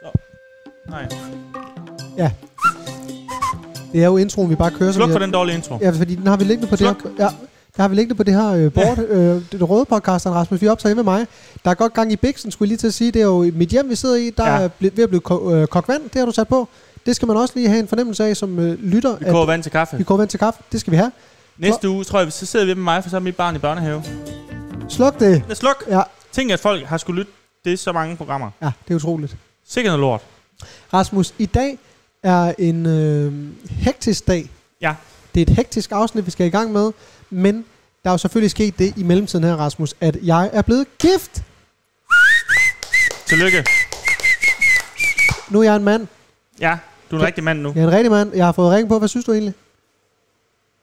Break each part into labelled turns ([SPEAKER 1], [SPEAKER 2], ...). [SPEAKER 1] Så. Nej.
[SPEAKER 2] Det er jo introen, vi bare kører. som
[SPEAKER 1] Sluk
[SPEAKER 2] vi
[SPEAKER 1] for
[SPEAKER 2] har-
[SPEAKER 1] den dårlige intro.
[SPEAKER 2] Ja, fordi den har vi liggende på
[SPEAKER 1] Sluk.
[SPEAKER 2] det her... Ja, der har vi liggende på det her øh, board, øh, det røde podcast, Rasmus. Vi er optaget hjemme med mig. Der er godt gang i Bixen, skulle jeg lige til at sige. Det er jo mit hjem, vi sidder i. Der
[SPEAKER 1] Ja.
[SPEAKER 2] ja. er ble- ved at blive ko- øh, kogt vand. Det har du sat på. Det skal man også lige have en fornemmelse af som øh, lytter.
[SPEAKER 1] Vi
[SPEAKER 2] at
[SPEAKER 1] koger vand til kaffe.
[SPEAKER 2] vi koger vand til kaffe. Det skal vi have.
[SPEAKER 1] Næste uge, tror jeg, så sidder vi med mig, for så er mit barn i børnehave.
[SPEAKER 2] Sluk det.
[SPEAKER 1] Men Sluk!
[SPEAKER 2] Ja.
[SPEAKER 1] Tænk, at folk har skulle lytte det er så mange programmer.
[SPEAKER 2] Ja, det er utroligt.
[SPEAKER 1] Sikkert noget lort.
[SPEAKER 2] Rasmus, i dag er en øh, hektisk dag.
[SPEAKER 1] Ja.
[SPEAKER 2] Det er et hektisk afsnit, vi skal i gang med. Men der er jo selvfølgelig sket det i mellemtiden her, Rasmus, at jeg er blevet gift.
[SPEAKER 1] Tillykke.
[SPEAKER 2] Nu er jeg en mand.
[SPEAKER 1] Ja, du er en
[SPEAKER 2] Ja.
[SPEAKER 1] rigtig mand nu.
[SPEAKER 2] Jeg er en rigtig mand. Jeg har fået ring på. Hvad synes du egentlig?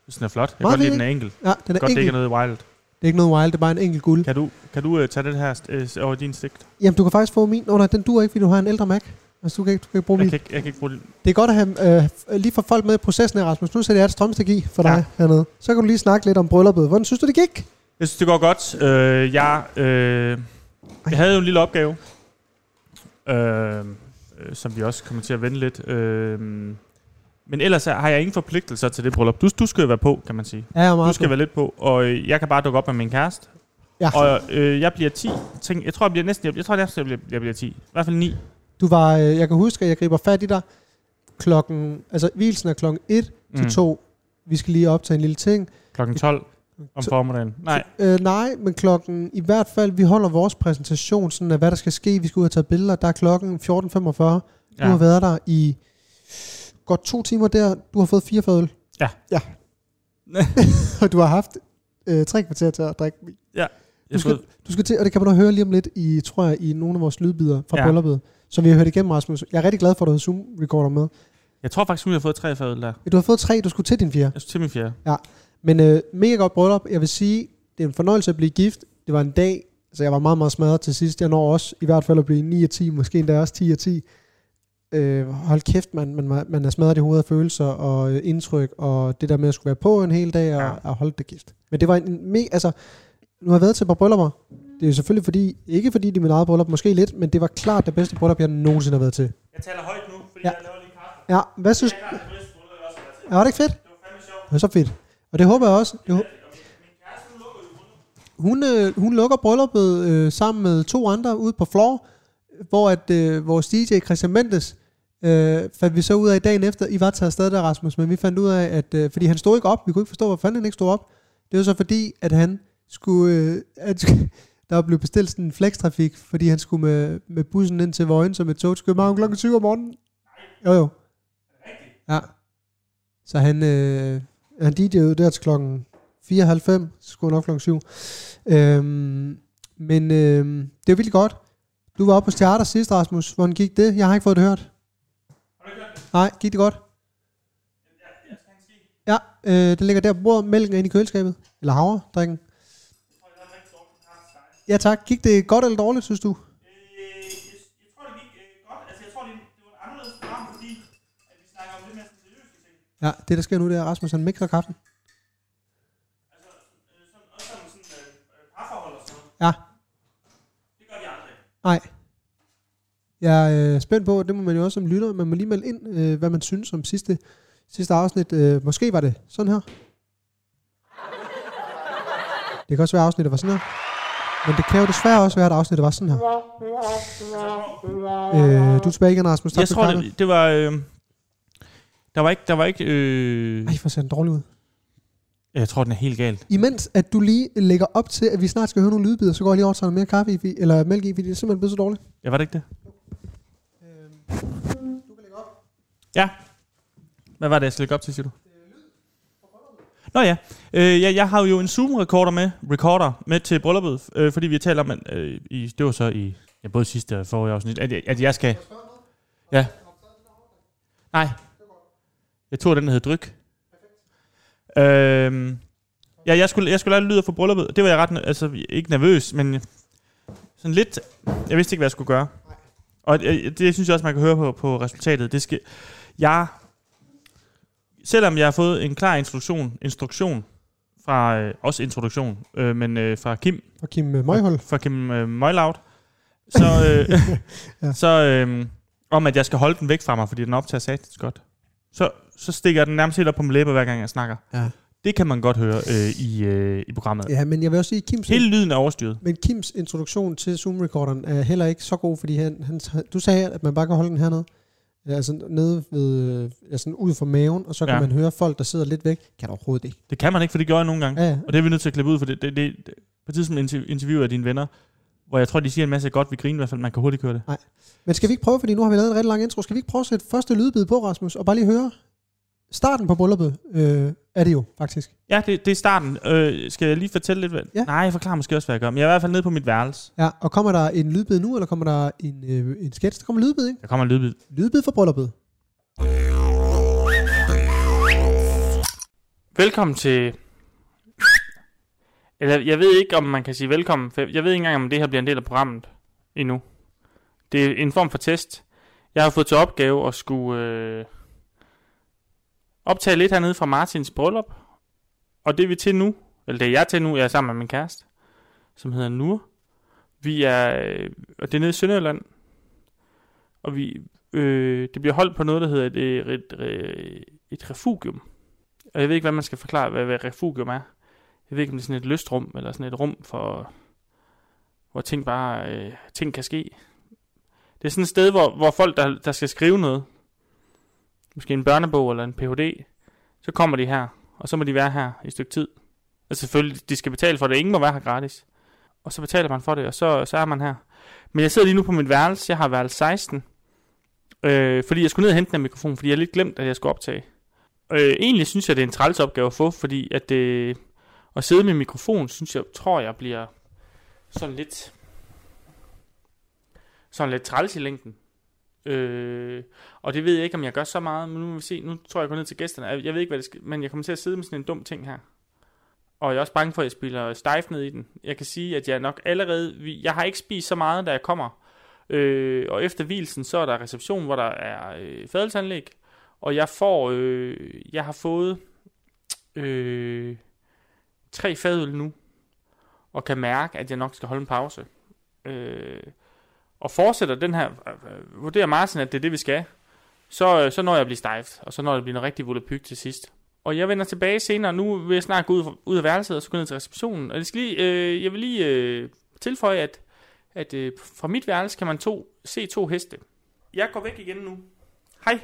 [SPEAKER 1] Hvis den er flot. Jeg kan
[SPEAKER 2] Meget
[SPEAKER 1] godt lide,
[SPEAKER 2] fint,
[SPEAKER 1] den er enkel.
[SPEAKER 2] Ja, den
[SPEAKER 1] Godt,
[SPEAKER 2] er Godt,
[SPEAKER 1] det ikke
[SPEAKER 2] enkel.
[SPEAKER 1] er noget wild.
[SPEAKER 2] Det er ikke noget wild, det er bare en enkelt guld.
[SPEAKER 1] Kan du, kan du uh, tage det her uh, over i din sigt?
[SPEAKER 2] Jamen, du kan faktisk få min. Åh oh, nej, den duer ikke, fordi du har en ældre Mac. Altså, du kan ikke, du kan ikke bruge
[SPEAKER 1] Jeg
[SPEAKER 2] min.
[SPEAKER 1] kan ikke, jeg kan ikke bruge det.
[SPEAKER 2] Det er godt at have, øh, f- lige for folk med i processen her, Rasmus. Nu sætter jeg et strømstik i for dig
[SPEAKER 1] Ja.
[SPEAKER 2] ja. hernede. Så kan du lige snakke lidt om brylluppet. Hvordan synes du, det gik?
[SPEAKER 1] Jeg synes, det går godt. Øh, jeg, øh, jeg havde jo en lille opgave, øh, øh, som vi også kommer til at vende lidt. Øh, men ellers har jeg ingen forpligtelser til det bryllup. Du, du skal jo være på, kan man sige.
[SPEAKER 2] Ja, jeg er
[SPEAKER 1] Du
[SPEAKER 2] meget
[SPEAKER 1] skal
[SPEAKER 2] glad.
[SPEAKER 1] være lidt på, og øh, jeg kan bare dukke op med min kæreste.
[SPEAKER 2] ja.
[SPEAKER 1] Og øh, jeg bliver 10. Tænk, jeg tror, jeg bliver næsten... Jeg, jeg tror, jeg bliver, jeg bliver 10. I hvert fald 9.
[SPEAKER 2] Du var, øh, jeg kan huske, at jeg griber fat i dig klokken, altså hvilsen er klokken 1 mm. til 2. Vi skal lige optage en lille ting.
[SPEAKER 1] Klokken 12 om
[SPEAKER 2] Så-
[SPEAKER 1] formiddagen. Nej,
[SPEAKER 2] Øh, nej, men klokken, i hvert fald, vi holder vores præsentation sådan af, hvad der skal ske. Vi skal ud og tage billeder. Der er klokken 14.45. Ja. Du har
[SPEAKER 1] ja.
[SPEAKER 2] været der i godt to timer der. Du har fået fire fadøl.
[SPEAKER 1] Ja.
[SPEAKER 2] Ja. og du har haft øh, tre kvarter til at drikke.
[SPEAKER 1] Jeg
[SPEAKER 2] skal-
[SPEAKER 1] skal...
[SPEAKER 2] Du skal til, og det kan man da høre lige om lidt i, tror jeg, i nogle af vores lydbider fra
[SPEAKER 1] Ja.
[SPEAKER 2] ja. brylluppet, som vi har hørt igennem, Rasmus. Jeg er rigtig glad for, at du havde Zoom-recorder med.
[SPEAKER 1] jeg tror faktisk, nu, jeg har fået tre fadøl der.
[SPEAKER 2] Du har fået tre, du skulle til din fjerde.
[SPEAKER 1] Jeg skal til min fjerde.
[SPEAKER 2] Men øh, mega godt bryllup. Jeg vil sige, det er en fornøjelse at blive gift. Det var en dag, så jeg var meget, meget smadret til sidst. Jeg når også i hvert fald at blive 9 af 10, måske endda også 10 af 10. Øh, hold kæft, man, man, var- man er smadret i hovedet af følelser og øh, indtryk, og det der med at skulle være på en hel dag og,
[SPEAKER 1] Ja.
[SPEAKER 2] ja. og holde det gift. Men det var en me, altså, nu har jeg været til et par bryllupper. Det er jo selvfølgelig fordi, ikke fordi det er mit eget bryllup, måske lidt, men det var klart det bedste bryllup, jeg nogensinde har været til.
[SPEAKER 1] Jeg taler højt nu, fordi
[SPEAKER 2] Ja.
[SPEAKER 1] jeg laver lige kaffe.
[SPEAKER 2] Ja, hvad synes
[SPEAKER 1] Jeg har det bedste bryllup, jeg også har været til.
[SPEAKER 2] Ja, var det ikke fedt?
[SPEAKER 1] Det var fandme sjovt.
[SPEAKER 2] Det er så fedt. Og det håber jeg også. Det, hå- hun, øh, hun lukker brylluppet øh, sammen med to andre ude på floor, hvor at, øh, vores DJ Christian Mendes øh, fandt vi så ud af dagen efter, I var taget afsted der, Rasmus, men vi fandt ud af, at øh, fordi han stod ikke op, vi kunne ikke forstå, hvorfor fanden han ikke stod op. Det var så fordi, at han skulle, øh, at, der blev bestilt sådan en flextrafik, fordi han skulle med, med bussen ind til Vøgen, som et tog til København kl. 20 om morgenen. Jo, jo. Ja. Så han, øh, han DJ'ede der til klokken 94, så skulle han op klokken 7. Øhm, men øhm, det var vildt godt. Du var oppe på Stjarter sidst, Rasmus. Hvordan gik det? Jeg har ikke fået det hørt. Nej, gik det godt? Ja, øh, den ligger der på bordet. Mælken er inde i køleskabet. Eller havredrikken. Ja tak. Gik det godt eller dårligt, synes du?
[SPEAKER 1] Øh, Altså,
[SPEAKER 2] Ja, det der sker nu, det er, at Rasmus han mixer kaffen. Altså, øh, Ja. Nej. Jeg er øh, spændt på, og det må man jo også som lytter, man må lige melde ind, øh, hvad man synes om sidste, sidste afsnit. Øh, måske var det sådan her. Det kan også være, at afsnittet var sådan her. Men det kan jo desværre også være, at afsnittet var sådan her. Øh, du er tilbage igen, Rasmus. Tak
[SPEAKER 1] Jeg
[SPEAKER 2] for
[SPEAKER 1] tror,
[SPEAKER 2] kaffe.
[SPEAKER 1] det, det var... Øh, der var ikke... Der var ikke øh,
[SPEAKER 2] Ej, hvor ser den dårlig ud.
[SPEAKER 1] jeg tror, den er helt galt.
[SPEAKER 2] Imens at du lige lægger op til, at vi snart skal høre nogle lydbider, så går jeg lige over og tager noget mere kaffe i, fordi- eller mælk i, fordi det er simpelthen blevet så dårligt.
[SPEAKER 1] Ja, var det ikke det?
[SPEAKER 2] Du kan lægge op.
[SPEAKER 1] Ja. Hvad var det, jeg skulle lægge op til, siger du? Nå ja, øh, jeg, jeg har jo en Zoom-recorder med, recorder med til brylluppet, øh, fordi vi taler om, at, øh, i, det var så i ja, både sidste og forrige afsnit, at, jeg- at jeg skal... Ja. Nej. Jeg tog den, der hed Dryk. Øhm, ja, jeg skulle, jeg skulle lave lyder for brylluppet. Det var jeg ret, ne- altså ikke nervøs, men sådan lidt, jeg vidste ikke, hvad jeg skulle gøre. Og det, det synes jeg også, man kan høre på, på resultatet. Det skal, jeg, selvom jeg har fået en klar instruktion, instruktion fra, øh, også introduktion, øh, men øh, fra Kim,
[SPEAKER 2] Og Kim øh, Møjhold.
[SPEAKER 1] fra Kim øh, Møjlaut, så, øh,
[SPEAKER 2] Ja.
[SPEAKER 1] så øh, om, at jeg skal holde den væk fra mig, fordi den optager satans godt, så, så stikker jeg den nærmest helt op på min læber, hver gang jeg snakker.
[SPEAKER 2] Ja.
[SPEAKER 1] Det kan man godt høre øh, i, øh, i programmet. Ja.
[SPEAKER 2] Ja, men jeg vil også sige, Kims,
[SPEAKER 1] Hele lyden er overstyret.
[SPEAKER 2] men Kims introduktion til Zoom-recorderen er heller ikke så god, fordi han, han, du sagde, at man bare kan holde den hernede. Ja, Altså nede ved, øh, altså ud fra maven, og så kan
[SPEAKER 1] Ja.
[SPEAKER 2] ja. man høre folk, der sidder lidt væk. Kan du overhovedet ikke?
[SPEAKER 1] Det kan man ikke, for det gør jeg nogle gange.
[SPEAKER 2] Ja, ja.
[SPEAKER 1] Og det er vi nødt til at klippe ud, for det, det, det, det på et tidspunkt interv- interviewer jeg dine venner, hvor jeg tror, de siger en masse godt, vi griner i hvert fald, man kan hurtigt køre det.
[SPEAKER 2] Men skal vi ikke prøve, fordi nu har vi lavet en rigtig lang intro, skal vi ikke prøve at sætte første lydbid på, Rasmus, og bare lige høre starten på brylluppet? Øh, er det jo, faktisk.
[SPEAKER 1] Ja, det, det er starten. Øh, skal jeg lige fortælle lidt? Hvad?
[SPEAKER 2] Ja.
[SPEAKER 1] Nej, jeg forklarer måske også, hvad jeg gør. Men jeg er i hvert fald nede på mit værelse.
[SPEAKER 2] Ja, og kommer der en lydbid nu, eller kommer der en, øh, en sketch? Der kommer en lydbid, ikke?
[SPEAKER 1] Der kommer en lydbid.
[SPEAKER 2] Lydbid for brylluppet.
[SPEAKER 3] Velkommen til... Eller jeg ved ikke, om man kan sige velkommen, for jeg ved ikke engang, om det her bliver en del af programmet endnu. Det er en form for test. Jeg har fået til opgave at skulle øh, optage lidt hernede fra Martins bryllup. Og det er vi til nu, eller det er jeg til nu, jeg er sammen med min kæreste, som hedder Nur. Vi er, øh, og det er nede i Sønderjylland. Og vi, øh, det bliver holdt på noget, der hedder et, et, et, et refugium. Og jeg ved ikke, hvad man skal forklare, hvad, hvad refugium er. Jeg ved ikke, om det er sådan et lystrum, eller sådan et rum, for, hvor ting bare øh, ting kan ske. Det er sådan et sted, hvor, hvor folk, der, der skal skrive noget, måske en børnebog eller en Ph.D., så kommer de her, og så må de være her i et stykke tid. Og selvfølgelig, de skal betale for det. Ingen må være her gratis. Og så betaler man for det, og så, så er man her. Men jeg sidder lige nu på mit værelse. Jeg har værelse 16. Øh, fordi jeg skulle ned og hente den her mikrofon, fordi jeg lidt glemt, at jeg skulle optage. Øh, egentlig synes jeg, det er en træls opgave at få, fordi at, øh, at sidde med mikrofon, synes jeg, tror jeg, bliver sådan lidt, sådan lidt træls i længden. Øh, og det ved jeg ikke, om jeg gør så meget, men nu må vi se, nu tror jeg, jeg går ned til gæsterne. Jeg jeg ved ikke, hvad det skal, men jeg kommer til at sidde med sådan en dum ting her. Og jeg er også bange for, at jeg spiller stejf ned i den. Jeg kan sige, at jeg nok allerede, vi- jeg har ikke spist så meget, da jeg kommer. Øh, og efter hvilsen, så er der reception, hvor der er øh, fadelsanlæg. Og jeg får, øh, jeg har fået øh, tre fadøl nu, og kan mærke, at jeg nok skal holde en pause. Øh, og fortsætter den her, øh, vurderer Martin, at det er det, vi skal, så, øh, så når jeg at blive stejft, og så når jeg bliver noget rigtig volapyk til sidst. Og jeg vender tilbage senere, nu vil jeg snart gå ud, ud af værelset og så gå ned til receptionen. Og jeg, skal lige, øh, jeg vil lige øh, tilføje, at, at øh, fra mit værelse kan man to, se to heste. Jeg går væk igen nu. Hej.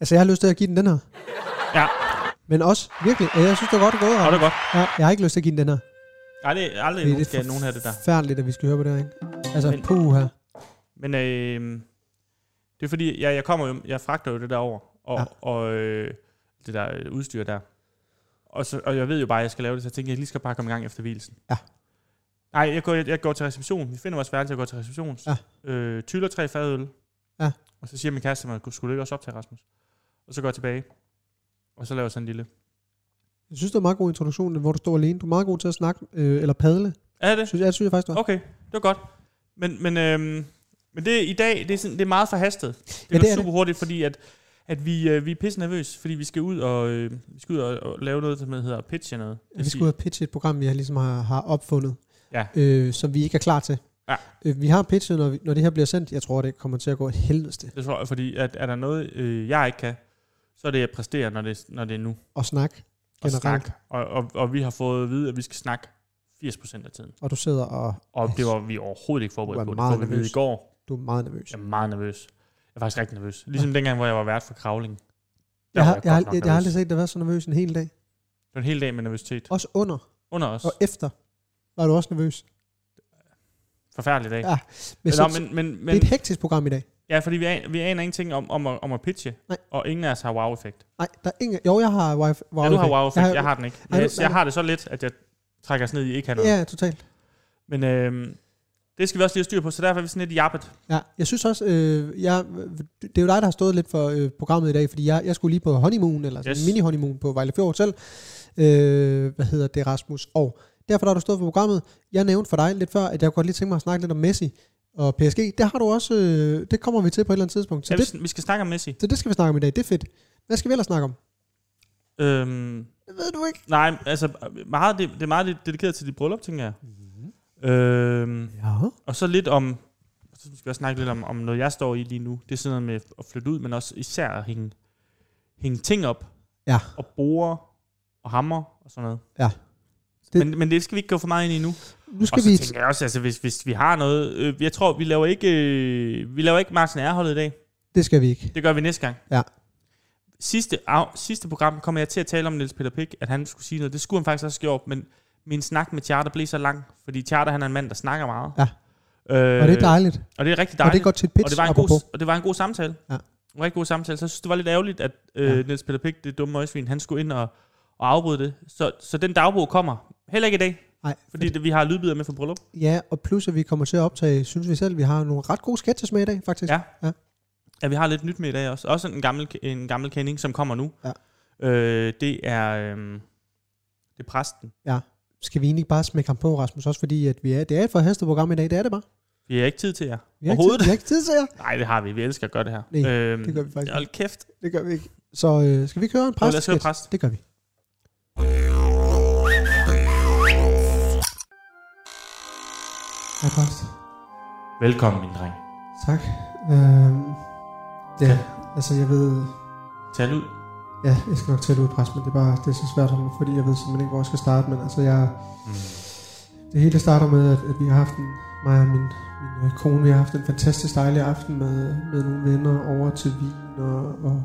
[SPEAKER 2] Altså, jeg har lyst til at give den den her.
[SPEAKER 1] Ja.
[SPEAKER 2] Men også, virkelig, øh, jeg synes, det er godt gået.
[SPEAKER 1] Og det er godt.
[SPEAKER 2] Ja, jeg har ikke lyst til at give den den her.
[SPEAKER 1] Ej, det er aldrig
[SPEAKER 2] Fordi
[SPEAKER 1] nogen,
[SPEAKER 2] det er
[SPEAKER 1] skal nogen have det der.
[SPEAKER 2] Færdeligt, at vi skal høre på det herinde. Altså,
[SPEAKER 1] Men-
[SPEAKER 2] puh her.
[SPEAKER 1] Men øh, det er fordi, jeg, jeg kommer jo, jeg fragter jo det der over, og, ja.
[SPEAKER 2] Ja.
[SPEAKER 1] og øh, det der øh, udstyr der. Og, så, og jeg ved jo bare, at jeg skal lave det, så jeg tænker, jeg lige skal bare komme i gang efter hvilesen.
[SPEAKER 2] Ja.
[SPEAKER 1] Nej, jeg går, jeg, jeg går til reception. Vi finder vores værelse, jeg går til reception. Øh, tyller tre fadøl.
[SPEAKER 2] Ja.
[SPEAKER 1] Og så siger min kæreste til mig, skulle du ikke også op til Rasmus? Og så går jeg tilbage. Og så laver jeg sådan en lille...
[SPEAKER 2] Jeg synes, det var en meget god introduktion, hvor du står alene. Du er meget god til at snakke, øh, eller padle.
[SPEAKER 1] Er det?
[SPEAKER 2] Synes jeg, jeg synes jeg faktisk, du er.
[SPEAKER 1] Okay, det var godt. Men, men, øhm, men det i dag, det er, sådan, det er meget forhastet. Det
[SPEAKER 2] Ja,
[SPEAKER 1] ja,
[SPEAKER 2] det
[SPEAKER 1] går
[SPEAKER 2] er
[SPEAKER 1] super hurtigt, fordi at, at vi, øh, vi er pisse nervøse, fordi vi skal ud og, øh, vi skal ud og, og lave noget, som hedder pitch eller noget. Det vil
[SPEAKER 2] Vi
[SPEAKER 1] sige-
[SPEAKER 2] skulle have pitchet et program, vi har, ligesom har, har opfundet,
[SPEAKER 1] Ja.
[SPEAKER 2] øh, som vi ikke er klar til.
[SPEAKER 1] Ja.
[SPEAKER 2] Øh, vi har pitchet, når, vi, når det her bliver sendt. Jeg tror, det kommer til at gå et helvedes til
[SPEAKER 1] Det tror jeg, fordi at, er der noget, øh, jeg ikke kan, så er det at præstere, når det, når det er nu.
[SPEAKER 2] at snakke
[SPEAKER 1] Og
[SPEAKER 2] generelt.
[SPEAKER 1] snak. Og, og, og, vi har fået at vide, at vi skal snakke 80% af tiden.
[SPEAKER 2] Og du sidder og
[SPEAKER 1] Og
[SPEAKER 2] Altså,
[SPEAKER 1] det var vi overhovedet ikke
[SPEAKER 2] du er
[SPEAKER 1] forberedt på. Det var
[SPEAKER 2] meget
[SPEAKER 1] vi at vide i
[SPEAKER 2] nervøs.
[SPEAKER 1] går.
[SPEAKER 2] du er meget nervøs.
[SPEAKER 1] Jeg er meget nervøs. Jeg er faktisk rigtig nervøs. Ligesom dengang, hvor jeg var vært for kravling. Der
[SPEAKER 2] jeg,
[SPEAKER 1] var
[SPEAKER 2] har, jeg, har,
[SPEAKER 1] godt nok
[SPEAKER 2] jeg, jeg har
[SPEAKER 1] nervøs.
[SPEAKER 2] aldrig set dig være så nervøs en hel dag.
[SPEAKER 1] Det var en hel dag med nervøsitet.
[SPEAKER 2] Også under
[SPEAKER 1] Under os.
[SPEAKER 2] og efter var du også nervøs.
[SPEAKER 1] Forfærdelig dag.
[SPEAKER 2] Ja,
[SPEAKER 1] Ja,
[SPEAKER 2] Men,
[SPEAKER 1] Nå,
[SPEAKER 2] så,
[SPEAKER 1] men, men,
[SPEAKER 2] det er
[SPEAKER 1] men
[SPEAKER 2] et hektisk program i dag.
[SPEAKER 1] ja, fordi vi, an, vi aner ingenting om, om, at, om at pitche,
[SPEAKER 2] Nej.
[SPEAKER 1] og ingen af os har wow-effekt.
[SPEAKER 2] Nej, der er ingen... Jo, jeg har wifi.
[SPEAKER 1] Wow ja, du har wow-effekt, jeg, har den ikke.
[SPEAKER 2] Nej,
[SPEAKER 1] Jeg,
[SPEAKER 2] du-
[SPEAKER 1] jeg,
[SPEAKER 2] nej,
[SPEAKER 1] jeg
[SPEAKER 2] du-
[SPEAKER 1] har det så lidt, at jeg trækker os ned i ikke har noget.
[SPEAKER 2] Ja, totalt.
[SPEAKER 1] Men øhm, det skal vi også lige have styr på, så derfor er vi sådan lidt jappet.
[SPEAKER 2] Ja, jeg synes også, øh, jeg, det er jo dig, der har stået lidt for øh, programmet i dag, fordi jeg, jeg skulle lige på honeymoon, eller sådan
[SPEAKER 1] Yes.
[SPEAKER 2] yes. mini-honeymoon på Vejle Fjord Hotel. Øh, hvad hedder det, Rasmus? Og derfor der har du stået for programmet. Jeg nævnte for dig lidt før, at jeg kunne godt lige tænke mig at snakke lidt om Messi og PSG. Det har du også, øh, det kommer vi til på et eller andet tidspunkt. Så,
[SPEAKER 1] Ja,
[SPEAKER 2] det,
[SPEAKER 1] vi, vi skal snakke om Messi.
[SPEAKER 2] så det skal vi snakke om i dag, det er fedt. Hvad skal vi ellers snakke om?
[SPEAKER 1] Øhm,
[SPEAKER 2] Det ved du ikke.
[SPEAKER 1] øh, nej, altså meget, det, det er meget dedikeret til dit bryllup, tænker jeg. Øhm,
[SPEAKER 2] Ja.
[SPEAKER 1] og så lidt om, så skal vi også snakke lidt om, om noget, jeg står i lige nu. Det er sådan noget med at flytte ud, men også især at hænge, hænge ting op.
[SPEAKER 2] Ja.
[SPEAKER 1] Og bore og hammer og sådan noget.
[SPEAKER 2] Ja.
[SPEAKER 1] Det. Men, men det skal vi ikke gå for meget ind i nu.
[SPEAKER 2] Nu skal
[SPEAKER 1] og så
[SPEAKER 2] vi...
[SPEAKER 1] tænker jeg også, altså, hvis, hvis vi har noget... Øh, jeg tror, vi laver ikke, øh, vi laver ikke Martin Erholdet i dag.
[SPEAKER 2] Det skal vi ikke.
[SPEAKER 1] Det gør vi næste gang.
[SPEAKER 2] Ja.
[SPEAKER 1] Sidste, af, sidste program kommer jeg til at tale om Niels Peter Pick, at han skulle sige noget. Det skulle han faktisk også gjort, men min snak med Charter blev så lang, fordi Charter han er en mand, der snakker meget.
[SPEAKER 2] Ja.
[SPEAKER 1] Øh,
[SPEAKER 2] Og det er dejligt.
[SPEAKER 1] Og det er rigtig
[SPEAKER 2] Og det
[SPEAKER 1] dejligt.
[SPEAKER 2] er godt til et pitch,
[SPEAKER 1] og, det var en
[SPEAKER 2] apropos.
[SPEAKER 1] god, og det var en god samtale.
[SPEAKER 2] Ja.
[SPEAKER 1] En rigtig god samtale. Så jeg synes, det var lidt ærgerligt, at øh,
[SPEAKER 2] Ja.
[SPEAKER 1] ja. Niels Peter Pick, det dumme øjesvin, han skulle ind og, og afbryde det. Så, så den dagbog kommer. Heller ikke i dag,
[SPEAKER 2] Nej,
[SPEAKER 1] fordi det, vi har lydbider med fra bryllup.
[SPEAKER 2] Ja, og plus at vi kommer til at optage, synes vi selv, vi har nogle ret gode sketches med i dag, faktisk.
[SPEAKER 1] Ja. Ja, vi har lidt nyt med i dag også. Også en gammel, en gammel kending, som kommer nu.
[SPEAKER 2] Ja.
[SPEAKER 1] Øh, det er... Øh, det er præsten.
[SPEAKER 2] Skal vi egentlig bare smække ham på, Rasmus, også fordi at vi er, det er et forhastet program i dag, det er det bare.
[SPEAKER 1] Vi har ikke tid til jer.
[SPEAKER 2] Vi har, ikke tid, vi har ikke tid til jer.
[SPEAKER 1] Nej, det har vi. Vi elsker at gøre det her.
[SPEAKER 2] Nej,
[SPEAKER 1] øhm,
[SPEAKER 2] det gør vi faktisk
[SPEAKER 1] Hold kæft.
[SPEAKER 2] Det gør vi ikke. Så øh, skal vi køre en
[SPEAKER 1] Præst,
[SPEAKER 2] præst?
[SPEAKER 1] lad os høre præst.
[SPEAKER 2] Det gør vi. Ja, præst.
[SPEAKER 1] Velkommen, min dreng.
[SPEAKER 2] Tak. Øh, ja, altså jeg ved...
[SPEAKER 1] Tal ud.
[SPEAKER 2] Ja, jeg skal nok tage det ud, præst, men det er bare det er så svært for mig, fordi jeg ved simpelthen ikke, hvor jeg skal starte, men altså jeg... Det hele starter med, at, at vi har haft en, mig og min, min øh, kone, vi har haft en fantastisk dejlig aften med, med nogle venner over til vin og, og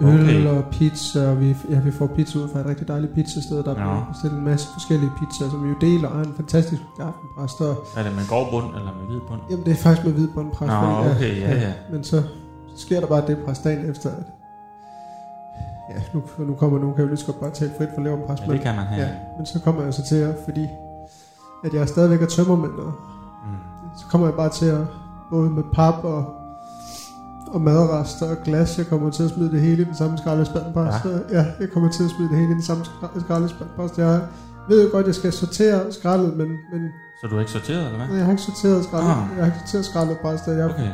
[SPEAKER 2] øl
[SPEAKER 1] Okay.
[SPEAKER 2] okay. og pizza. Og vi, ja, vi får pizza ud fra et rigtig dejligt pizzasted, der
[SPEAKER 1] Nå.
[SPEAKER 2] er bestilt en masse forskellige pizzaer, som vi jo deler, og har en fantastisk aften, præst. Og,
[SPEAKER 1] Er det med grov bund eller med hvid bund?
[SPEAKER 2] jamen, det er faktisk med hvidbånd, præst.
[SPEAKER 1] Nå,
[SPEAKER 2] fordi,
[SPEAKER 1] okay, ja, ja.
[SPEAKER 2] Men så, så sker der bare det, præst, dagen efter, at ja, nu, nu kommer nu kan jeg jo lige så godt bare tale frit for leveren, præst.
[SPEAKER 1] Ja,
[SPEAKER 2] men-
[SPEAKER 1] det kan man have.
[SPEAKER 2] Ja, men så kommer jeg så til at, fordi at jeg stadigvæk er tømmermænd, og
[SPEAKER 1] Mm.
[SPEAKER 2] så kommer jeg bare til at, både med pap og, og madrester og glas, jeg kommer til at smide det hele i den samme skraldespand, ja. ja, jeg kommer til at smide det hele i den samme skra- skraldespand, præst. Jeg ved jo godt, at jeg skal sortere skraldet, men, men
[SPEAKER 1] Så du er ikke sorteret, eller hvad?
[SPEAKER 2] jeg har ikke sorteret skraldet,
[SPEAKER 1] Ah.
[SPEAKER 2] jeg har ikke sorteret skraldet, præst. og Jeg
[SPEAKER 1] Okay.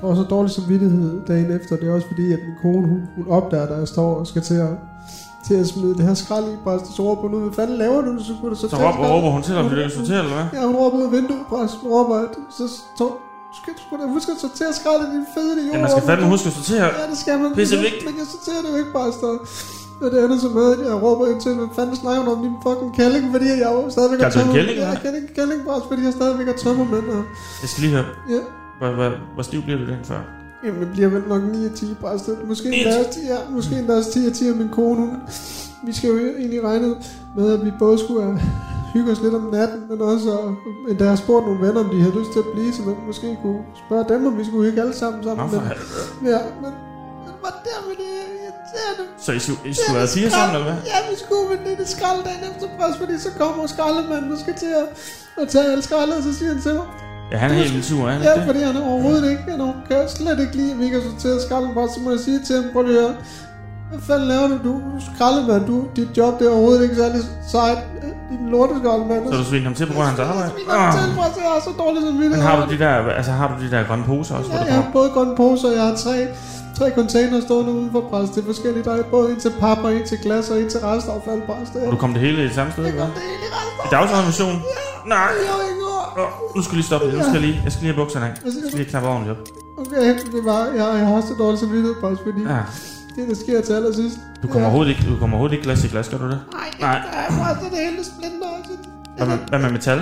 [SPEAKER 2] får så dårlig samvittighed dagen efter, det er også fordi, at min kone, hun, hun opdager, da jeg står og skal til at til at smide det her skrald i, præst, og så råber hun ud, hvad fanden laver du, så kunne du
[SPEAKER 1] Så
[SPEAKER 2] sortere
[SPEAKER 1] råber,
[SPEAKER 2] skraldet?"
[SPEAKER 1] råber hun til dig, om du ikke sorteret, eller hvad?
[SPEAKER 2] Ja, hun råber ud af vinduet, præst. Hun råber, at så tog... Skal du skulle da huske at sortere skraldet i din fede jord?
[SPEAKER 1] Ja, man skal fandme huske at sortere.
[SPEAKER 2] Ja, det skal man.
[SPEAKER 1] Pisse
[SPEAKER 2] Men-
[SPEAKER 1] vigtigt.
[SPEAKER 2] Man kan sortere det jo ikke, præst. Og- Og det ender så med, at jeg råber ind til, hvad fanden snakker du om din fucking kælling, fordi jeg jo stadigvæk
[SPEAKER 1] Kaldte du en kælling,
[SPEAKER 2] Ja,
[SPEAKER 1] hva'?
[SPEAKER 2] kælling, kælling, præst, fordi jeg stadigvæk er tømmermænd. Og,
[SPEAKER 1] Jeg skal lige høre,
[SPEAKER 2] ja,
[SPEAKER 1] hvor, hvor, hvor stiv bliver du den før?
[SPEAKER 2] Jamen, det bliver vel nok 9 og 10 præster. Måske
[SPEAKER 1] 9
[SPEAKER 2] endda også 10, ja, måske endda også 10 og 10 af min kone. Hun. Vi skal jo egentlig regne ud med, at vi både skulle øh, hygge os lidt om natten, men også at- endda har spurgt nogle venner, om de havde lyst til at blive, så man måske kunne spørge dem, om vi skulle hygge alle sammen
[SPEAKER 1] Nå,
[SPEAKER 2] sammen.
[SPEAKER 1] for
[SPEAKER 2] Men,
[SPEAKER 1] helvede.
[SPEAKER 2] ja, men men var der med det er irriterende.
[SPEAKER 1] Så I skulle, I skulle være fire sammen, eller hvad?
[SPEAKER 2] Ja, vi skulle, men det er det skrald dagen efter først, fordi så kommer skraldemanden og skal til at, at tage alt skraldet, og så siger han til mig,
[SPEAKER 1] Ja, han er helt vildt sur, er han
[SPEAKER 2] Ja,
[SPEAKER 1] ikke det?
[SPEAKER 2] fordi han er overhovedet ikke. Han er- kan slet ikke lide, at vi ikke har sorteret skralden bare, så må jeg sige til ham, prøv lige at høre. Hvad fanden laver du? Du er skraldemand, du. Dit job, det er overhovedet ikke særlig sejt. Din lorteskraldemand.
[SPEAKER 1] Så du sviner ham til på grund af hans arbejde?
[SPEAKER 2] Jeg har fortalt mig, så jeg har så dårligt som vildt.
[SPEAKER 1] Men har du de der, altså har du de der grønne poser også, hvor du
[SPEAKER 2] Ja, jeg
[SPEAKER 1] kommer?
[SPEAKER 2] har både grønne poser, jeg har tre, tre container stående ude for præst. Det er forskellige der er både en til pap og en til glas og en til restaffald præst. Det
[SPEAKER 1] Og
[SPEAKER 2] er
[SPEAKER 1] du kom det hele i det samme sted, eller
[SPEAKER 2] det
[SPEAKER 1] hvad?
[SPEAKER 2] er egentlig
[SPEAKER 1] I
[SPEAKER 2] restaffald.
[SPEAKER 1] dagsordination? Nej.
[SPEAKER 2] Jeg har ikke ord.
[SPEAKER 1] Åh, nu skal jeg lige stoppe det. Nu skal jeg lige, jeg skal lige have bukserne af. Jeg skal lige knappe ordentligt op.
[SPEAKER 2] Okay, det var, jeg, jeg har så dårligt som vildt præst, fordi
[SPEAKER 1] Ja.
[SPEAKER 2] det, der sker til allersidst.
[SPEAKER 1] Ah, Du kommer
[SPEAKER 2] Ja.
[SPEAKER 1] overhovedet ikke, du kommer overhovedet ikke glas i glas, gør du det?
[SPEAKER 2] Nej, det
[SPEAKER 1] Nej.
[SPEAKER 2] er også det hele splinter også.
[SPEAKER 1] Hvad med, hvad med metal?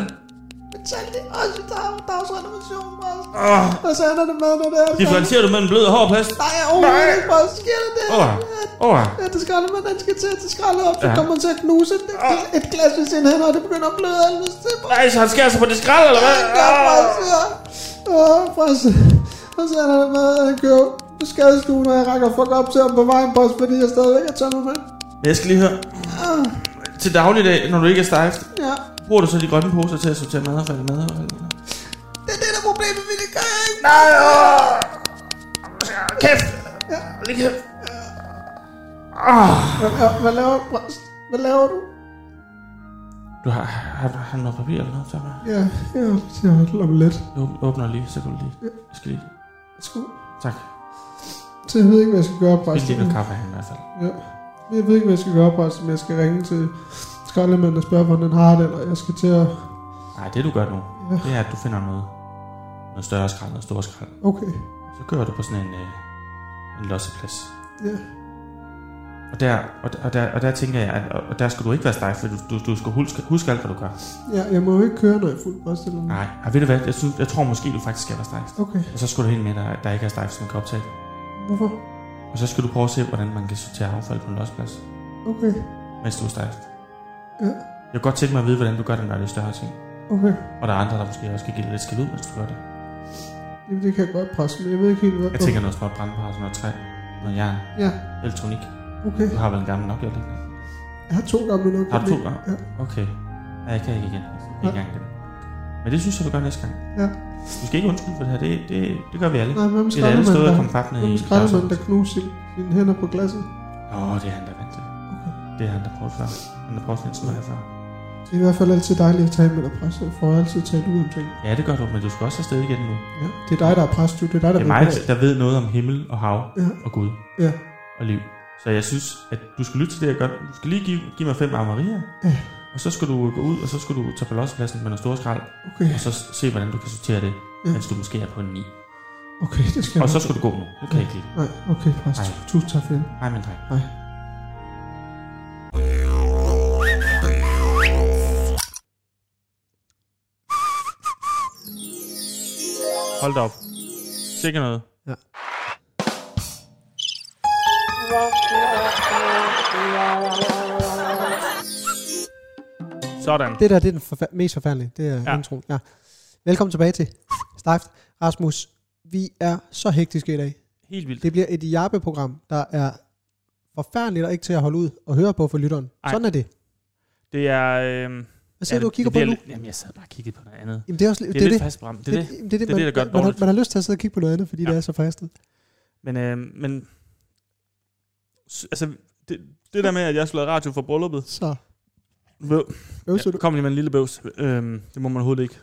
[SPEAKER 2] Betal det også, der er dagsrenovation også.
[SPEAKER 1] Åh,
[SPEAKER 2] Og så ender det med, når det er...
[SPEAKER 1] differentierer du mellem blød og hård plast?
[SPEAKER 2] Nej, overhovedet ikke, hvor sker der det?
[SPEAKER 1] altså- Åh, åh.
[SPEAKER 2] Ja, det skralder man, den skal til at skralde op, så
[SPEAKER 1] Ja.
[SPEAKER 2] kommer man til at knuse et, et glas ved sin hænder, og det begynder at bløde alle hvis det er
[SPEAKER 1] Nej, så han skærer sig på det skrald, eller hvad? Åh.
[SPEAKER 2] Åh, præs. Og så ender det med, at han kører på skadestuen, og jeg rækker fuck op til ham på vejen, præs, fordi jeg stadigvæk er tømmer med.
[SPEAKER 1] Men Jeg skal lige høre. Til dagligdag, når du ikke er stejft,
[SPEAKER 2] Ja,
[SPEAKER 1] bruger du så de grønne poser til at sortere madaffald i madaffald?
[SPEAKER 2] det er det, der er problemet, vi det gør ikke.
[SPEAKER 1] Nej, åh. Kæft. Lige her. Åh.
[SPEAKER 2] Hvad, hvad- hvad laver du, præs? Hvad laver du?
[SPEAKER 1] Du har, har, du- har du noget papir eller noget til mig?
[SPEAKER 2] Ja, ja, jeg har om lidt.
[SPEAKER 1] Jeg åb- åbner lige, så kan du lige. Jeg skal lige.
[SPEAKER 2] Sku.
[SPEAKER 1] Tak.
[SPEAKER 2] Så jeg ved ikke, hvad jeg skal gøre,
[SPEAKER 1] Spil
[SPEAKER 2] præsten.
[SPEAKER 1] lige noget kaffe her i hvert fald.
[SPEAKER 2] Ja. Jeg ved ikke, hvad jeg skal gøre, præsten, men jeg skal ringe til skraldemanden og spørge, hvordan han har det, eller jeg skal til at...
[SPEAKER 1] Nej, det du gør nu.
[SPEAKER 2] Ja,
[SPEAKER 1] Det er, at du finder noget, noget større skrald, noget stort skrald.
[SPEAKER 2] Okay.
[SPEAKER 1] Så kører du på sådan en, øh, en losseplads.
[SPEAKER 2] Ja.
[SPEAKER 1] Og der, og, der- og, der, og der tænker jeg, at og og der skal du ikke være stejf, for du, du, du skal huske, huske alt, hvad du gør.
[SPEAKER 2] ja. jeg må jo ikke køre, når jeg er fuld bryst eller noget.
[SPEAKER 1] Nej, og ved du hvad, jeg, synes, jeg tror måske, du faktisk skal være stejf.
[SPEAKER 2] Okay.
[SPEAKER 1] Og så skal du helt med, der, der ikke er stejf, som kan optage det.
[SPEAKER 2] Hvorfor?
[SPEAKER 1] Og så skal du prøve at se, hvordan man kan sortere affald på en losseplads,
[SPEAKER 2] Okay.
[SPEAKER 1] mens du er stejf.
[SPEAKER 2] Ja.
[SPEAKER 1] Jeg kunne godt tænke mig at vide, hvordan du gør det, når det er større ting.
[SPEAKER 2] Okay.
[SPEAKER 1] Og der er andre, der måske også kan give det lidt skæld ud, mens du gør det.
[SPEAKER 2] Jamen, det kan jeg godt presse, men jeg ved ikke helt, hvad...
[SPEAKER 1] Jeg tænker noget småt brandbart, noget træ, noget jern,
[SPEAKER 2] Ja,
[SPEAKER 1] elektronik.
[SPEAKER 2] okay.
[SPEAKER 1] Du har vel en gammel Nokia liggende?
[SPEAKER 2] Jeg har to gamle nok.
[SPEAKER 1] Har du to gange?
[SPEAKER 2] Ja.
[SPEAKER 1] Okay. Ja, jeg kan ikke igen. Ikke engang den. Men det synes jeg, du gør næste gang.
[SPEAKER 2] Ja.
[SPEAKER 1] Du skal ikke undskylde for det her. Det, det, det gør vi alle.
[SPEAKER 2] Nej, hvem
[SPEAKER 1] Det er alle
[SPEAKER 2] skraldemand,
[SPEAKER 1] stået og
[SPEAKER 2] der,
[SPEAKER 1] komme fat ned i.
[SPEAKER 2] hvem skraldemand, der knuser sin, sine hænder på glasset?
[SPEAKER 1] Åh, oh, det er han, der vant til.
[SPEAKER 2] Okay.
[SPEAKER 1] Det er han, der prøvede før. Han der prøvede sådan noget før.
[SPEAKER 2] Det er i hvert fald altid dejligt at tale med dig, præst. Jeg får altid talt ud om ting.
[SPEAKER 1] Ja, det gør du, men du skal også afsted igen nu.
[SPEAKER 2] Ja. Det er dig, der er præst, du. Det er dig, der
[SPEAKER 1] Det er
[SPEAKER 2] ved
[SPEAKER 1] mig,
[SPEAKER 2] bedst.
[SPEAKER 1] der ved noget om himmel og hav
[SPEAKER 2] Ja.
[SPEAKER 1] og Gud
[SPEAKER 2] Ja.
[SPEAKER 1] og liv. Så jeg synes, at du skal lytte til det, jeg gør. Du skal lige give, give mig fem armerier.
[SPEAKER 2] Ja.
[SPEAKER 1] Og så skal du gå ud, og så skal du tage på lossepladsen med noget store skrald,
[SPEAKER 2] Okay.
[SPEAKER 1] og så se, hvordan du kan sortere det,
[SPEAKER 2] Ja.
[SPEAKER 1] mens du måske er på en 9.
[SPEAKER 2] Okay, det skal
[SPEAKER 1] Og
[SPEAKER 2] jeg
[SPEAKER 1] så
[SPEAKER 2] nok.
[SPEAKER 1] skal du gå nu. Nu kan jeg ikke lide.
[SPEAKER 2] Nej, okay, præst.
[SPEAKER 1] Nej.
[SPEAKER 2] Tusind tak for det.
[SPEAKER 1] Hej, min dreng.
[SPEAKER 2] Hej.
[SPEAKER 1] Hold da op. Sikke noget. Sådan.
[SPEAKER 2] Det der, det er den forfær- mest forfærdelige. Det er
[SPEAKER 1] Ja.
[SPEAKER 2] ja. introen. Ja. Velkommen tilbage til Stejft. Rasmus, vi er så hektiske i dag.
[SPEAKER 1] Helt vildt.
[SPEAKER 2] Det bliver et Jappe-program, der er forfærdeligt og ikke til at holde ud og høre på for lytteren.
[SPEAKER 1] Ej.
[SPEAKER 2] Ej. Sådan er det.
[SPEAKER 1] Det er... Øh,
[SPEAKER 2] Hvad sidder ja, du og kigger på nu?
[SPEAKER 1] Jamen, jeg sad bare og kiggede på noget andet.
[SPEAKER 2] Jamen, det er også
[SPEAKER 1] Det er
[SPEAKER 2] det, er
[SPEAKER 1] lidt
[SPEAKER 2] det.
[SPEAKER 1] fast program. Det er det.
[SPEAKER 2] det, det,
[SPEAKER 1] det,
[SPEAKER 2] man,
[SPEAKER 1] der gør det
[SPEAKER 2] man, har,
[SPEAKER 1] dårligt.
[SPEAKER 2] man har lyst til at sidde og kigge på noget andet, fordi ja.
[SPEAKER 1] Ja.
[SPEAKER 2] det er så fristet.
[SPEAKER 1] Men, øh, men s- altså, det, det der med, at jeg skulle lave radio for brylluppet,
[SPEAKER 2] Så
[SPEAKER 1] Bøv.
[SPEAKER 2] øvser
[SPEAKER 1] Ja,
[SPEAKER 2] ja. du.
[SPEAKER 1] kom lige med en lille bøvs. Øhm, det må man overhovedet ikke.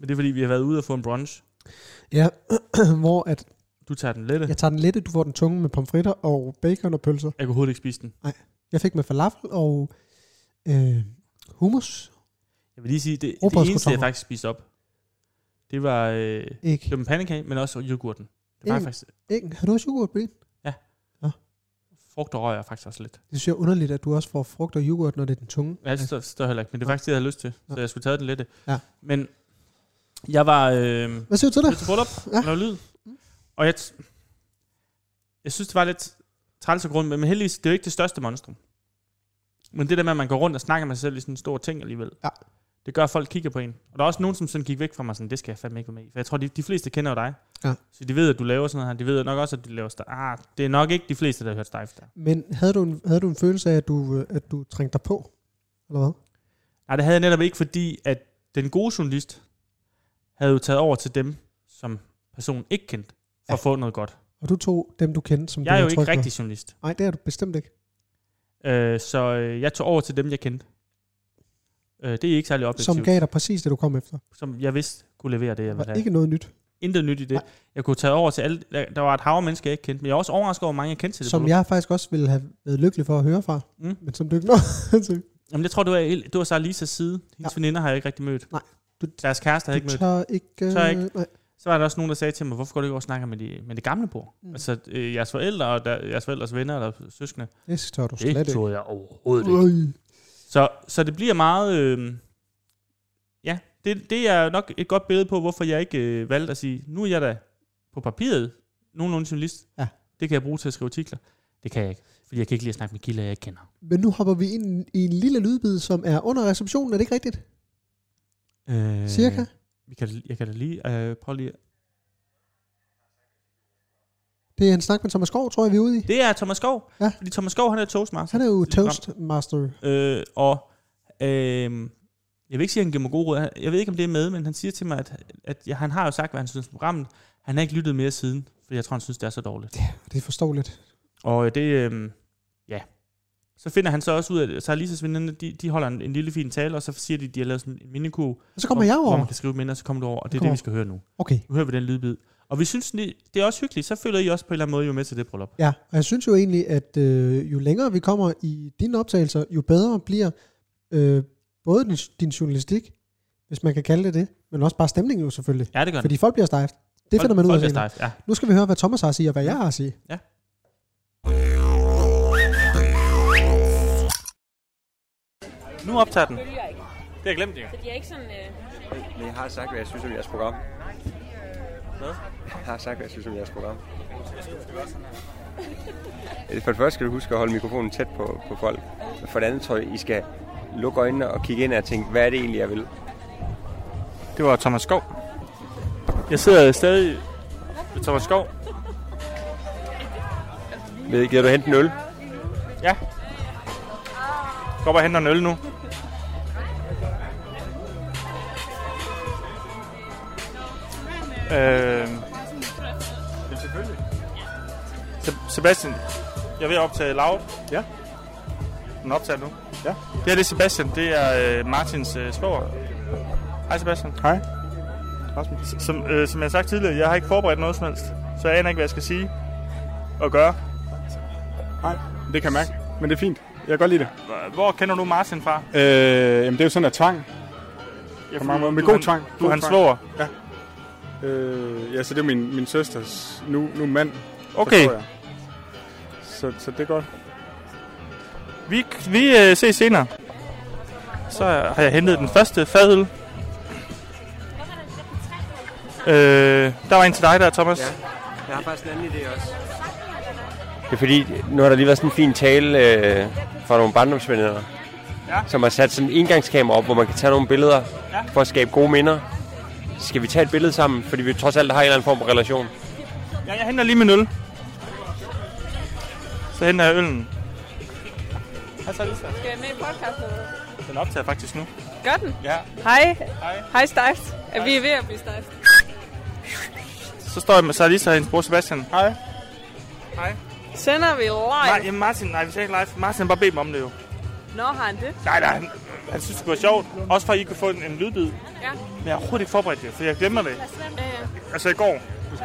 [SPEAKER 1] Men det er fordi, vi har været ude og få en brunch.
[SPEAKER 2] Ja, hvor at
[SPEAKER 1] Du tager den lette. Ja.
[SPEAKER 2] jeg tager den lette, du får den tunge med pomfritter og bacon og pølser.
[SPEAKER 1] Jeg kunne overhovedet ikke spise den.
[SPEAKER 2] Jeg fik med falafel og øh, hummus.
[SPEAKER 1] Jeg vil lige sige, det, det
[SPEAKER 2] Rugbrødskartofler.
[SPEAKER 1] eneste, jeg faktisk spiste op, det var, øh,
[SPEAKER 2] Ikke.
[SPEAKER 1] det var en pandekage, men også yoghurten. Det var
[SPEAKER 2] Mm.
[SPEAKER 1] faktisk
[SPEAKER 2] Ikke. Har du også yoghurt på din?
[SPEAKER 1] frugt og røg er faktisk også lidt.
[SPEAKER 2] Det synes jeg er underligt, at du også får frugt og yoghurt, når det er den tunge.
[SPEAKER 1] Jeg altså, står heller ikke, men det er faktisk det, jeg havde lyst til. Så
[SPEAKER 2] Ja.
[SPEAKER 1] jeg skulle tage den lette.
[SPEAKER 2] Ja.
[SPEAKER 1] Men jeg var... Øh,
[SPEAKER 2] Hvad siger du til det?
[SPEAKER 1] Lidt til bryllup,
[SPEAKER 2] Ja.
[SPEAKER 1] ja. noget lyd. Og jeg, t- jeg synes, det var lidt træls og grund, men heldigvis, det er jo ikke det største monstrum. Men det der med, at man går rundt og snakker med sig selv i sådan en stor ting alligevel,
[SPEAKER 2] Ja.
[SPEAKER 1] det gør, at folk kigger på en. Og der er også nogen, som sådan gik væk fra mig sådan, det skal jeg fandme ikke være med i. For jeg tror, de, de fleste kender jo dig.
[SPEAKER 2] Ja.
[SPEAKER 1] Så de ved, at du laver sådan noget her. De ved nok også, at du laver stejf. Ah, det er nok ikke de fleste, der har hørt stejf der.
[SPEAKER 2] Men havde du, en, havde du en følelse af, at du, øh, at du trængte dig på? Eller hvad?
[SPEAKER 1] Nej, det havde jeg netop ikke, fordi at den gode journalist havde jo taget over til dem, som personen ikke kendte, for
[SPEAKER 2] Ja.
[SPEAKER 1] at få noget godt.
[SPEAKER 2] Og du tog dem, du kendte, som du
[SPEAKER 1] Jeg er jo
[SPEAKER 2] havde
[SPEAKER 1] ikke
[SPEAKER 2] tryk ved.
[SPEAKER 1] rigtig journalist.
[SPEAKER 2] Nej, det er du bestemt ikke.
[SPEAKER 1] Øh, så øh, jeg tog over til dem, jeg kendte. Øh, det er ikke særlig objektivt.
[SPEAKER 2] Som gav dig præcis det, du kom efter.
[SPEAKER 1] som jeg vidste kunne levere det, jeg
[SPEAKER 2] Der
[SPEAKER 1] ville
[SPEAKER 2] var
[SPEAKER 1] have. Ikke.
[SPEAKER 2] ikke noget nyt,
[SPEAKER 1] Intet nyt i det.
[SPEAKER 2] Nej.
[SPEAKER 1] Jeg kunne tage over til alle. Der, der var et hav af mennesker, jeg ikke kendte, men jeg er også overrasket over, hvor mange jeg kendte til det.
[SPEAKER 2] som
[SPEAKER 1] bryllup.
[SPEAKER 2] jeg faktisk også ville have været lykkelig for at høre fra.
[SPEAKER 1] Mm.
[SPEAKER 2] Men som du ikke nåede.
[SPEAKER 1] Jamen, jeg tror, du var, du var så Lisas side. Hendes ja. veninder har jeg ikke rigtig mødt.
[SPEAKER 2] Nej.
[SPEAKER 1] Du,
[SPEAKER 2] Du-
[SPEAKER 1] Deres kærester har jeg ikke
[SPEAKER 2] du
[SPEAKER 1] mødt.
[SPEAKER 2] tør ikke... øh,
[SPEAKER 1] Tør ikke.
[SPEAKER 2] Nej.
[SPEAKER 1] Så var der også nogen, der sagde til mig, hvorfor går du ikke over og snakker med, de, med det gamle bord? Mm.
[SPEAKER 2] Mm.
[SPEAKER 1] Altså, øh, jeres forældre og der, jeres forældres venner og deres søskende.
[SPEAKER 2] Det tør du slet
[SPEAKER 1] Det
[SPEAKER 2] ikke.
[SPEAKER 1] tog jeg overhovedet ikke.
[SPEAKER 2] Øj.
[SPEAKER 1] Så, så det bliver meget... Øh, ja, det, det er nok et godt billede på, hvorfor jeg ikke øh, valgte at sige, nu er jeg da på papiret nogenlunde journalist.
[SPEAKER 2] Ja.
[SPEAKER 1] Det kan jeg bruge til at skrive artikler. Det kan jeg ikke, fordi jeg kan ikke lige snakke med kilder, jeg ikke kender.
[SPEAKER 2] Men nu hopper vi ind i en lille lydbid, som er under receptionen. Er det ikke rigtigt?
[SPEAKER 1] Øh,
[SPEAKER 2] Cirka?
[SPEAKER 1] Vi kan, da- jeg kan da lige øh, prøve lige...
[SPEAKER 2] Det er en snak med Thomas Skov, tror jeg, vi er ude i.
[SPEAKER 1] Det er Thomas Skov,
[SPEAKER 2] Ja.
[SPEAKER 1] fordi Thomas Skov, han er toastmaster.
[SPEAKER 2] Han er jo toastmaster.
[SPEAKER 1] Øh, og øh, jeg vil ikke sige, at han giver mig gode råd. Han- Jeg ved ikke, om det er med, men han siger til mig, at, at ja, han har jo sagt, hvad han synes om programmet. Han har ikke lyttet mere siden, for jeg tror, han synes, det er så dårligt.
[SPEAKER 2] Det er forståeligt.
[SPEAKER 1] Og øh, det, øh, ja. Så finder han så også ud af, det. så har Lisas veninde, de, de holder en, en lille fin tale, og så siger de, at de har lavet sådan en minikur,
[SPEAKER 2] Og så kommer jeg
[SPEAKER 1] hvor
[SPEAKER 2] over.
[SPEAKER 1] man kan skrive minder, og så kommer du over, og det er
[SPEAKER 2] Kommer.
[SPEAKER 1] det, vi skal høre nu.
[SPEAKER 2] Okay.
[SPEAKER 1] Nu hører vi den lydbid. Og vi synes, det, det er også hyggeligt, så føler I også på en eller anden måde, I er med til det bryllup.
[SPEAKER 2] Ja, og jeg synes jo egentlig, at øh, jo længere vi kommer i dine optagelser, jo bedre bliver øh, både din, din journalistik, hvis man kan kalde det det, men også bare stemningen jo selvfølgelig.
[SPEAKER 4] Ja, det gør den.
[SPEAKER 2] Fordi folk bliver stejft. Det finder man ud af
[SPEAKER 4] folk, af.
[SPEAKER 2] senere.
[SPEAKER 4] Folk er stejf, ja.
[SPEAKER 2] Nu skal vi høre, hvad Thomas har at sige, og hvad jeg har at sige.
[SPEAKER 4] Ja.
[SPEAKER 1] Nu optager den. Det har jeg glemt, ikke?
[SPEAKER 5] De er ikke sådan... Øh...
[SPEAKER 6] Men jeg har sagt, hvad jeg synes om jeres program. Hvad? Jeg har sagt, hvad jeg synes om jeres program. Øh, For det første skal du huske at holde mikrofonen tæt på, på folk. For det andet tror jeg, I skal lukke øjnene og kigge ind og tænke, hvad er det egentlig, jeg vil?
[SPEAKER 1] Det var Thomas Skov. Jeg sidder stadig ved Thomas Skov.
[SPEAKER 6] Ved I, Gider du hente en øl?
[SPEAKER 1] Ja. Går bare og henter en øl nu. Øh, selvfølgelig. Sebastian, jeg vil optage loud. Ja. Den optager nu. Ja. Det her det er Sebastian, det er øh, Martins øh, svoger. Hej Sebastian. Hej. Som, øh, som jeg har sagt tidligere, jeg har ikke forberedt noget som helst. Så jeg aner ikke, hvad jeg skal sige og gøre.
[SPEAKER 7] Nej, det kan jeg mærke. Men det er fint. Jeg kan godt lide det.
[SPEAKER 1] Hvor kender du Martin fra?
[SPEAKER 7] Øh, jamen, det er jo sådan, at tvang.
[SPEAKER 1] Ja,
[SPEAKER 7] På mange måder. Med
[SPEAKER 1] du
[SPEAKER 7] god
[SPEAKER 1] han-
[SPEAKER 7] tvang.
[SPEAKER 1] Du
[SPEAKER 7] God
[SPEAKER 1] han
[SPEAKER 7] tvang.
[SPEAKER 1] svor.
[SPEAKER 7] Øh, ja, så det er min, min søsters nu, nu mand.
[SPEAKER 1] Okay,
[SPEAKER 7] forstår jeg. Så, så det er godt.
[SPEAKER 1] vi, vi øh, ses senere. Så har jeg hentet den første fadøl. Øh, der var en til dig der, Thomas. Ja.
[SPEAKER 6] Jeg har faktisk en anden idé også. Det er fordi, nu har der lige været sådan en fin tale øh, fra nogle barndomsvenner, ja. som har sat sådan en engangskamera op, hvor man kan tage nogle billeder ja. for at skabe gode minder. Skal vi tage et billede sammen, fordi vi trods alt har en eller anden form for relation?
[SPEAKER 1] ja jeg henter lige min øl. Så henter jeg øllen. Hej så, Lisa.
[SPEAKER 5] Skal jeg med i podcasten?
[SPEAKER 1] Den optager faktisk nu.
[SPEAKER 5] Gør den?
[SPEAKER 1] Ja.
[SPEAKER 5] Hej.
[SPEAKER 1] Hej.
[SPEAKER 5] Hej, Stejft. Er vi er ved at blive stejft?
[SPEAKER 1] Så står jeg med Sarah Lisa og hendes bror Sebastian.
[SPEAKER 7] Hej.
[SPEAKER 5] Sender vi
[SPEAKER 1] Nej,
[SPEAKER 5] live?
[SPEAKER 1] jamen Martin, nej, vi sagde ikke live. Martin har bare bedt mig om det jo.
[SPEAKER 5] Nå, har han det?
[SPEAKER 1] Nej, nej, han, han synes, det var sjovt. Også for, at I kunne få en, en lydbid.
[SPEAKER 5] Ja.
[SPEAKER 1] Men jeg har overhovedet ikke forberedt det, for jeg glemmer det.
[SPEAKER 5] Ja, ja.
[SPEAKER 1] Altså i går.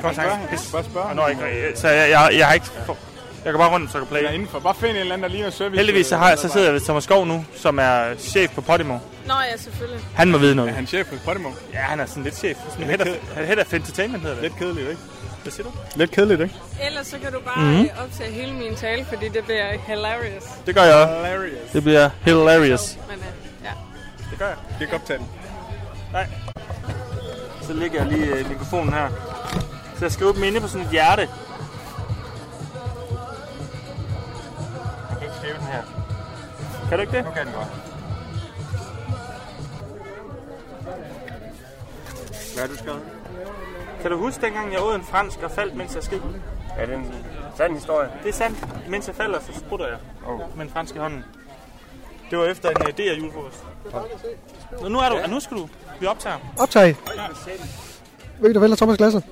[SPEAKER 7] Bare spørg ham. Bare spørg
[SPEAKER 1] Og
[SPEAKER 7] ham.
[SPEAKER 1] når jeg, Ah, ikke- så jeg, jeg, jeg har ikke... For, jeg går bare rundt, så jeg kan
[SPEAKER 7] Eller
[SPEAKER 1] play.
[SPEAKER 7] indenfor. Bare find en eller anden, der ligner service.
[SPEAKER 1] Heldigvis så, har, jeg- så sidder jeg ved Thomas Skov nu, som er chef på Podimo.
[SPEAKER 5] Nå, ja, selvfølgelig.
[SPEAKER 1] Han må vide
[SPEAKER 7] Er
[SPEAKER 1] noget.
[SPEAKER 7] han chef hos Podimo?
[SPEAKER 1] Ja, han er sådan lidt chef. Sådan head, of, head of Entertainment hedder det.
[SPEAKER 7] Lidt kedeligt, ikke?
[SPEAKER 1] Hvad siger du?
[SPEAKER 7] Lidt kedeligt, ikke?
[SPEAKER 5] Ellers så kan du bare
[SPEAKER 8] Mhm.
[SPEAKER 5] mm-hmm. øh, optage hele min tale, fordi det bliver hilarious.
[SPEAKER 1] Det gør jeg også.
[SPEAKER 7] Hilarious.
[SPEAKER 1] Det bliver hilarious.
[SPEAKER 5] Men, øh, ja.
[SPEAKER 7] Det gør jeg. Det kan godt tage den.
[SPEAKER 1] Så lægger jeg lige øh, mikrofonen her. Så jeg skriver dem inde på sådan et hjerte.
[SPEAKER 7] Jeg kan ikke skrive den her.
[SPEAKER 1] Kan du ikke det?
[SPEAKER 7] Nu kan den godt.
[SPEAKER 6] Hvad har du skrevet?
[SPEAKER 1] Kan du huske dengang, jeg åd en fransk og faldt, mens jeg skid?
[SPEAKER 6] Er det en sand historie?
[SPEAKER 1] Det er sandt. Mens jeg falder, så sprutter jeg
[SPEAKER 6] Oh.
[SPEAKER 1] med en fransk i hånden. Det var efter en idé af julefrokost. Nå, nu er du. Ja. Nu skal du. Vi optager.
[SPEAKER 2] Optag. Ved du vel, Thomas glasset?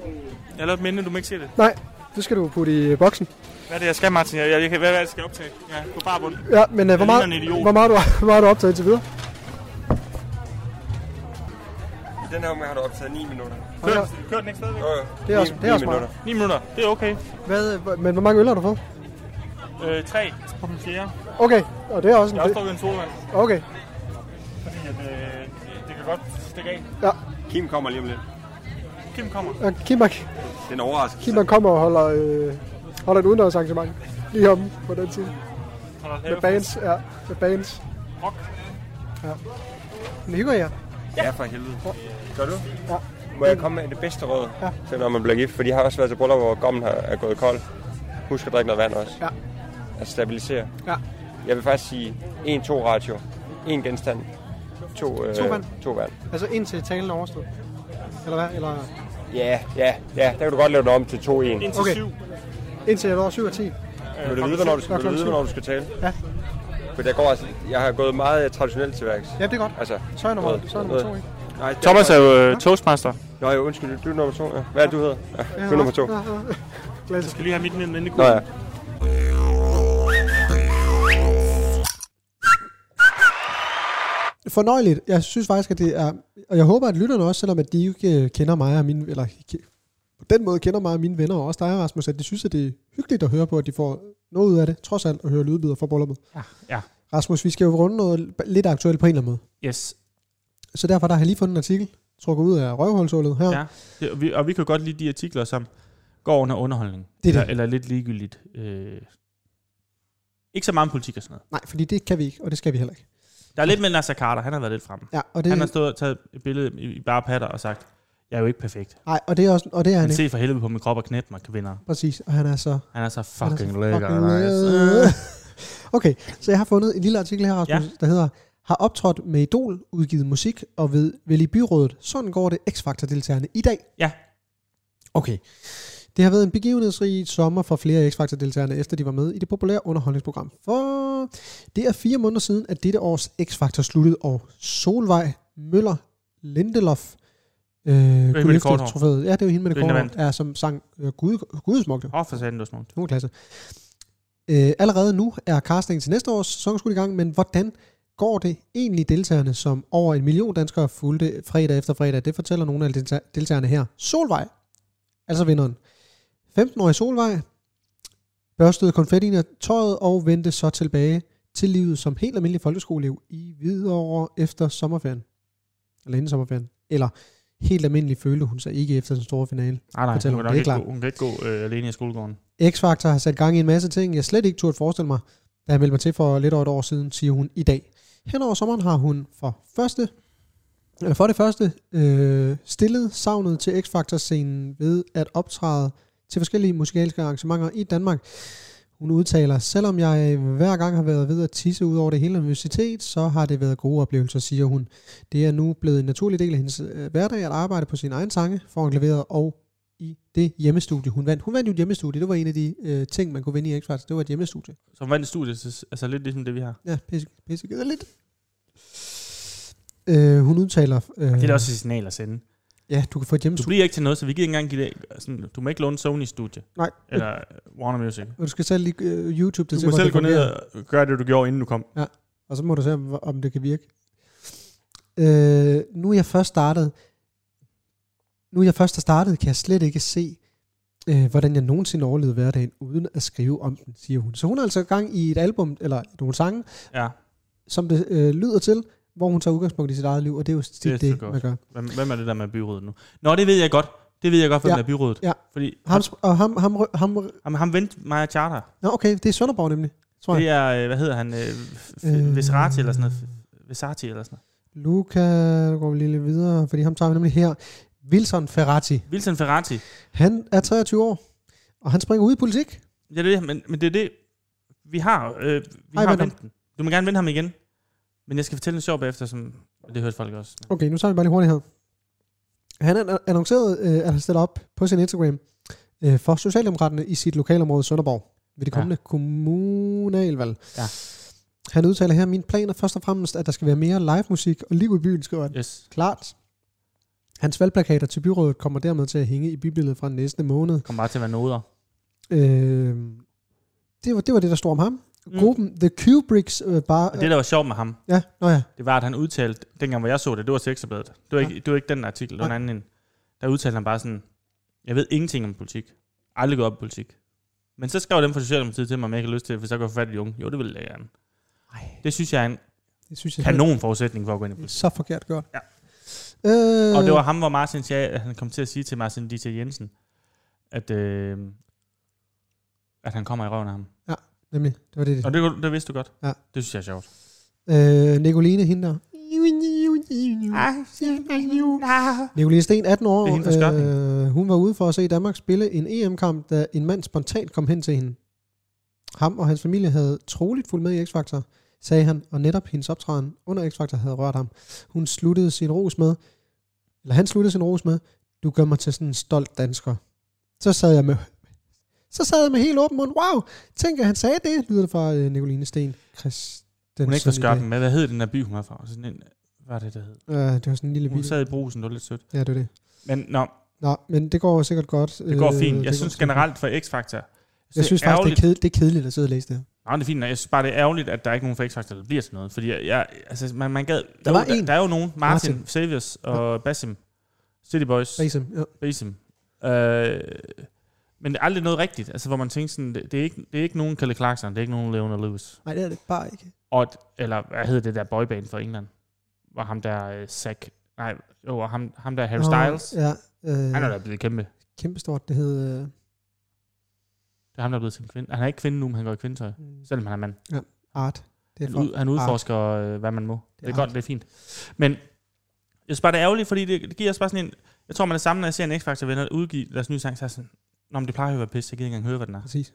[SPEAKER 1] Jeg lavede et minde, du må ikke se det.
[SPEAKER 2] Nej, det skal du putte i boksen.
[SPEAKER 1] Hvad er det, jeg skal, Martin? Jeg, jeg, jeg, hvad er det, jeg skal optage? Ja, på bare bund.
[SPEAKER 2] Ja, men uh,
[SPEAKER 1] ligner
[SPEAKER 2] hvor, meget,
[SPEAKER 1] en idiot.
[SPEAKER 2] hvor, meget, du, hvor meget har du optaget indtil videre?
[SPEAKER 6] I den her omgang har du optaget 9 minutter.
[SPEAKER 1] Kør, kør den ikke stadigvæk?
[SPEAKER 6] Jo, jo.
[SPEAKER 2] Det er også-
[SPEAKER 6] Ni-
[SPEAKER 2] det er
[SPEAKER 6] ni
[SPEAKER 2] også
[SPEAKER 6] minutter.
[SPEAKER 1] 9 minutter. Det er okay.
[SPEAKER 2] Hvad, øh, hvor- men hvor mange øl har du fået?
[SPEAKER 1] Øh, 3 på den fjerde.
[SPEAKER 2] Okay, og det er også
[SPEAKER 1] Jeg har også
[SPEAKER 2] en...
[SPEAKER 1] drukket en solvand,
[SPEAKER 2] Okay,
[SPEAKER 1] fordi at, øh, det kan godt stikke af.
[SPEAKER 6] Kim kommer lige om lidt.
[SPEAKER 1] Kim kommer.
[SPEAKER 2] og Kimak,
[SPEAKER 6] Det er en overraskelse.
[SPEAKER 2] Kimak kommer og holder, øh, holder et udendørsarrangement lige om på den tid.
[SPEAKER 1] Hold da
[SPEAKER 2] Med
[SPEAKER 1] kæft.
[SPEAKER 2] bands, ja, med bands.
[SPEAKER 1] Rock.
[SPEAKER 2] Ja. Men hygger jer?
[SPEAKER 6] Ja, for helvede. Gør du?
[SPEAKER 2] Ja.
[SPEAKER 6] Må jeg komme med det bedste råd
[SPEAKER 2] Ja.
[SPEAKER 6] til, når man bliver gift? For de har også været til bryllup, hvor gommen har, er gået kold. Husk at drikke noget vand også.
[SPEAKER 2] Ja.
[SPEAKER 6] Altså stabilisere.
[SPEAKER 2] Ja.
[SPEAKER 6] Jeg vil faktisk sige 1-2 ratio. 1 genstand. To, øh,
[SPEAKER 2] To vand.
[SPEAKER 6] To vand.
[SPEAKER 2] Altså indtil talen er overstået. Eller hvad? Eller
[SPEAKER 6] Ja, ja, ja. Der kan du godt lave det om til 2-1. Vil
[SPEAKER 1] 1 til
[SPEAKER 2] Okay.
[SPEAKER 1] 7.
[SPEAKER 2] indtil jeg når 7 og 10.
[SPEAKER 6] du vide, hvornår du skal,
[SPEAKER 2] Klokken
[SPEAKER 6] vil du vide,
[SPEAKER 2] syv.
[SPEAKER 6] hvornår du skal tale?
[SPEAKER 2] Ja.
[SPEAKER 6] For jeg, går, altså, jeg har gået meget øh, traditionelt til værks.
[SPEAKER 2] Ja, det er godt.
[SPEAKER 6] Altså,
[SPEAKER 2] Så er nummer,
[SPEAKER 6] noget-
[SPEAKER 2] så er nummer 2,
[SPEAKER 6] noget-
[SPEAKER 2] ikke?
[SPEAKER 6] Nej, det
[SPEAKER 1] Thomas
[SPEAKER 6] godt.
[SPEAKER 1] er jo øh, toastmaster.
[SPEAKER 6] Nå, jo, undskyld, du er nummer to. Ja. Hvad er det, du hedder? Ja, du er nummer to.
[SPEAKER 2] Ja, ja, ja.
[SPEAKER 1] Jeg skal lige have mit ned inden i
[SPEAKER 6] Nå ja.
[SPEAKER 2] fornøjeligt. Jeg synes faktisk, at det er... Og jeg håber, at lytterne også, selvom at de ikke øh, kender mig og mine... Eller ikke- på den måde kender mig og mine venner, og også dig, Rasmus, at de synes, at det er hyggeligt at høre på, at de får noget ud af det, trods alt at høre lydbider fra brylluppet.
[SPEAKER 4] Ja, ja.
[SPEAKER 2] Rasmus, vi skal jo runde noget lidt aktuelt på en eller anden måde.
[SPEAKER 4] Yes.
[SPEAKER 2] Så derfor der har jeg lige fundet en artikel, trukket ud af røvhulshullet her.
[SPEAKER 1] Ja. Det, og, vi, og vi kan godt lide de artikler, som går under underholdning.
[SPEAKER 2] Det er det.
[SPEAKER 1] Eller, eller lidt ligegyldigt. Øh, ikke så meget om politik og sådan noget.
[SPEAKER 2] Nej, fordi det kan vi ikke, og det skal vi heller ikke.
[SPEAKER 1] Der er lidt med Nasser Carter, han har været lidt fremme.
[SPEAKER 2] Ja, og det,
[SPEAKER 1] Han har stået og taget et billede i i bare patter og sagt, jeg er jo ikke perfekt.
[SPEAKER 2] nej, og det er, også, og det er han
[SPEAKER 1] Men
[SPEAKER 2] ikke.
[SPEAKER 1] se for helvede på min krop og knæp mig, kvinder.
[SPEAKER 2] Præcis, og han er så
[SPEAKER 1] Han er så
[SPEAKER 2] Han er så
[SPEAKER 1] fucking lækker.
[SPEAKER 2] fucking
[SPEAKER 1] nice.
[SPEAKER 2] lækker. Øh. Okay, så jeg har fundet en lille artikel her, Rasmus, ja. der hedder Har optrådt med Idol, udgivet musik og ved, vil i byrådet. Sådan går det X-Factor-deltagerne i dag.
[SPEAKER 1] Ja.
[SPEAKER 2] Okay. Det har været en begivenhedsrig sommer for flere af X-Factor-deltagerne, efter de var med i det populære underholdningsprogram. For det er fire måneder siden, at dette års X-Factor sluttede, og Solvej Møller Lindelof øh, kunne
[SPEAKER 1] det
[SPEAKER 2] løfte
[SPEAKER 1] korte hår.
[SPEAKER 2] trofæet. Ja, det er jo hende med det
[SPEAKER 1] Det er hende, der
[SPEAKER 2] korte hår, er som sang øh, Gud, Gudesmukt.
[SPEAKER 1] Åh, for satan, du er smukt.
[SPEAKER 2] Nogen klasse. Øh, allerede nu er castingen til næste års sæson skudt i gang, men hvordan går det egentlig deltagerne, som over en million danskere fulgte fredag efter fredag? Det fortæller nogle af delta- deltagerne her. Solvej, altså vinderen. 15-årig Solvej børstede konfettien af tøjet og vendte så tilbage til livet som helt almindelig folkeskoleelev i Hvidovre efter sommerferien. Eller inden sommerferien. Eller helt almindelig følte hun sig ikke efter den store finale.
[SPEAKER 1] Nej, nej,
[SPEAKER 2] Fortæl
[SPEAKER 1] hun,
[SPEAKER 2] om
[SPEAKER 1] kan
[SPEAKER 2] det,
[SPEAKER 1] nok
[SPEAKER 2] det er
[SPEAKER 1] ikke
[SPEAKER 2] klart.
[SPEAKER 1] gå, hun kan ikke gå øh, alene i skolegården.
[SPEAKER 2] X-Factor har sat gang i en masse ting, jeg slet ikke turde forestille mig, da jeg meldte mig til for lidt over et år siden, siger hun i dag. Henover sommeren har hun for, første, eller for det første øh, stillet savnet til X-Factor-scenen ved at optræde til forskellige musikalske arrangementer i Danmark. Hun udtaler, selvom jeg hver gang har været ved at tisse ud over det hele universitet, så har det været gode oplevelser, siger hun. Det er nu blevet en naturlig del af hendes øh, hverdag at arbejde på sin egen sange, foran klaveret og i det hjemmestudie, hun vandt. Hun vandt jo et hjemmestudie. Det var en af de øh, ting, man kunne vinde i X-Factor. Det var et hjemmestudie.
[SPEAKER 1] Som vandt i studiet, så, altså lidt ligesom det, vi har.
[SPEAKER 2] Ja, pisse, pisse gider lidt. Øh, hun udtaler... Øh,
[SPEAKER 1] Det er da også et signal at sende.
[SPEAKER 2] Ja, du kan få et
[SPEAKER 1] Du
[SPEAKER 2] hjemmestudie.
[SPEAKER 1] bliver ikke til noget, så vi gider ikke engang give det. Sådan, du må ikke låne Sony studie.
[SPEAKER 2] Nej, eller,
[SPEAKER 1] Eller Warner Music.
[SPEAKER 2] du skal selv lige øh, YouTube det
[SPEAKER 1] Du må
[SPEAKER 2] hvordan
[SPEAKER 1] selv
[SPEAKER 2] det
[SPEAKER 1] gå ned
[SPEAKER 2] fungerer.
[SPEAKER 1] og gøre det, du gjorde, inden du kom.
[SPEAKER 2] Og så må du se, om- om det kan virke. Øh, nu er jeg først startet. Nu er jeg først har startet, kan jeg slet ikke se, øh, hvordan jeg nogensinde overlevede hverdagen, uden at skrive om den, siger hun. Så hun er altså i gang i et album, eller nogle sange,
[SPEAKER 1] Ja,
[SPEAKER 2] som det øh, lyder til, hvor hun tager udgangspunkt i sit eget liv, og det er jo tit
[SPEAKER 1] er
[SPEAKER 2] det,
[SPEAKER 1] så
[SPEAKER 2] det
[SPEAKER 1] godt.
[SPEAKER 2] man gør.
[SPEAKER 1] hvem, hvem er det der med byrådet nu? Nå, det ved jeg godt. Det ved jeg godt, hvem
[SPEAKER 2] Ja.
[SPEAKER 1] ja. er byrådet.
[SPEAKER 2] Ja.
[SPEAKER 1] Fordi
[SPEAKER 2] Ham, og ham, ham, ham, ham,
[SPEAKER 1] ham, ham vendte Maja Charter.
[SPEAKER 2] nå okay, det er Sønderborg nemlig, tror jeg.
[SPEAKER 1] Det er, øh, hvad hedder han? Øh, f-
[SPEAKER 2] Øh.
[SPEAKER 1] øh. Veserati eller sådan noget. F- Veserati eller sådan noget.
[SPEAKER 2] Luca, nu går vi lige lidt videre, fordi ham tager vi nemlig her. Wilson Ferrati,
[SPEAKER 1] Wilson Ferrati.
[SPEAKER 2] han er 23 år, og han springer ud i politik.
[SPEAKER 1] Ja, det er det, men, men det er det, vi har, øh, vi
[SPEAKER 2] Ej,
[SPEAKER 1] har
[SPEAKER 2] vent om.
[SPEAKER 1] vendt den. Du må gerne vende ham igen. Men jeg skal fortælle en sjov bagefter, som det hørte folk også.
[SPEAKER 2] Okay, nu tager vi bare lige hurtigt her. Han an- annoncerede, øh, at han stiller op på sin Instagram øh, for Socialdemokraterne i sit lokalområde Sønderborg ved det
[SPEAKER 1] Ja.
[SPEAKER 2] kommende ja. kommunalvalg.
[SPEAKER 1] Ja.
[SPEAKER 2] Han udtaler her, min plan er først og fremmest, at der skal være mere live musik og liv i byen, skriver han.
[SPEAKER 1] Yes,
[SPEAKER 2] Klart. Hans valgplakater til byrådet kommer dermed til at hænge i bybilledet fra næste måned.
[SPEAKER 1] kommer bare til at være noder.
[SPEAKER 2] Øh, det, var, det var det, der stod om ham. Gruppen The Kubricks øh, bare...
[SPEAKER 1] Mm. Og det, der var sjovt med ham,
[SPEAKER 2] ja, nå ja.
[SPEAKER 1] det var, at han udtalte, dengang hvor jeg så det, det var Sexerbladet. Det var, ikke, det var ikke den artikel, det var en anden en. Der udtalte han bare sådan, jeg ved ingenting om politik. Aldrig gået op i politik. Men så skrev dem fra Socialdemokratiet til mig, om jeg ikke har lyst til det, for så går jeg få fat i de unge. Jo, det vil jeg gerne.
[SPEAKER 2] Ej,
[SPEAKER 1] Det synes jeg er en
[SPEAKER 2] det synes jeg
[SPEAKER 1] kanon forudsætning for at gå ind i
[SPEAKER 2] Det er
[SPEAKER 1] politik.
[SPEAKER 2] så forkert gjort.
[SPEAKER 1] Ja.
[SPEAKER 2] Øh,
[SPEAKER 1] Og det var ham, hvor Martin sagde, at han kom til at sige til Martin D.T. Jensen, at, øh, at han kommer i røven af ham.
[SPEAKER 2] Nemlig, det var det. det.
[SPEAKER 1] Og det, kunne- det vidste du godt.
[SPEAKER 2] Ja.
[SPEAKER 1] Det synes jeg er sjovt.
[SPEAKER 2] Øh, Nicoline, hende der. Nicoline Sten, 18 år.
[SPEAKER 1] Det er hende fra Skørping.
[SPEAKER 2] øh, hun var ude for at se Danmark spille en EM-kamp, da en mand spontant kom hen til hende. Ham og hans familie havde troligt fulgt med i X-Factor, sagde han, og netop hendes optræden under X-Factor havde rørt ham. Hun sluttede sin ros med, eller han sluttede sin ros med, du gør mig til sådan en stolt dansker. Så sad jeg med, så sad jeg med helt åben mund. Wow, tænk, at han sagde det, lyder det fra øh, Nicoline Sten. Christ,
[SPEAKER 1] Hun er ikke fra Skørpen, men hvad hed den der by, hun var fra? Sådan en, hvad er det, der hed?
[SPEAKER 2] Ja, det var sådan en lille
[SPEAKER 1] Hun
[SPEAKER 2] video.
[SPEAKER 1] sad i brusen, det var lidt sødt.
[SPEAKER 2] Ja, det var det.
[SPEAKER 1] Men nå,
[SPEAKER 2] Nå, men det går sikkert godt.
[SPEAKER 1] det går
[SPEAKER 2] Øh,
[SPEAKER 1] fint. Jeg
[SPEAKER 2] går
[SPEAKER 1] synes
[SPEAKER 2] sikkert.
[SPEAKER 1] generelt for X-Factor.
[SPEAKER 2] Jeg synes faktisk, det er, kedeligt, det er kedeligt at sidde og læse det her.
[SPEAKER 1] Nej, det er fint. Jeg synes bare, det er ærgerligt, at der er ikke er nogen fra X-Factor, der bliver til noget. Fordi jeg, jeg, altså, man, man gad... Der,
[SPEAKER 2] var
[SPEAKER 1] jo,
[SPEAKER 2] en.
[SPEAKER 1] Der, der er jo nogen. Martin,
[SPEAKER 2] Martin.
[SPEAKER 1] Martin. Saviors og Basim. City Boys.
[SPEAKER 2] Basim, ja.
[SPEAKER 1] Basim. Øh, men det er aldrig noget rigtigt. Altså, hvor man tænker sådan, det, det, er ikke, det er ikke nogen Kalle Clarkson, det er ikke nogen Leona Lewis.
[SPEAKER 2] Nej, det er det bare ikke.
[SPEAKER 1] Og, eller hvad hed det der boyband fra England? Var ham der, øh, Zack, Nej, jo, og ham, ham der er Harry
[SPEAKER 4] Nå,
[SPEAKER 1] Styles.
[SPEAKER 4] Ja, øh,
[SPEAKER 1] Han er da blevet kæmpe. Det
[SPEAKER 4] kæmpestort. Det hed... Øh,
[SPEAKER 1] er ham, der er blevet til en kvinde. Han er ikke kvinde nu, men han går i kvindetøj.
[SPEAKER 4] Mm.
[SPEAKER 1] Selvom han er mand.
[SPEAKER 4] art. Det er
[SPEAKER 1] Han,
[SPEAKER 4] for, Ah.
[SPEAKER 1] ud, han udforsker, øh, hvad man må. Det er,
[SPEAKER 4] Det er
[SPEAKER 1] godt,
[SPEAKER 4] art.
[SPEAKER 1] det er fint. Men jeg synes bare, det er ærgerligt, fordi det, det giver os bare sådan en... Jeg tror, man er sammen, når jeg ser en X-Factor venner udgive deres nye sang, så er jeg sådan, Nå, men det plejer jo at være pisse, jeg gider ikke engang høre, hvad den er.
[SPEAKER 4] præcis.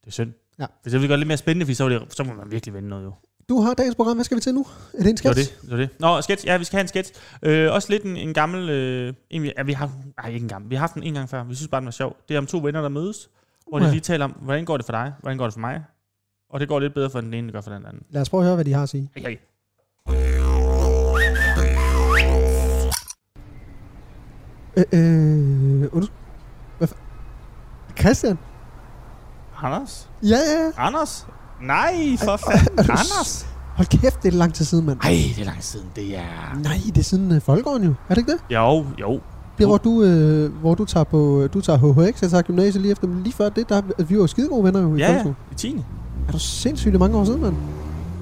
[SPEAKER 1] Det er synd.
[SPEAKER 4] Ja.
[SPEAKER 1] Hvis jeg ville gøre det lidt mere spændende, fordi så, var det, så må man virkelig vinde noget jo.
[SPEAKER 4] Du har dagens program. Hvad skal vi til nu? Er det en sketch?
[SPEAKER 1] Det var det, det var det. Nå, sketch. Ja, vi skal have en sketch. Øh, også lidt en, en gammel... Øh, en, vi- ja, vi har, nej, ikke en gammel. Vi har haft den en gang før. Vi synes bare, den var sjov. Det er om to venner, der mødes. Hvor de
[SPEAKER 4] Uha.
[SPEAKER 1] lige taler om, hvordan går det for dig? Hvordan går det for mig? Og det går lidt bedre for den ene, end det gør for den anden.
[SPEAKER 4] Lad os prøve at høre, hvad de har at sige.
[SPEAKER 1] Okay.
[SPEAKER 4] Øh, øh, undskyld. Hvad fa- Christian?
[SPEAKER 1] Anders?
[SPEAKER 4] Ja, ja, ja.
[SPEAKER 1] Anders? Nej, for fanden. Anders?
[SPEAKER 4] Hold kæft, det er lang tid siden, mand.
[SPEAKER 1] Ej, det er lang tid siden. Det er...
[SPEAKER 4] Nej, det er siden øh, Folkegården jo. Er det ikke det?
[SPEAKER 1] Jo, jo.
[SPEAKER 4] Det er, hvor du, øh, hvor du tager på du tager HHX, jeg tager gymnasiet lige efter, men lige før det, der, vi var jo skide gode venner jo i
[SPEAKER 1] Ja, ja.
[SPEAKER 4] folkeskolen.
[SPEAKER 1] I 10.
[SPEAKER 4] Er du sindssygt det er mange år siden, mand?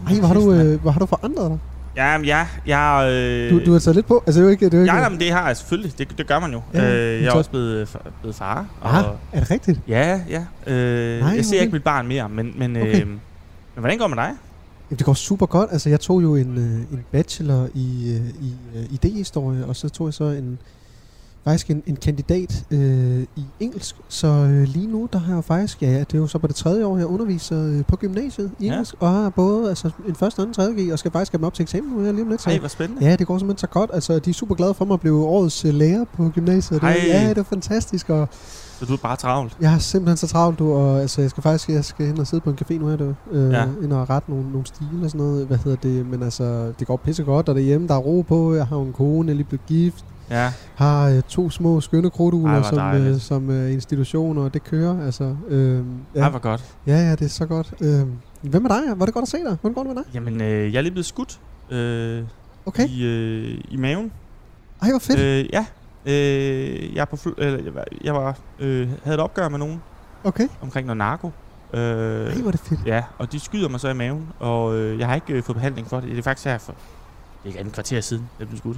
[SPEAKER 4] Ej, hvor har du, øh, hvor har du forandret dig?
[SPEAKER 1] Jamen, ja. Jeg, øh,
[SPEAKER 4] Du, du har taget lidt på. Altså, det er jo ikke... Det er jo ikke
[SPEAKER 1] Ja, jamen, det har jeg selvfølgelig. Det, det gør man jo.
[SPEAKER 4] Ja,
[SPEAKER 1] Ja,
[SPEAKER 4] men
[SPEAKER 1] øh, jeg er
[SPEAKER 4] så-
[SPEAKER 1] også blevet, øh, fa- blevet far.
[SPEAKER 4] Aha, Ah, er det rigtigt?
[SPEAKER 1] Ja, ja. Øh,
[SPEAKER 4] Nej,
[SPEAKER 1] Nej, jeg ser
[SPEAKER 4] okay.
[SPEAKER 1] ikke mit barn mere, men, men,
[SPEAKER 4] Okay.
[SPEAKER 1] okay. øh, men hvordan går det med dig?
[SPEAKER 4] Jamen, det går super godt. Altså, jeg tog jo en, øh, en bachelor i, øh, i øh, idéhistorie, og så tog jeg så en faktisk en, en kandidat øh, i engelsk. Så øh, lige nu, der har jeg faktisk, ja, det er jo så på det tredje år, jeg underviser øh, på gymnasiet i
[SPEAKER 1] Ja.
[SPEAKER 4] engelsk, og har både altså, en første, anden, tredje G, og skal faktisk have dem op til eksamen nu her lige om lidt. Så,
[SPEAKER 1] Hej, hvor spændende.
[SPEAKER 4] ja, det går simpelthen så godt. Altså, de er super glade for mig at blive årets øh, lærer på gymnasiet. Det,
[SPEAKER 1] Ej.
[SPEAKER 4] ja, det er fantastisk, og
[SPEAKER 1] Så du er bare travlt.
[SPEAKER 4] jeg har simpelthen så travlt, du, og altså, jeg skal faktisk jeg skal hen og sidde på en café nu her, du. Øh, ja.
[SPEAKER 1] Ja.
[SPEAKER 4] Ind og rette nogle, nogle stile og sådan noget. Hvad hedder det? Men altså, det går pisse godt, og derhjemme, der er ro på. Jeg har jo en kone, jeg er lige blevet gift.
[SPEAKER 1] Ja.
[SPEAKER 4] Har øh, to små skønne
[SPEAKER 1] Ej,
[SPEAKER 4] krudtugler
[SPEAKER 1] hvor
[SPEAKER 4] som, øh,
[SPEAKER 1] dejligt.
[SPEAKER 4] som øh, institutioner, og det kører. Altså, øh,
[SPEAKER 1] Ja.
[SPEAKER 4] ja.
[SPEAKER 1] Ej, hvor godt.
[SPEAKER 4] ja, ja, det er så godt. Øh, hvem er dig? Var det godt at se dig? Hvordan går det med dig?
[SPEAKER 1] Jamen, øh, jeg er lige blevet skudt øh,
[SPEAKER 4] Okay.
[SPEAKER 1] i, øh, i maven.
[SPEAKER 4] Ej, hvor fedt.
[SPEAKER 1] Øh, ja. Øh, jeg, er på fly, eller, jeg var, jeg var øh, havde et opgør med nogen
[SPEAKER 4] Okay.
[SPEAKER 1] omkring noget narko. Øh,
[SPEAKER 4] Ej, hvor er det fedt.
[SPEAKER 1] ja, og de skyder mig så i maven, og øh, jeg har ikke øh, fået behandling for det. Det er faktisk her for det er ikke andet kvarter siden, jeg blev skudt.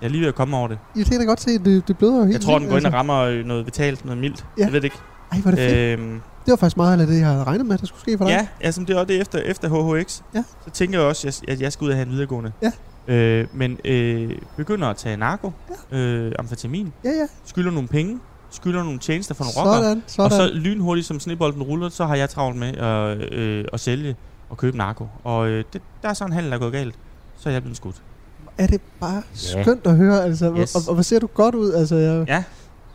[SPEAKER 1] Jeg er lige ved at komme over det.
[SPEAKER 4] Jeg kan da godt se, at det, det bløder jo helt
[SPEAKER 1] Jeg tror, den
[SPEAKER 4] vildt,
[SPEAKER 1] går ind og
[SPEAKER 4] altså.
[SPEAKER 1] rammer øh, noget vitalt, noget mildt.
[SPEAKER 4] Ja.
[SPEAKER 1] Ja. Jeg ved det ikke.
[SPEAKER 4] Ej, hvor er det fedt. Øh.
[SPEAKER 1] Øhm,
[SPEAKER 4] Det var faktisk meget af det, jeg havde regnet med, at der skulle ske for dig.
[SPEAKER 1] Ja, altså det er også det efter, efter HHX.
[SPEAKER 4] Ja.
[SPEAKER 1] Så tænker jeg også, at jeg, at jeg skal ud og have en videregående.
[SPEAKER 4] Ja.
[SPEAKER 1] Øh, men øh, begynder at tage narko, ja. øh, amfetamin,
[SPEAKER 4] ja. ja.
[SPEAKER 1] skylder nogle penge, skylder nogle tjenester fra nogle rockere.
[SPEAKER 4] Sådan, sådan.
[SPEAKER 1] Og så lynhurtigt, som snebolden ruller, så har jeg travlt med at, øh, at sælge og købe narko. Og øh, det, der er så en handel, der er gået galt. Så er jeg blevet skudt.
[SPEAKER 4] er det bare skønt at høre, altså. Yes.
[SPEAKER 1] Yes.
[SPEAKER 4] Og, og, hvor ser du godt ud, altså. Jeg,
[SPEAKER 1] Ja.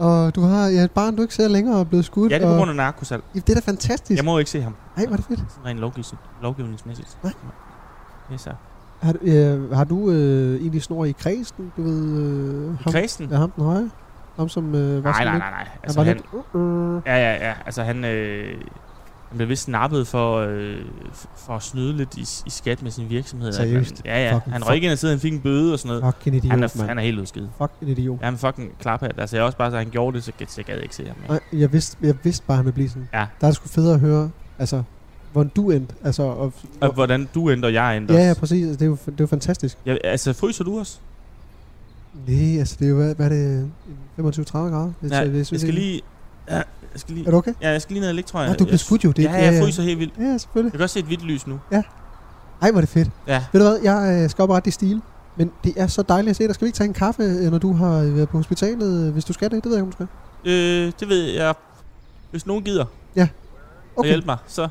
[SPEAKER 4] Og du har ja, et barn, du ikke ser længere og er blevet skudt.
[SPEAKER 1] Ja, det er på
[SPEAKER 4] og,
[SPEAKER 1] grund af narkosalg.
[SPEAKER 4] Ja, det er da fantastisk.
[SPEAKER 1] Jeg må jo ikke se ham,
[SPEAKER 4] Ej, hvor er det fedt.
[SPEAKER 1] sådan rent lovgivning, lovgivningsmæssigt.
[SPEAKER 4] Nej.
[SPEAKER 1] Yes, sir.
[SPEAKER 4] Har, du- øh, har du øh, egentlig snor i kredsen, du ved? Øh, ham,
[SPEAKER 1] Kristen?
[SPEAKER 4] Ja, ham den høje. Ham som øh, var
[SPEAKER 1] Nej,
[SPEAKER 4] sådan
[SPEAKER 1] nej,
[SPEAKER 4] lidt-
[SPEAKER 1] nej, nej.
[SPEAKER 4] Han var
[SPEAKER 1] han-
[SPEAKER 4] lidt... Uh, uh.
[SPEAKER 1] Ja, ja, ja. Altså, han, øh, han blev vist snappet for, øh, f- for at snyde lidt i, i skat med sin virksomhed.
[SPEAKER 4] Seriøst?
[SPEAKER 1] At Man, ja, ja.
[SPEAKER 4] Fucking
[SPEAKER 1] han
[SPEAKER 4] fuck.
[SPEAKER 1] røg ikke ind og sidde, han fik en bøde og sådan noget.
[SPEAKER 4] Fuck en idiot,
[SPEAKER 1] han, er,
[SPEAKER 4] mand.
[SPEAKER 1] han er helt udskidt.
[SPEAKER 4] Fuck en idiot.
[SPEAKER 1] Ja, han fucking klaphat. Altså, jeg er også bare så, han gjorde det, så, så jeg gad ikke se ham. Ja.
[SPEAKER 4] Nej, jeg vidste, jeg vidste bare, at han ville blive sådan.
[SPEAKER 1] Ja.
[SPEAKER 4] Der er det sgu federe at høre, altså, hvordan du endte. Altså, og,
[SPEAKER 1] Og hvordan du ændrer, jeg ændrer.
[SPEAKER 4] ja, ja, præcis. Det er jo, det er jo fantastisk.
[SPEAKER 1] jeg, altså, fryser du også?
[SPEAKER 4] Nej, altså det er jo, hvad, hvad er det, 25-30 grader? Det,
[SPEAKER 1] Ja,
[SPEAKER 4] det,
[SPEAKER 1] jeg
[SPEAKER 4] synes
[SPEAKER 1] skal
[SPEAKER 4] ikke.
[SPEAKER 1] lige... Ja, jeg skal lige...
[SPEAKER 4] Er du okay?
[SPEAKER 1] Ja, jeg skal lige ned og ligge, tror jeg.
[SPEAKER 4] Nej, du blev skudt jo. Det,
[SPEAKER 1] Ja, jeg fryser helt vildt.
[SPEAKER 4] Ja, selvfølgelig.
[SPEAKER 1] Jeg kan også se et hvidt lys nu.
[SPEAKER 4] Ej, hvor er det fedt.
[SPEAKER 1] Ja.
[SPEAKER 4] Ved du hvad, jeg øh, skal oprette i stil. Men det er så dejligt at se dig. Skal vi ikke tage en kaffe, øh, når du har øh, været på hospitalet, øh, hvis du skal det? Det ved jeg, om du skal.
[SPEAKER 1] Øh, det ved jeg. Hvis nogen gider okay. at hjælpe mig, så...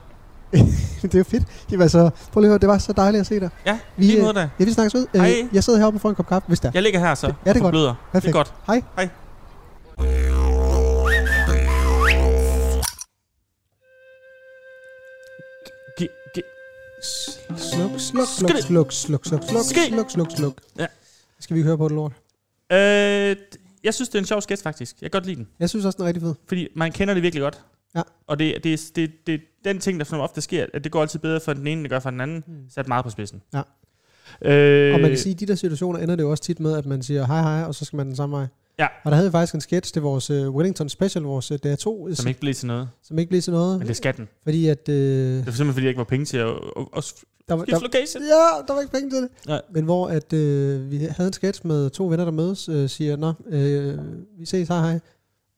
[SPEAKER 4] det er jo fedt. Det var så, prøv lige at høre, det var så dejligt at se dig.
[SPEAKER 1] Ja,
[SPEAKER 4] Vi,
[SPEAKER 1] lige
[SPEAKER 4] øh,
[SPEAKER 1] måde da.
[SPEAKER 4] Ja, vi snakkes ved.
[SPEAKER 1] Hej.
[SPEAKER 4] jeg sidder heroppe og får en kop kaffe, hvis der.
[SPEAKER 1] Jeg ligger her så.
[SPEAKER 4] Ja, det er
[SPEAKER 1] og
[SPEAKER 4] godt.
[SPEAKER 1] forbløder. Det
[SPEAKER 4] Perfekt.
[SPEAKER 1] er godt.
[SPEAKER 4] Hej.
[SPEAKER 1] Hej. Gi- gi-
[SPEAKER 4] Sluk, sluk,
[SPEAKER 1] Skal
[SPEAKER 4] sluk,
[SPEAKER 1] det-
[SPEAKER 4] sluk, sluk, sluk, sluk,
[SPEAKER 1] Skal-
[SPEAKER 4] sluk, sluk, sluk.
[SPEAKER 1] Ja.
[SPEAKER 4] Skal vi høre på det lort?
[SPEAKER 1] Øh, d- jeg synes, det er en sjov sketch, faktisk. Jeg kan godt lide den.
[SPEAKER 4] Jeg synes også, den er rigtig fed.
[SPEAKER 1] Fordi man kender det virkelig godt.
[SPEAKER 4] Ja.
[SPEAKER 1] Og det, det, er- det, det er den ting, der som ofte sker, at det går altid bedre for den ene, end det gør for den anden,
[SPEAKER 4] Hmm.
[SPEAKER 1] sat meget på spidsen.
[SPEAKER 4] Ja.
[SPEAKER 1] Øh,
[SPEAKER 4] Og man kan sige, at i de der situationer ender det jo også tit med, at man siger hej hej, og så skal man den samme vej.
[SPEAKER 1] Ja.
[SPEAKER 4] Og der havde vi faktisk en sketch, det er vores uh, Wellington Special, vores uh, DR2,
[SPEAKER 1] Som ikke blev til noget.
[SPEAKER 4] som ikke blev til noget.
[SPEAKER 1] Men det skal den.
[SPEAKER 4] Fordi at... Øh,
[SPEAKER 1] Det er simpelthen, fordi jeg ikke var penge til at, at, at
[SPEAKER 4] der, var-
[SPEAKER 1] skifte
[SPEAKER 4] der,
[SPEAKER 1] location.
[SPEAKER 4] ja, der var ikke penge til det.
[SPEAKER 1] Nej.
[SPEAKER 4] Men hvor at, øh, vi havde en sketch med to venner, der mødes, øh, siger, nå, øh, vi ses, hej hej.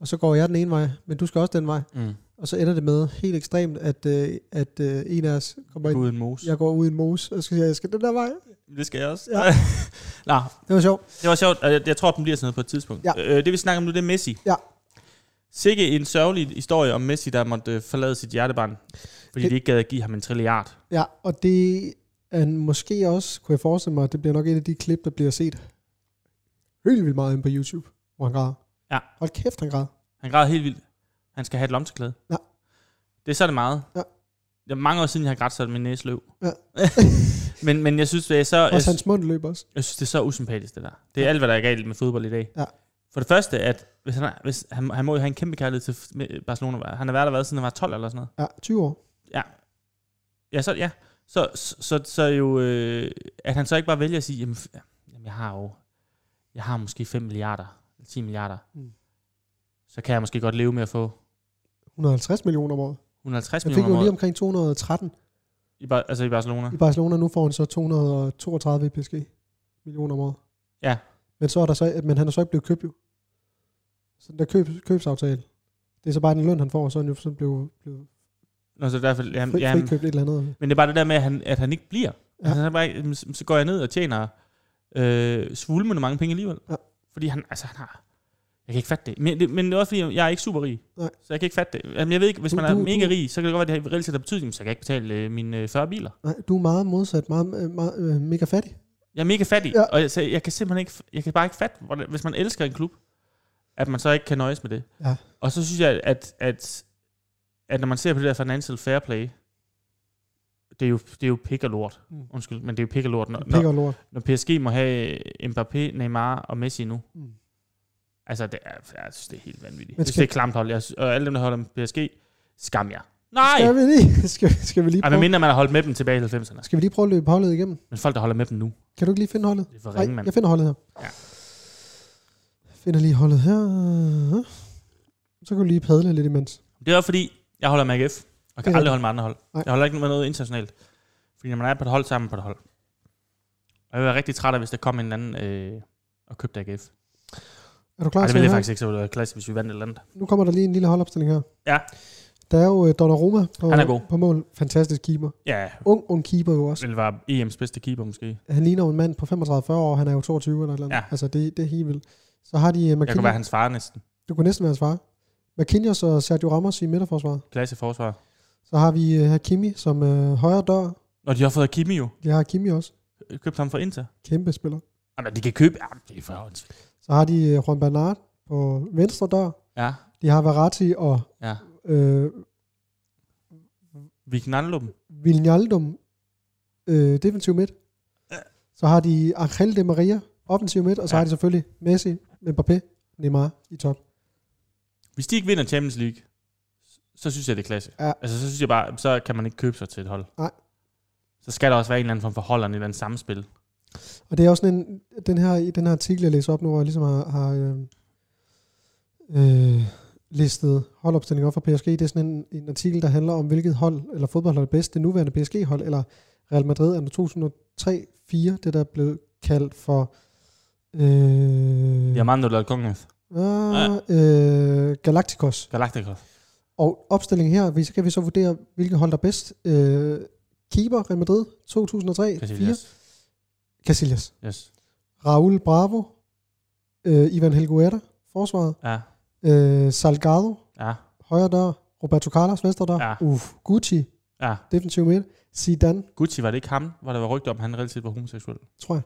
[SPEAKER 4] Og så går jeg den ene vej, men du skal også den vej.
[SPEAKER 1] Mm.
[SPEAKER 4] Og så ender det med helt ekstremt, at, øh, at øh, en af os kommer ind.
[SPEAKER 1] Uden mos. Ja.
[SPEAKER 4] Jeg går ud i en mose, og så siger, jeg, jeg skal den der vej.
[SPEAKER 1] Det skal jeg også.
[SPEAKER 4] Ja.
[SPEAKER 1] Ja. Nå,
[SPEAKER 4] Det var sjovt.
[SPEAKER 1] det var sjovt. og Jeg, jeg tror, den bliver sådan noget på et tidspunkt.
[SPEAKER 4] Ja.
[SPEAKER 1] Øh, det vi snakker om nu, det er Messi.
[SPEAKER 4] Ja.
[SPEAKER 1] Sikke en sørgelig historie om Messi, der måtte øh, forlade sit hjertebarn, fordi
[SPEAKER 4] Det-
[SPEAKER 1] det... de ikke gad at give ham en trilliard.
[SPEAKER 4] Ja, og det er måske også, kunne jeg forestille mig, at det bliver nok en af de klip, der bliver set helt vildt meget inde på YouTube, hvor han græder.
[SPEAKER 1] Ja.
[SPEAKER 4] Hold kæft, han græder.
[SPEAKER 1] Han græd helt vildt. Han skal have et lomteklæde.
[SPEAKER 4] Ja.
[SPEAKER 1] Det er så det meget.
[SPEAKER 4] Ja.
[SPEAKER 1] Det er mange år siden, jeg har grædt sådan min næseløv.
[SPEAKER 4] Ja.
[SPEAKER 1] men, men jeg synes, det er så, jeg,
[SPEAKER 4] Også hans mund løb også.
[SPEAKER 1] jeg synes, det er så usympatisk, det der. Det er alt, hvad der er galt med fodbold i dag.
[SPEAKER 4] Ja.
[SPEAKER 1] For det første, at hvis han, er, hvis han, han må jo have en kæmpe kærlighed til f- med- Barcelona. Han har været der været, siden han var 12 eller sådan noget.
[SPEAKER 4] Ja, 20 år.
[SPEAKER 1] Ja, så, ja. Så, så, så, så jo, øh, at han så ikke bare vælger at sige, jamen, f- jamen jeg har jo, jeg har måske 5 milliarder, eller 10 milliarder.
[SPEAKER 4] Mm.
[SPEAKER 1] Mm. Så kan jeg måske godt leve med at få
[SPEAKER 4] 150 millioner om året.
[SPEAKER 1] 150
[SPEAKER 4] Han fik
[SPEAKER 1] millioner om
[SPEAKER 4] jo lige
[SPEAKER 1] året
[SPEAKER 4] omkring 213
[SPEAKER 1] i, Bar- altså i Barcelona.
[SPEAKER 4] i Barcelona. Nu får han så 232 i PSG millioner om året.
[SPEAKER 1] Ja.
[SPEAKER 4] Men, så er der så, men han er så ikke blevet købt jo. Så den der køb, købsaftale, det er så bare den løn, han får, og så er han jo sådan blevet, blevet
[SPEAKER 1] Nå, så derfor,
[SPEAKER 4] fri,
[SPEAKER 1] jamen, jamen,
[SPEAKER 4] frikøbt et eller andet.
[SPEAKER 1] men det er bare det der med, at han, at han ikke bliver.
[SPEAKER 4] Ja.
[SPEAKER 1] Ja. Altså, han er bare, ikke- jamen, så så går jeg ned og tjener øh, svulmende mange penge alligevel.
[SPEAKER 4] Ja.
[SPEAKER 1] Ja. Fordi han, altså, han har... Jeg kan ikke fatte det. Men, det. men det er også fordi, jeg er ikke super rig.
[SPEAKER 4] Nej.
[SPEAKER 1] Så jeg kan ikke fatte det. Jamen, jeg ved ikke, hvis
[SPEAKER 4] Du-
[SPEAKER 1] man er
[SPEAKER 4] du-
[SPEAKER 1] mega
[SPEAKER 4] du-
[SPEAKER 1] rig, så kan det godt være, at det har reelt set har betydning, så kan jeg ikke betale øh, mine øh, 40 biler.
[SPEAKER 4] Nej, du er meget modsat, meget, meget, meget mega fattig.
[SPEAKER 1] Jeg er mega fattig,
[SPEAKER 4] Ja.
[SPEAKER 1] ja. og jeg, så jeg kan simpelthen ikke, jeg kan bare ikke fatte, hvordan, hvis man elsker en klub, at man så ikke kan nøjes med det.
[SPEAKER 4] Ja.
[SPEAKER 1] Og så synes jeg, at, at, at når man ser på det der financial fair play, det er jo, det er jo pik og lort.
[SPEAKER 4] Mm.
[SPEAKER 1] Mm. Undskyld, men det er jo pik og lort, når,
[SPEAKER 4] Pik
[SPEAKER 1] når,
[SPEAKER 4] og lort.
[SPEAKER 1] når PSG må have Mbappé, Neymar og Messi nu.
[SPEAKER 4] Mm.
[SPEAKER 1] Altså, det er, jeg synes, det er helt vanvittigt.
[SPEAKER 4] Men
[SPEAKER 1] Jeg synes,
[SPEAKER 4] skal-
[SPEAKER 1] det er et klamt hold. Jeg synes, og alle dem, der holder med PSG, skam jer.
[SPEAKER 4] Skal
[SPEAKER 1] Nej!
[SPEAKER 4] vi lige, skal, skal vi lige
[SPEAKER 1] Ej, men
[SPEAKER 4] prøve,
[SPEAKER 1] mindre man har holdt med dem tilbage i 90'erne.
[SPEAKER 4] skal vi lige prøve at løbe holdet igennem?
[SPEAKER 1] Men folk, der holder med dem nu,
[SPEAKER 4] Kan du ikke lige finde holdet?
[SPEAKER 1] det er for
[SPEAKER 4] Nej,
[SPEAKER 1] ringe, mand.
[SPEAKER 4] jeg finder holdet her.
[SPEAKER 1] Ja.
[SPEAKER 4] Finder lige holdet her. Så kan du lige padle lidt imens.
[SPEAKER 1] Det er også fordi, jeg holder med AGF, og kan
[SPEAKER 4] Ja.
[SPEAKER 1] aldrig holde med andre hold.
[SPEAKER 4] Nej.
[SPEAKER 1] Nej. Jeg holder ikke med noget internationalt. Fordi når man er på et hold, så er man på et hold. Og jeg var rigtig træt af, hvis der kom en eller anden øh, og købte AGF.
[SPEAKER 4] Er du klar
[SPEAKER 1] Ej, det ville
[SPEAKER 4] til det
[SPEAKER 1] jeg
[SPEAKER 4] her?
[SPEAKER 1] faktisk ikke, så ville det være klasse, hvis vi vandt et eller andet.
[SPEAKER 4] Nu kommer der lige en lille holdopstilling her.
[SPEAKER 1] Ja.
[SPEAKER 4] Der er jo øh, Donnarumma på,
[SPEAKER 1] Han er god.
[SPEAKER 4] på mål. Fantastisk keeper.
[SPEAKER 1] Ja,
[SPEAKER 4] Ung, ung keeper jo også.
[SPEAKER 1] det var EM's bedste keeper måske. Jeg
[SPEAKER 4] Han ligner jo en mand på 35-40 år, han er jo 22 eller et eller andet.
[SPEAKER 1] Ja.
[SPEAKER 4] Altså, det, det er helt vildt. Så har de øh,
[SPEAKER 1] kunne være
[SPEAKER 4] McKinney.
[SPEAKER 1] hans far næsten.
[SPEAKER 4] Du kunne næsten være hans far. McKinney og Sergio Ramos i midterforsvaret.
[SPEAKER 1] Klasse forsvar.
[SPEAKER 4] Så har vi øh, Hakimi som øh, højre dør.
[SPEAKER 1] Og de har fået Kimi jo. øh,
[SPEAKER 4] De har Hakimi også.
[SPEAKER 1] Købt ham fra Inter.
[SPEAKER 4] Kæmpe spiller.
[SPEAKER 1] Jamen, de kan købe... Ja, det er for håndsvigt.
[SPEAKER 4] Så har de øh, Juan Bernard på venstre dør.
[SPEAKER 1] Ja,
[SPEAKER 4] De har Verratti og
[SPEAKER 1] ja.
[SPEAKER 4] øh,
[SPEAKER 1] Vi knaldede dem.
[SPEAKER 4] Vilnaldum øh, defensiv midt. Så har de Angel de Maria offensiv midt. Og så
[SPEAKER 1] Ja.
[SPEAKER 4] har de selvfølgelig Messi, Mbappé, Neymar i top.
[SPEAKER 1] Hvis de ikke vinder Champions League, så synes jeg, det er klasse.
[SPEAKER 4] Ja.
[SPEAKER 1] Ja. Altså, så synes jeg bare, så kan man ikke købe sig til et hold.
[SPEAKER 4] Nej.
[SPEAKER 1] Så skal der også være en eller anden form for holderen, et eller andet samspil.
[SPEAKER 4] Og det er også sådan en, den her, i den her artikel, jeg læser op nu, hvor jeg ligesom har, har øh, øh, listet holdopstillinger op for PSG, det er sådan en, en artikel, der handler om, hvilket hold, eller fodboldhold er bedst, det nuværende PSG-hold, eller Real Madrid er 2003-4, det der blev kaldt for... Øh,
[SPEAKER 1] Diamando del Congas.
[SPEAKER 4] øh, øh, Galacticos.
[SPEAKER 1] Galacticos.
[SPEAKER 4] Og opstillingen her, vi- så kan vi så vurdere, hvilke hold der er bedst. Øh, keeper, Real Madrid, 2003 4
[SPEAKER 1] Casillas.
[SPEAKER 4] Casillas.
[SPEAKER 1] Yes.
[SPEAKER 4] Raul Bravo, øh, Ivan Helguera, forsvaret.
[SPEAKER 1] Ja.
[SPEAKER 4] Øh, Salgado,
[SPEAKER 1] Ja.
[SPEAKER 4] højre dør. Roberto Carlos, venstre dør.
[SPEAKER 1] Ja.
[SPEAKER 4] Uff, Gucci,
[SPEAKER 1] Ja.
[SPEAKER 4] defensiv midt. Zidane,
[SPEAKER 1] Gucci, var det ikke ham, hvor der var rygter om, at han reelt set var homoseksuel?
[SPEAKER 4] tror jeg.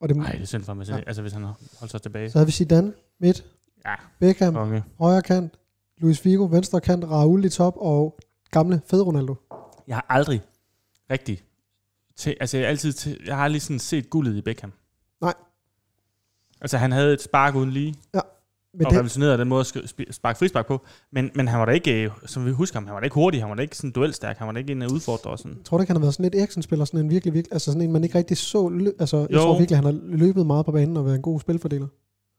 [SPEAKER 4] Og det,
[SPEAKER 1] Nej, det er synd for mig selv.
[SPEAKER 4] Mm. Ja.
[SPEAKER 1] Ja. Altså, hvis han holdt sig tilbage.
[SPEAKER 4] så havde vi Zidane, midt.
[SPEAKER 1] Ja.
[SPEAKER 4] Beckham,
[SPEAKER 1] Konge.
[SPEAKER 4] højre kant. Luis Figo, venstre kant. Raul i top. Og gamle Fed Ronaldo.
[SPEAKER 1] Jeg har aldrig rigtig... Til, altså, jeg, har altid til, jeg har aldrig sådan set guldet i Beckham.
[SPEAKER 4] Nej.
[SPEAKER 1] Altså, han havde et spark uden lige.
[SPEAKER 4] Men
[SPEAKER 1] og
[SPEAKER 4] det,
[SPEAKER 1] revolutionerede den måde at sk- sp- sparke frispark på. Men, men han var da ikke, øh, som vi husker ham, han var da ikke hurtig, han var da ikke sådan duelstærk, han var da ikke en øh, udfordrer. og Sådan.
[SPEAKER 4] Jeg tror du ikke, han har været sådan lidt Eriksen-spiller, sådan en virkelig, virkelig, altså sådan en, man ikke rigtig så, lø- altså jeg
[SPEAKER 1] Jo.
[SPEAKER 4] tror virkelig, han har løbet meget på banen og været en god spilfordeler.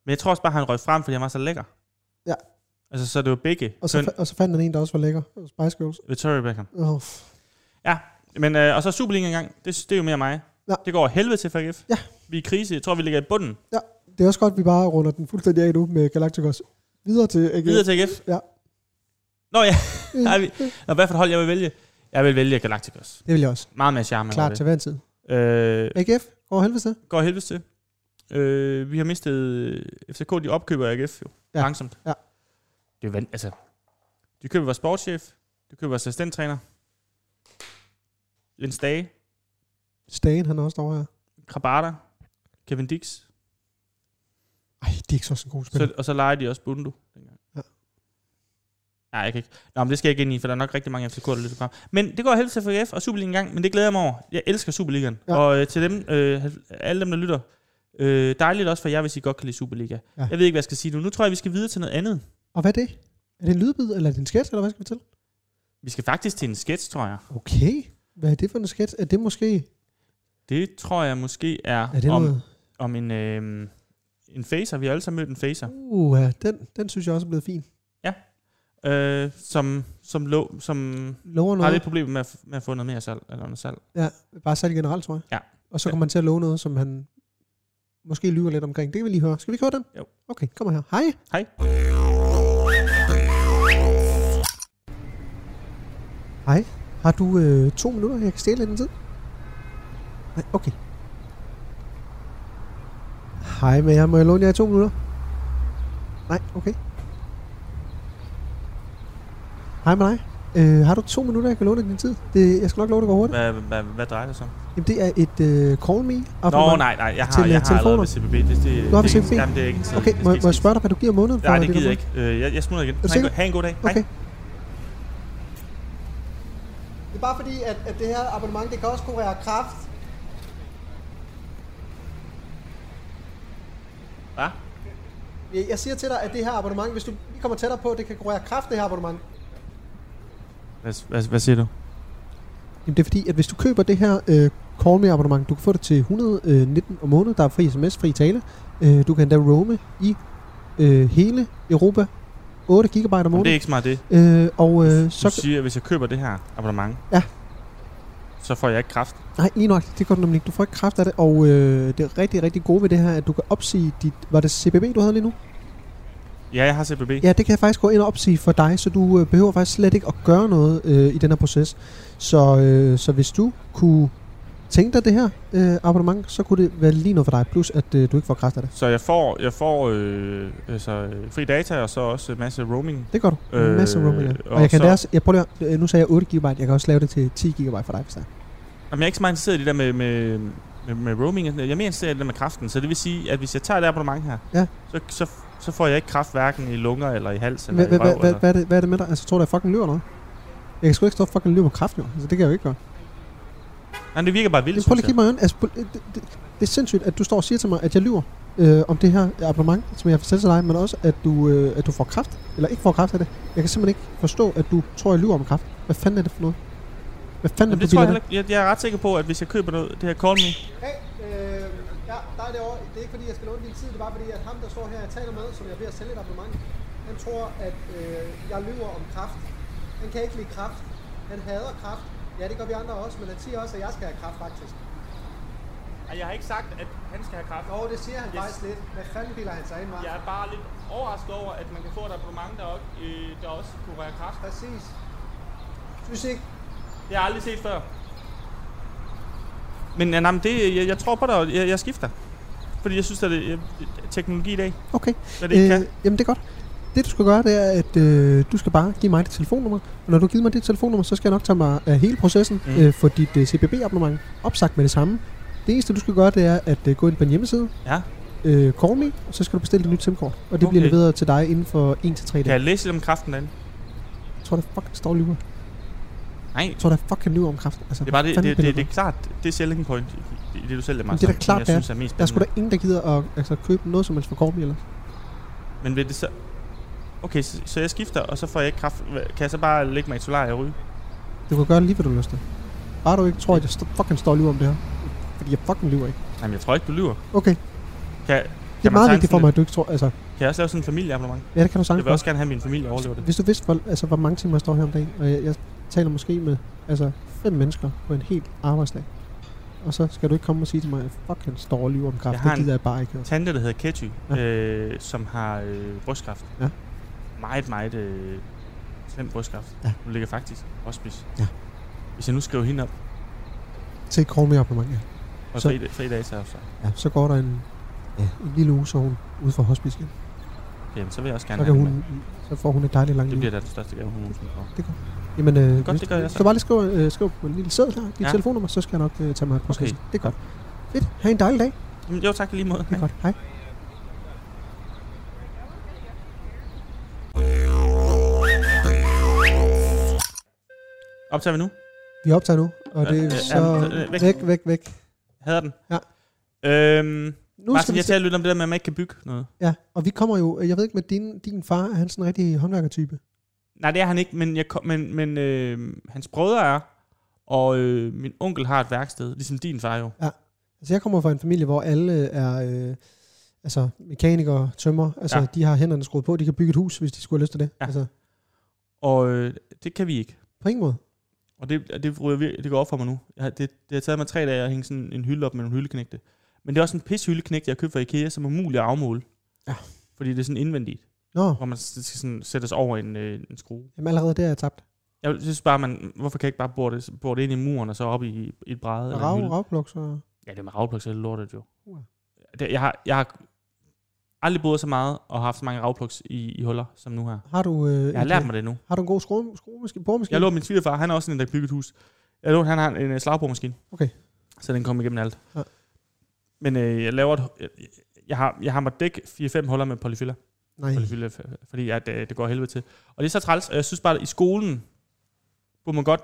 [SPEAKER 1] Men jeg tror også bare, han røg frem, fordi han var så lækker.
[SPEAKER 4] Ja.
[SPEAKER 1] Altså, så det var begge.
[SPEAKER 4] Og så, fa- og så fandt han en, der også var lækker. Spice Girls.
[SPEAKER 1] Victoria Beckham.
[SPEAKER 4] Oh, f-
[SPEAKER 1] Men, øh, og så Superligaen engang, det, det er jo mere mig.
[SPEAKER 4] Ja.
[SPEAKER 1] Det går over helvede til for AGF.
[SPEAKER 4] Ja.
[SPEAKER 1] Vi er i krise. Jeg tror, vi ligger i bunden.
[SPEAKER 4] det er også godt, at vi bare runder den fuldstændig af nu med Galacticos. Videre til AGF.
[SPEAKER 1] Videre til AGF.
[SPEAKER 4] Ja.
[SPEAKER 1] Nå ja, Nej, vi, Nå, hvad for et hold jeg vil vælge? Jeg vil vælge Galacticos.
[SPEAKER 4] Det vil jeg også.
[SPEAKER 1] Meget mere charme.
[SPEAKER 4] Klart
[SPEAKER 1] over
[SPEAKER 4] til hver en tid.
[SPEAKER 1] det. Øh,
[SPEAKER 4] AGF går helvede til.
[SPEAKER 1] går helvedes til. Øh, vi har mistet øh, FCK, de opkøber AGF jo,
[SPEAKER 4] Ja.
[SPEAKER 1] ja. langsomt.
[SPEAKER 4] Ja.
[SPEAKER 1] Det er vand, altså. De køber vores sportschef, de køber vores assistenttræner, Jens Dage,
[SPEAKER 4] Stagen, han er også derovre her.
[SPEAKER 1] Krabata, Kevin Dix,
[SPEAKER 4] Ej, det er ikke så en god spiller.
[SPEAKER 1] så, og så leger de også Bundu. dengang.
[SPEAKER 4] Ja.
[SPEAKER 1] Nej, jeg kan ikke. Nå, men det skal jeg ikke ind i, for der er nok rigtig mange FCK, der lytter frem. Men det går helst til FF og Superligaen gang, men det glæder jeg mig over. Jeg elsker Superligaen.
[SPEAKER 4] Ja.
[SPEAKER 1] Ja. Og øh, til dem, øh, alle dem, der lytter, øh, dejligt også for jer, hvis I godt kan lide Superliga.
[SPEAKER 4] Ja.
[SPEAKER 1] Ja. Jeg ved ikke, hvad jeg skal sige nu. Nu tror jeg, vi skal videre til noget andet.
[SPEAKER 4] Og hvad er det? Er det en lydbid, eller er det en sketch, eller hvad skal vi til?
[SPEAKER 1] Vi skal faktisk til en sketch, tror jeg.
[SPEAKER 4] Okay. Hvad er det for en sketch? Er det måske...
[SPEAKER 1] Det tror jeg måske er,
[SPEAKER 4] Er det
[SPEAKER 1] om,
[SPEAKER 4] noget...
[SPEAKER 1] om en, øh, en facer. Vi har alle sammen mødt en facer,
[SPEAKER 4] Uh, ja, den, den synes jeg også er blevet fin.
[SPEAKER 1] øh, som, som, lå, som
[SPEAKER 4] Lover
[SPEAKER 1] har
[SPEAKER 4] noget.
[SPEAKER 1] lidt problemer med at, f- med at få noget mere salg. Eller noget salg.
[SPEAKER 4] Ja, bare salg generelt, tror jeg.
[SPEAKER 1] Ja.
[SPEAKER 4] Og så
[SPEAKER 1] Ja.
[SPEAKER 4] kommer man til at love noget, som han måske lyver lidt omkring. Det kan vi lige høre. Skal vi ikke høre den?
[SPEAKER 1] Jo.
[SPEAKER 4] Okay, kom her. Hej.
[SPEAKER 1] Hej.
[SPEAKER 4] Hej. Har du øh, to minutter, jeg kan stjæle lidt af din tid? Nej, okay. Hej med jer. Må jeg låne jer i to minutter? Nej, okay. Hej med dig. Øh, har du to minutter, jeg kan låne af din tid? Det, jeg skal nok love, det går hurtigt.
[SPEAKER 1] Hvad, hvad, hvad drejer det sig om?
[SPEAKER 4] Jamen, det er et øh, call me.
[SPEAKER 1] Nå, nej, nej, jeg har,
[SPEAKER 4] Til, øh,
[SPEAKER 1] jeg har
[SPEAKER 4] telefoner?
[SPEAKER 1] allerede ved CBB. Det, det, det,
[SPEAKER 4] Du har ved
[SPEAKER 1] det,
[SPEAKER 4] CBB?
[SPEAKER 1] ikke- jamen, det er ikke en tid.
[SPEAKER 4] Okay,
[SPEAKER 1] Det skal
[SPEAKER 4] må,
[SPEAKER 1] ikke
[SPEAKER 4] må jeg
[SPEAKER 1] ske.
[SPEAKER 4] spørge dig, hvad du giver om måneden? for
[SPEAKER 1] Nej, det
[SPEAKER 4] der
[SPEAKER 1] gider jeg
[SPEAKER 4] nummer?
[SPEAKER 1] ikke. Øh, jeg, jeg smutter igen.
[SPEAKER 4] du
[SPEAKER 1] Ha' en,
[SPEAKER 4] sikker?
[SPEAKER 1] go- ha' en god dag. Hej.
[SPEAKER 4] Okay. Det er bare fordi, at, at det her abonnement, det kan også kurere kraft.
[SPEAKER 1] Hva?
[SPEAKER 4] Jeg jeg siger til dig, at det her abonnement, hvis du lige kommer tættere på, det kan kurere kraft, det her abonnement.
[SPEAKER 1] Hvad, hvad, hvad siger du?
[SPEAKER 4] Jamen det er fordi, at hvis du køber det her øh, Call Me abonnement, du kan få det til 119 om måneden. Der er fri sms, fri tale. Øh, du kan endda roame i øh, hele Europa. 8 GB om
[SPEAKER 1] Jamen, det er
[SPEAKER 4] måneden.
[SPEAKER 1] ikke smart det.
[SPEAKER 4] Øh, og øh,
[SPEAKER 1] Så du
[SPEAKER 4] så...
[SPEAKER 1] siger, at hvis jeg køber det her abonnement,
[SPEAKER 4] Ja.
[SPEAKER 1] så får jeg ikke kraft.
[SPEAKER 4] Nej, lige nok. Det går du nemlig ikke. Du får ikke kraft af det. Og øh, det er rigtig, rigtig gode ved det her, at du kan opsige dit... Var det CBB, du havde lige nu?
[SPEAKER 1] Ja, jeg har CBB.
[SPEAKER 4] Ja, det kan jeg faktisk gå ind og opsige for dig, så du øh, behøver faktisk slet ikke at gøre noget øh, i den her proces. Så, øh, så hvis du kunne tænke dig det her øh, abonnement, så kunne det være lige noget for dig. Plus at øh, du ikke får kræft af det.
[SPEAKER 1] Så jeg får, jeg får øh, altså, øh, fri data og så også en masse roaming.
[SPEAKER 4] Det gør du. Øh,
[SPEAKER 1] Øh,
[SPEAKER 4] Masser af roaming. ja. Og,
[SPEAKER 1] og
[SPEAKER 4] jeg kan
[SPEAKER 1] så-
[SPEAKER 4] så... også, jeg prøver lige, at- øh, nu sagde jeg 8 GB, jeg kan også lave det til 10 GB for dig, hvis der.
[SPEAKER 1] Jamen, jeg er ikke så meget interesseret i det der med, med, med, med roaming. og sådan noget. Jeg er mere interesseret i det der med kraften. Så det vil sige, at hvis jeg tager det abonnement her,
[SPEAKER 4] Ja.
[SPEAKER 1] så, så, så får jeg ikke kraft hverken i lunger eller i hals eller i røv. eller.
[SPEAKER 4] Hvad er det- hvad er det med dig? Altså, tror du, jeg fucking lyver eller noget? Jeg kan sgu ikke stå og fucking lyve med kraft, jo. Altså, det kan jeg jo ikke gøre.
[SPEAKER 1] Nej, det virker bare vildt,
[SPEAKER 4] Men prøv lige
[SPEAKER 1] synes jeg.
[SPEAKER 4] at kigge mig i øjnene. altså, prøv- det, det, det er sindssygt, at du står og siger til mig, at jeg lyver øh, om det her abonnement, som jeg har fortalt til dig, men også, at du, øh, at du får kraft, eller ikke får kraft af det. Jeg kan simpelthen ikke forstå, at du tror, jeg lyver om kraft. Hvad fanden er det for noget? Hvad fanden
[SPEAKER 1] Jamen,
[SPEAKER 4] er
[SPEAKER 1] det
[SPEAKER 4] det for
[SPEAKER 1] tror jeg,
[SPEAKER 4] noget?
[SPEAKER 1] heller, ikke- jeg, jeg er ret sikker på, at hvis jeg køber noget, det her Call Me,
[SPEAKER 4] Hey, øh, ja, der er det over. Det er ikke fordi, jeg skal låne din tid. Det er bare fordi, at ham, der står her, jeg taler med, som jeg er ved at sælge et abonnement, han tror, at øh, jeg lyver om kraft. Han kan ikke lide kraft. Han hader kraft. Ja, det gør vi andre også, men han siger også, at jeg skal have kraft, faktisk.
[SPEAKER 1] Ej, Jeg har ikke sagt, at han skal have kraft.
[SPEAKER 4] Jo, det siger han yes.
[SPEAKER 1] Yes.
[SPEAKER 4] faktisk lidt. Hvad fanden bilder han sig ind, Mark?
[SPEAKER 1] Jeg er bare lidt overrasket over, at man kan få et abonnement, der, også, øh, der også kunne være kraft.
[SPEAKER 4] Præcis. Synes ikke.
[SPEAKER 1] Det har jeg aldrig set før. Men, ja, nej, men det, jeg, jeg tror på dig, og jeg, jeg skifter. Fordi jeg synes, at det, jeg, teknologi i dag,
[SPEAKER 4] Okay. Øh,
[SPEAKER 1] hvad det ikke kan.
[SPEAKER 4] jamen, det er godt. Det, du skal gøre, det er, at øh, du skal bare give mig dit telefonnummer. Og når du har givet mig dit telefonnummer, så skal jeg nok tage mig af hele processen. Mm.
[SPEAKER 1] Mm.
[SPEAKER 4] Øh, for dit øh, CBB-abonnement opsagt med det samme. Det eneste, du skal gøre, det er at øh, gå ind på en hjemmeside,
[SPEAKER 1] Ja.
[SPEAKER 4] øh, call me, og så skal du bestille dit nye SIM-kort. Og det okay.
[SPEAKER 1] Okay.
[SPEAKER 4] bliver leveret til dig inden for 1-3 dage.
[SPEAKER 1] Kan jeg læse lidt om kraften derinde?
[SPEAKER 4] Jeg tror, der fucking står lyver.
[SPEAKER 1] Nej.
[SPEAKER 4] Jeg tror, der fucking lyver om kraft. Altså,
[SPEAKER 1] Det er bare det,
[SPEAKER 4] fanden
[SPEAKER 1] det, det,
[SPEAKER 4] piller
[SPEAKER 1] det, det er klart, det er selling point i, i det, du sælger mig.
[SPEAKER 4] Men det er da
[SPEAKER 1] som
[SPEAKER 4] klart,
[SPEAKER 1] jeg
[SPEAKER 4] det er.
[SPEAKER 1] synes er mest
[SPEAKER 4] der er sgu
[SPEAKER 1] spændende.
[SPEAKER 4] da ingen, der gider at altså, købe noget som helst for Call Me, eller?
[SPEAKER 1] Men vil det så... Okay, så, så jeg skifter, og så får jeg ikke kraft. Hva- Kan jeg så bare lægge mig i et solarie og ryge?
[SPEAKER 4] Du kan gøre lige, hvad du har lyst til. Bare du ikke tror, at jeg st- fucking står og lyver om det her. Fordi jeg fucking lyver ikke.
[SPEAKER 1] Jamen, jeg tror ikke, du lyver.
[SPEAKER 4] Okay,
[SPEAKER 1] Kan,
[SPEAKER 4] det er
[SPEAKER 1] man
[SPEAKER 4] meget
[SPEAKER 1] tegne
[SPEAKER 4] vigtigt for
[SPEAKER 1] sådan
[SPEAKER 4] mig, at du ikke tror... Altså,
[SPEAKER 1] Kan jeg også lave sådan en familieabonnement?
[SPEAKER 4] ja, det kan du
[SPEAKER 1] Jeg
[SPEAKER 4] sagtens
[SPEAKER 1] vil
[SPEAKER 4] godt.
[SPEAKER 1] også gerne have, at min familie overlever det.
[SPEAKER 4] Hvis du vidste, hvor, altså, hvor mange timer jeg står her om dagen, og jeg, jeg taler måske med altså, fem mennesker på en helt arbejdsdag, og så skal du ikke komme og sige til mig, at fuck, han står og lyver om
[SPEAKER 1] Jeg
[SPEAKER 4] kraft.
[SPEAKER 1] har
[SPEAKER 4] Det
[SPEAKER 1] en-
[SPEAKER 4] gider jeg bare ikke.
[SPEAKER 1] Tante, der hedder Ketty,
[SPEAKER 4] Ja.
[SPEAKER 1] øh, som har øh, brystkræft.
[SPEAKER 4] Ja.
[SPEAKER 1] Meget, meget øh, slem brystkræft.
[SPEAKER 4] Ja.
[SPEAKER 1] Hun ligger faktisk hospice.
[SPEAKER 4] Ja.
[SPEAKER 1] Hvis jeg nu skriver hende op
[SPEAKER 4] Se krogen med abonnement, ja.
[SPEAKER 1] og
[SPEAKER 4] Så-
[SPEAKER 1] fri, fri dag til afslag,
[SPEAKER 4] ja. Så går der en, ja. en lille uge, så er hun ude for hospice igen.
[SPEAKER 1] jamen, så vil jeg også gerne
[SPEAKER 4] Så,
[SPEAKER 1] have
[SPEAKER 4] kan
[SPEAKER 1] hende med.
[SPEAKER 4] hun, så får hun et dejligt langt
[SPEAKER 1] Det
[SPEAKER 4] liv.
[SPEAKER 1] bliver da den største gave, hun nogensinde får.
[SPEAKER 4] Jamen, øh,
[SPEAKER 1] Godt, det gør jeg så.
[SPEAKER 4] så bare lige skriv, øh, skriv på en lille sæd her, dit
[SPEAKER 1] Ja.
[SPEAKER 4] ja. telefonnummer, så skal jeg nok øh, tage mig af processen.
[SPEAKER 1] Okay.
[SPEAKER 4] Okay. Det er godt. Fedt. Ha' en dejlig dag.
[SPEAKER 1] Jamen, jo, tak i lige måde.
[SPEAKER 4] Det er godt. Hej.
[SPEAKER 1] Optager vi nu?
[SPEAKER 4] Vi optager nu, og det
[SPEAKER 1] Ja,
[SPEAKER 4] er
[SPEAKER 1] ja,
[SPEAKER 4] så
[SPEAKER 1] ja, væk.
[SPEAKER 4] væk, væk, væk.
[SPEAKER 1] Hader den.
[SPEAKER 4] Ja.
[SPEAKER 1] Øhm,
[SPEAKER 4] Nu
[SPEAKER 1] bare
[SPEAKER 4] skal
[SPEAKER 1] sådan,
[SPEAKER 4] vi
[SPEAKER 1] jeg
[SPEAKER 4] se.
[SPEAKER 1] taler lidt om det der med, at man ikke kan bygge noget.
[SPEAKER 4] Ja, og vi kommer jo, jeg ved ikke med din, din far, er han sådan en rigtig håndværkertype?
[SPEAKER 1] Nej, det er han ikke, men, jeg kom, men, men øh, hans brødre er, og øh, min onkel har et værksted, ligesom din far jo.
[SPEAKER 4] Altså jeg kommer fra en familie, hvor alle øh, er øh, altså, mekanikere, tømmer, altså
[SPEAKER 1] Ja.
[SPEAKER 4] ja. de har hænderne skruet på, de kan bygge et hus, hvis de skulle have lyst til det.
[SPEAKER 1] Ja.
[SPEAKER 4] Ja. Altså,
[SPEAKER 1] Og øh, det kan vi ikke.
[SPEAKER 4] på ingen måde.
[SPEAKER 1] Og det, og det, ryger vir- det går op for mig nu. Jeg, har- det, det har taget mig tre dage at hænge sådan en hylde op med nogle hyldeknægte. Men det er også en pis hyldeknægte, jeg har købt fra Ikea, som er umulig at afmåle.
[SPEAKER 4] Ja.
[SPEAKER 1] Fordi det er sådan indvendigt,
[SPEAKER 4] Nå,
[SPEAKER 1] hvor man s- det skal sådan sættes over en, øh, en skrue.
[SPEAKER 4] jamen allerede der er jeg tabt.
[SPEAKER 1] Jeg synes bare, man, hvorfor kan jeg ikke bare bore det, bore det ind i muren og så op i, i et bræde? eller en hylde?
[SPEAKER 4] Rav, ravpluk, så...
[SPEAKER 1] Ja, det er med ravplugs eller lortet jo.
[SPEAKER 4] Uh.
[SPEAKER 1] Det, jeg, har, jeg har aldrig boet så meget og haft så mange ravplugs i, i huller som nu her.
[SPEAKER 4] Har du, øh,
[SPEAKER 1] Jeg har lært mig det nu.
[SPEAKER 4] har du en god skrue, skruemaskine, boremaskine?
[SPEAKER 1] Jeg lå min svigerfar, han er også sådan en, der kan bygge et hus. Jeg lå, han har en øh, slagboremaskine.
[SPEAKER 4] Okay.
[SPEAKER 1] Så den kom igennem alt.
[SPEAKER 4] Ja.
[SPEAKER 1] Men øh, jeg laver et, jeg, jeg har, jeg har mig dæk 4-5 huller med polyfiller,
[SPEAKER 4] Nej.
[SPEAKER 1] polyfiller f- fordi at, øh, det går helvede til. Og det er så træls, og jeg synes bare, at i skolen kunne man godt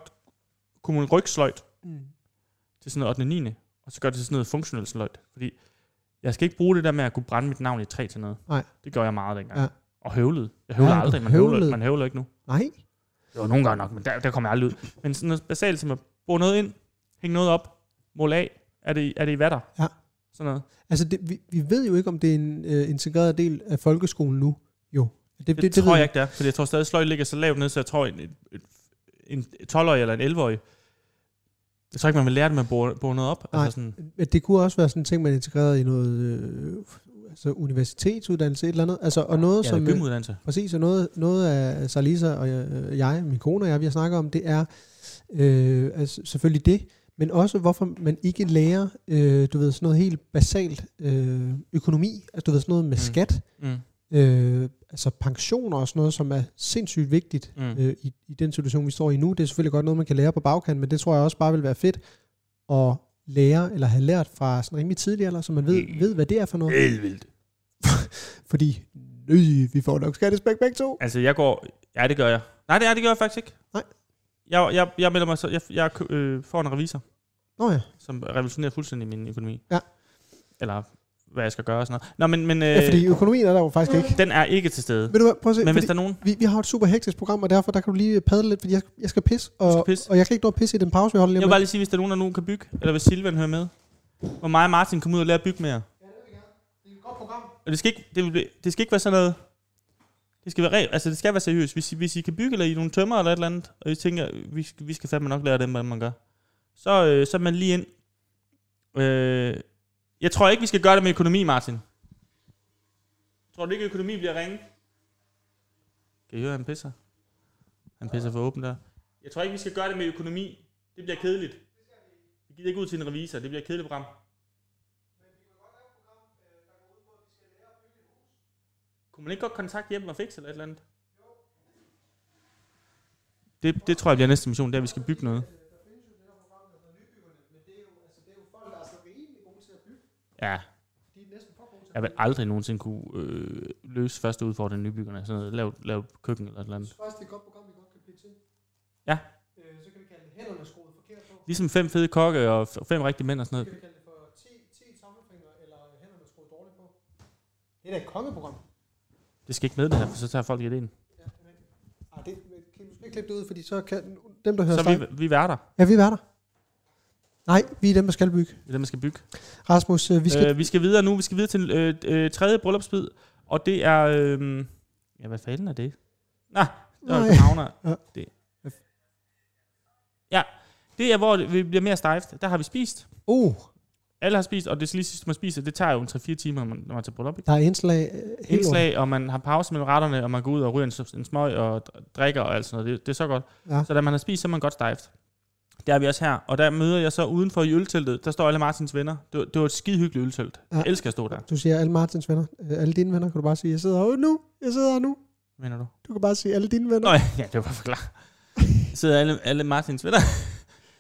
[SPEAKER 1] kunne man rykke sløjt
[SPEAKER 4] Mm.
[SPEAKER 1] til sådan noget 8. 9. Og så gør det til sådan noget funktionelt sløjt. Fordi jeg skal ikke bruge det der med at kunne brænde mit navn i et træ til noget.
[SPEAKER 4] Nej.
[SPEAKER 1] Det gør jeg meget dengang.
[SPEAKER 4] Ja.
[SPEAKER 1] Og høvlede. Jeg høvler
[SPEAKER 4] Ja, du
[SPEAKER 1] aldrig. Man høvler,
[SPEAKER 4] høvlede.
[SPEAKER 1] man høvler ikke nu.
[SPEAKER 4] Nej.
[SPEAKER 1] Det var nogle gange nok, men der, der kom jeg aldrig ud. Men sådan noget basalt som at bruge noget ind, hænge noget op, måle af. Er det, er det i vatter?
[SPEAKER 4] Ja.
[SPEAKER 1] Sådan noget.
[SPEAKER 4] Altså, det, vi, vi ved jo ikke, om det er en øh, integreret del af folkeskolen nu. Jo. Altså, Det,
[SPEAKER 1] Det, det, det tror jeg ikke, det er. Fordi jeg tror stadig, at sløjt ligger så lavt ned, så jeg tror, en, en, en 12-årig eller en 11-årig, jeg tror ikke, man vil lære det med at bore, bore noget op.
[SPEAKER 4] Nej.
[SPEAKER 1] Altså sådan,
[SPEAKER 4] Men det kunne også være sådan en ting, man integrerede i noget øh, altså universitetsuddannelse, et eller andet. Altså, og noget,
[SPEAKER 1] ja,
[SPEAKER 4] som...
[SPEAKER 1] som, gymuddannelse.
[SPEAKER 4] Præcis, og noget, noget af Salisa og jeg, øh, jeg, min kone og jeg, vi har snakket om, det er øh, altså selvfølgelig det, men også hvorfor man ikke lærer, øh, du ved, sådan noget helt basalt øh, økonomi, altså du ved, sådan noget med
[SPEAKER 1] Mm.
[SPEAKER 4] mm. skat,
[SPEAKER 1] Mm.
[SPEAKER 4] øh, altså pensioner og sådan noget, som er sindssygt vigtigt
[SPEAKER 1] Mm.
[SPEAKER 4] øh, i, i den situation, vi står i nu. Det er selvfølgelig godt noget, man kan lære på bagkant, men det tror jeg også bare vil være fedt at lære, eller have lært fra sådan rimelig tidlig alder, så man ved,
[SPEAKER 1] Mm.
[SPEAKER 4] ved hvad det er for noget.
[SPEAKER 1] Helt vildt.
[SPEAKER 4] Fordi, nøj, vi får nok skattespæk begge to.
[SPEAKER 1] Altså, jeg går... Ja, det gør jeg. Nej, det, er, det gør jeg faktisk ikke.
[SPEAKER 4] Nej.
[SPEAKER 1] Jeg, jeg, jeg melder mig så... Jeg, jeg kø- øh, får en revisor,
[SPEAKER 4] Nå ja.
[SPEAKER 1] som revolutionerer fuldstændig min økonomi.
[SPEAKER 4] Ja.
[SPEAKER 1] Eller hvad jeg skal gøre og sådan noget. Nå, men, men øh,
[SPEAKER 4] Ja, fordi økonomien er der jo faktisk ikke.
[SPEAKER 1] den er ikke til stede.
[SPEAKER 4] Ved du hvad, prøv at se,
[SPEAKER 1] Men
[SPEAKER 4] fordi
[SPEAKER 1] hvis der er nogen...
[SPEAKER 4] vi, vi har et super hektisk program, og derfor der kan du lige padle lidt, fordi jeg, jeg skal pisse, og,
[SPEAKER 1] skal pisse.
[SPEAKER 4] og jeg kan ikke nå at pisse i den pause, vi holder
[SPEAKER 1] Jeg
[SPEAKER 4] lige
[SPEAKER 1] vil
[SPEAKER 4] om
[SPEAKER 1] bare
[SPEAKER 4] lidt.
[SPEAKER 1] lige sige, hvis der er nogen, der nu kan bygge, eller hvis Silvan hører med, hvor mig og Martin kommer ud og lærer at bygge med jer. Og det skal ikke, det, vil blive- det skal ikke være sådan noget... Det skal være, re- altså det skal være seriøst. Hvis, I- hvis I kan bygge, eller I er nogle tømmer eller et eller andet, og I tænker, vi, skal- vi skal fandme nok lære dem, hvad man gør, så, øh, så er man lige ind. Øh, jeg tror ikke, vi skal gøre det med økonomi, Martin. Tror du ikke, økonomi bliver ringe? Kan I høre, han pisser? Han pisser for åbent der. Jeg tror ikke, vi skal gøre det med økonomi. Det bliver kedeligt. Vi gider ikke ud til en revisor. Det bliver et kedeligt program. øh, Kunne man ikke godt kontakte hjem og fikse eller et eller andet? Det, det tror jeg bliver næste mission, det er, at vi skal bygge noget. Ja. Jeg vil aldrig nogensinde kunne øh, løse første udfordring nybyggerne. Sådan noget, lave, lave køkken eller et eller andet.
[SPEAKER 4] Faktisk et godt program, vi godt kan blive til.
[SPEAKER 1] Ja.
[SPEAKER 4] Øh, så kan vi kalde det hænderne skruet forkert på.
[SPEAKER 1] Ligesom fem fede kokke og f- fem rigtige mænd og sådan
[SPEAKER 4] Så
[SPEAKER 1] noget.
[SPEAKER 4] kan vi kalde det for 10, 10 tommelfingre, eller hænderne skruet dårligt på. Det er da et kongeprogram.
[SPEAKER 1] Det skal ikke med det her, for så tager folk idéen.
[SPEAKER 4] Ja, Ah, det er rigtigt. Ej, det, kan du ikke klippe det ud, fordi så kan dem, der hører
[SPEAKER 1] Så er vi, vi værter.
[SPEAKER 4] Ja, vi er der. Nej, vi er dem, der skal bygge.
[SPEAKER 1] Det er det, man skal bygge.
[SPEAKER 4] Rasmus, øh, vi skal...
[SPEAKER 1] Øh, vi skal videre nu. Vi skal videre til øh, øh, tredje bryllupsbid, og det er... Øh, ja, hvad fanden er det? Nå, det var
[SPEAKER 4] Nej.
[SPEAKER 1] københavner.
[SPEAKER 4] Ja.
[SPEAKER 1] Det. Ja, det er, hvor det- vi bliver mere stejft. Der har vi spist.
[SPEAKER 4] Uh,
[SPEAKER 1] Alle har spist, og det lige sidste, man spiser, det tager jo en 3-4 timer, når man, når man tager bryllup. Ikke?
[SPEAKER 4] der er indslag. øh, hele
[SPEAKER 1] Indslag, og man har pause mellem retterne, og man går ud og ryger en, s- en smøg og dr- drikker og alt sådan noget. Det, det er så godt.
[SPEAKER 4] Ja.
[SPEAKER 1] Så da man har spist, så er man godt stejft. Der er vi også her, og der møder jeg så udenfor i ølteltet. Der står alle Martins venner. Det var, det var et skide hyggeligt øltelt.
[SPEAKER 4] Ja.
[SPEAKER 1] Jeg elsker at stå der,
[SPEAKER 4] året. Du siger alle Martins venner. Øh, alle dine venner, kan du bare sige, jeg sidder her nu. Jeg sidder her nu.
[SPEAKER 1] mener du?
[SPEAKER 4] Du kan bare sige alle dine venner.
[SPEAKER 1] Nå ja, ja, det var bare for klar. Sidder alle, alle Martins venner,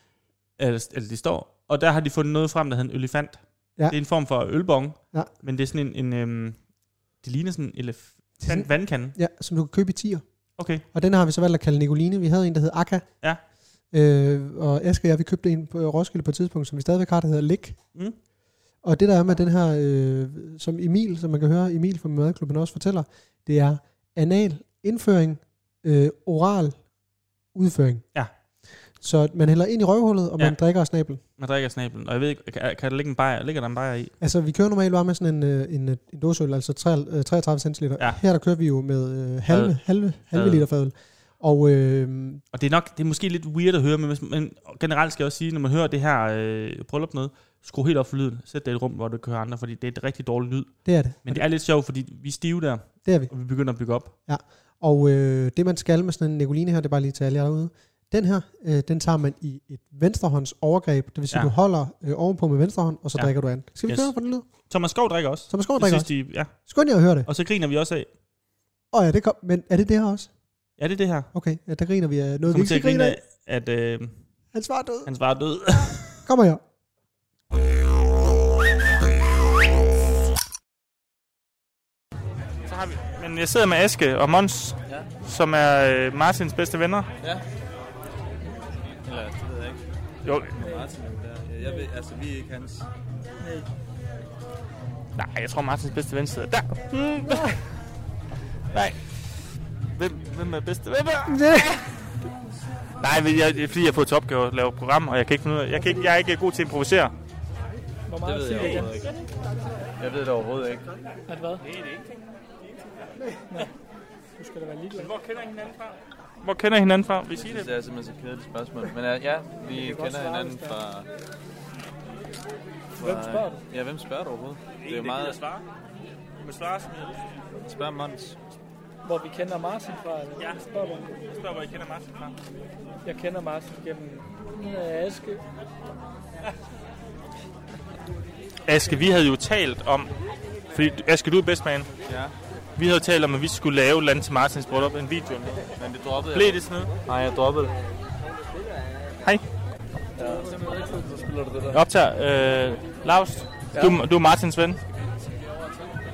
[SPEAKER 1] eller, eller de står, og der har de fundet noget frem, der hedder en elefant.
[SPEAKER 4] Ja.
[SPEAKER 1] Ja. Det er en form for ølbong,
[SPEAKER 4] Ja.
[SPEAKER 1] ja. men det er sådan en, en øhm, det ligner sådan en
[SPEAKER 4] Det er sådan-
[SPEAKER 1] elefant vandkande.
[SPEAKER 4] Ja, som du kan købe i tier.
[SPEAKER 1] Okay,
[SPEAKER 4] Og den har vi så valgt at kalde Nicoline. Vi havde en, der hed Akka.
[SPEAKER 1] Ja.
[SPEAKER 4] Øh, og Aske og jeg, vi købte en på øh, Roskilde på et tidspunkt, som vi stadigvæk har, der hedder Lik.
[SPEAKER 1] Mm.
[SPEAKER 4] Og det der er med den her, øh, som Emil, som man kan høre Emil fra Madklubben også fortæller, det er anal indføring, øh, oral udføring.
[SPEAKER 1] Ja.
[SPEAKER 4] Så man hælder ind i røvhullet, og man
[SPEAKER 1] Ja.
[SPEAKER 4] drikker af snablen.
[SPEAKER 1] man drikker snablen, og jeg ved ikke, kan, kan der ligge en bajer, ligger der en bajer i?
[SPEAKER 4] Altså, vi kører normalt bare med sådan en, øh, en, øh, en dåseøl, altså tre- øh, 33 centiliter.
[SPEAKER 1] Ja.
[SPEAKER 4] Her der kører vi jo med øh, halve,
[SPEAKER 1] Fad.
[SPEAKER 4] halve, halve
[SPEAKER 1] Fad.
[SPEAKER 4] liter fadøl. Og øh,
[SPEAKER 1] Og det er nok, det er måske lidt weird at høre, men, hvis, men generelt skal jeg også sige, når man hører det her øh, bryllup noget, skru helt op for lyden, sæt det i et rum, hvor du kan høre andre, fordi det er et rigtig dårligt lyd.
[SPEAKER 4] det er det.
[SPEAKER 1] Men det er lidt sjovt, fordi vi er stive der,
[SPEAKER 4] Det er vi.
[SPEAKER 1] og vi begynder at bygge op.
[SPEAKER 4] Og øh, det, man skal med sådan en Nicoline her, det er bare lige til alle jer derude. Den her, øh, den tager man i et venstrehånds overgreb. Det vil sige, ja.
[SPEAKER 1] Ja.
[SPEAKER 4] du holder øh, ovenpå med venstre hånd, og så ja.
[SPEAKER 1] Ja.
[SPEAKER 4] drikker du an. Skal vi yes.
[SPEAKER 1] Yes.
[SPEAKER 4] køre på den lyd?
[SPEAKER 1] Thomas Skov drikker også.
[SPEAKER 4] Thomas Skov
[SPEAKER 1] Det
[SPEAKER 4] drikker
[SPEAKER 1] synes
[SPEAKER 4] også.
[SPEAKER 1] de, ja.
[SPEAKER 4] Skynd jer at høre det.
[SPEAKER 1] Og så griner vi også af,
[SPEAKER 4] Åh oh, ja, det kom. Men er det det her også?
[SPEAKER 1] er det det her?
[SPEAKER 4] Okay, ja, der griner vi af noget,
[SPEAKER 1] Kommer
[SPEAKER 4] vi ikke
[SPEAKER 1] til at
[SPEAKER 4] skal
[SPEAKER 1] grine
[SPEAKER 4] grine
[SPEAKER 1] af,
[SPEAKER 4] af.
[SPEAKER 1] at øh,
[SPEAKER 4] Han svarer død.
[SPEAKER 1] hans far er død.
[SPEAKER 4] Kommer her.
[SPEAKER 2] Så har vi, men jeg sidder med Aske og Mons, ja. som er øh, Martins bedste venner.
[SPEAKER 6] Eller, det ved jeg ikke.
[SPEAKER 2] Jo,
[SPEAKER 6] Martin er jo der. Jeg ved, altså, vi er ikke hans.
[SPEAKER 2] nej, jeg tror Martins bedste ven sidder der. Mm. nej. Hvem, hvem er bedste? Hvem er? nej, men jeg, det er fordi jeg har fået til opgave at lave et program, og jeg kan ikke finde ud af, jeg, kan ikke, jeg er ikke god til at improvisere.
[SPEAKER 6] Det ved jeg overhovedet ikke. Jeg ved det overhovedet ikke.
[SPEAKER 2] Hvor kender I hinanden fra? Hvor kender I hinanden fra? Vil I sige det?
[SPEAKER 6] Det er simpelthen så kedeligt spørgsmål. Men øh, ja, vi kender hinanden fra... Hvem spørger du? Ja, hvem spørger du overhovedet? Det er jo meget...
[SPEAKER 2] svare. Du må svare, som
[SPEAKER 6] Spørg Mons.
[SPEAKER 9] Hvor vi kender Martin fra, eller
[SPEAKER 2] Ja.
[SPEAKER 9] ja. spørger man.
[SPEAKER 2] jeg spørger, hvor I kender Martin fra.
[SPEAKER 9] Jeg kender Martin gennem øh, Aske.
[SPEAKER 2] Aske, vi havde jo talt om... Fordi, Aske, du er bedst man.
[SPEAKER 6] Ja.
[SPEAKER 2] Vi havde jo talt om, at vi skulle lave et eller andet til Martins bryllup, en video. eller noget.
[SPEAKER 6] Men det droppede jeg.
[SPEAKER 2] Blev det sådan noget?
[SPEAKER 6] Nej, jeg droppede det.
[SPEAKER 2] Hej.
[SPEAKER 6] Så spiller du det der.
[SPEAKER 2] Jeg optager øh, Lars. Ja. Du, du er Martins ven.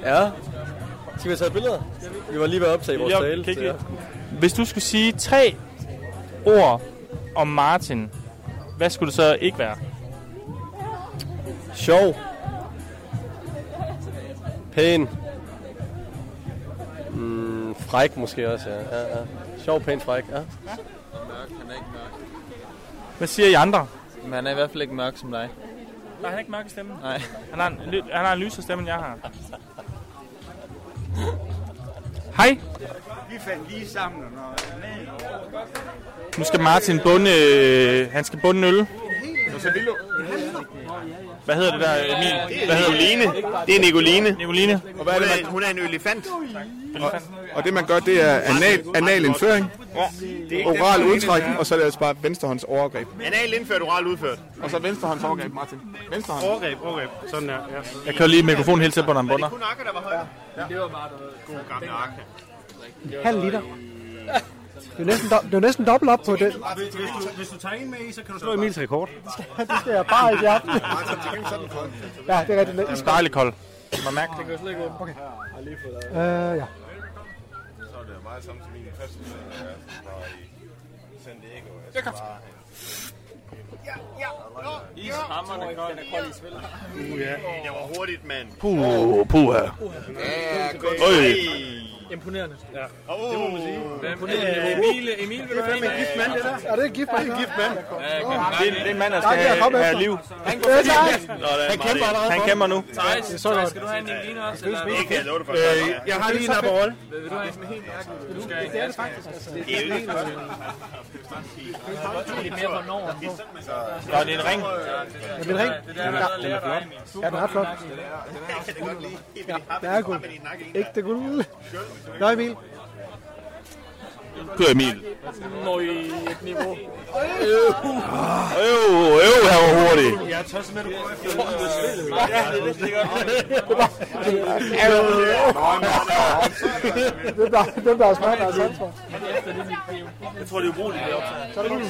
[SPEAKER 6] Ja. Skal vi tage billeder? Vi var lige ved at optage vores
[SPEAKER 2] Jeg
[SPEAKER 6] tale.
[SPEAKER 2] kan ikke
[SPEAKER 6] så ja.
[SPEAKER 2] Hvis du skulle sige tre ord om Martin, hvad skulle det så ikke være?
[SPEAKER 6] Sjov. Pæn. Mm, fræk måske også, ja. ja, ja. Sjov, pæn, fræk, ja. Mørk, han er ikke mørk.
[SPEAKER 2] Hvad siger I andre?
[SPEAKER 6] Men han er i hvert fald ikke mørk som dig.
[SPEAKER 2] Nej, han er ikke mørk i stemmen.
[SPEAKER 6] Nej.
[SPEAKER 2] Han har en, ly- han har en lysere stemme, end jeg har. Hej.
[SPEAKER 8] Vi fandt lige sammen, og når
[SPEAKER 2] Nu skal Martin bunde... Øh, han skal bunde en øl. Hvad hedder det der, Emil? Hvad hedder
[SPEAKER 7] Nicoline. Det er Nicoline.
[SPEAKER 2] Nicoline.
[SPEAKER 7] Og hvad er det, man,
[SPEAKER 8] hun er en elefant.
[SPEAKER 7] og det man gør, det er anal, anal indføring, oral udtræk, og så er det altså bare venstrehånds overgreb.
[SPEAKER 8] Anal indført, oral udført.
[SPEAKER 7] Og så venstrehånds overgreb, Martin. Venstrehånd.
[SPEAKER 8] Overgreb, overgreb. Sådan der, ja.
[SPEAKER 2] Jeg kører lige mikrofonen helt til på, når han bunder.
[SPEAKER 8] Kun Akka, der var høj. Ja. Det var meget God gamle Akka.
[SPEAKER 4] Halv liter. Det er næsten, do- det er næsten dobbelt op på det.
[SPEAKER 8] Hvis, hvis, du, hvis du tager en med i, så kan du slå Emils rekord.
[SPEAKER 4] Det skal jeg bare ikke i aften. Ja, det er rigtigt.
[SPEAKER 2] Den er dejlig kold. Man mærker det.
[SPEAKER 4] Øh, ja.
[SPEAKER 8] Det var hurtigt, mand.
[SPEAKER 2] Puh, puh her. Øj.
[SPEAKER 9] Imponerende.
[SPEAKER 8] Ja. Oh, det må man sige.
[SPEAKER 9] Hvem, øh, Emil, øh, Emil, vil
[SPEAKER 8] Det er fandme en gift mand, det der.
[SPEAKER 2] Er det en gift mand?
[SPEAKER 8] Det er en gift mand.
[SPEAKER 6] Det er- det er en mand, der
[SPEAKER 8] Der
[SPEAKER 6] skal
[SPEAKER 8] kan jeg
[SPEAKER 6] have,
[SPEAKER 8] komme
[SPEAKER 6] have
[SPEAKER 8] efter.
[SPEAKER 6] liv.
[SPEAKER 8] Han går
[SPEAKER 6] Nå, det
[SPEAKER 8] forbi.
[SPEAKER 6] er
[SPEAKER 8] Han
[SPEAKER 6] meget
[SPEAKER 8] kæmper
[SPEAKER 6] det.
[SPEAKER 8] allerede
[SPEAKER 6] Han
[SPEAKER 8] for
[SPEAKER 6] kæmper nu.
[SPEAKER 9] Thijs, Thijs, skal du have en Lina også? Eller?
[SPEAKER 8] Det kan jeg love dig for.
[SPEAKER 6] Øh, jeg har lige en Aperol.
[SPEAKER 9] Vil vil du have en helt mærkelig? Du skal det er det faktisk. Altså, det
[SPEAKER 8] Det er jo ikke noget.
[SPEAKER 9] er lidt mere for Norge.
[SPEAKER 6] Nå, det er en ring.
[SPEAKER 2] Er det ring?
[SPEAKER 9] Det er der, man har lært dig, Emil.
[SPEAKER 2] Ja, den er ret flot. Ja, den er god. Ikke det guld ud. Nå, Emil.
[SPEAKER 10] Kør Emil.
[SPEAKER 9] Når I et niveau.
[SPEAKER 6] Øv, øv, han var hurtig.
[SPEAKER 8] Jeg er tosset med, at du går efter.
[SPEAKER 2] Hvem der, hvem der er smart, der er sandt for.
[SPEAKER 8] Jeg tror, det er ubrugeligt. det optag.
[SPEAKER 2] Så er det guld.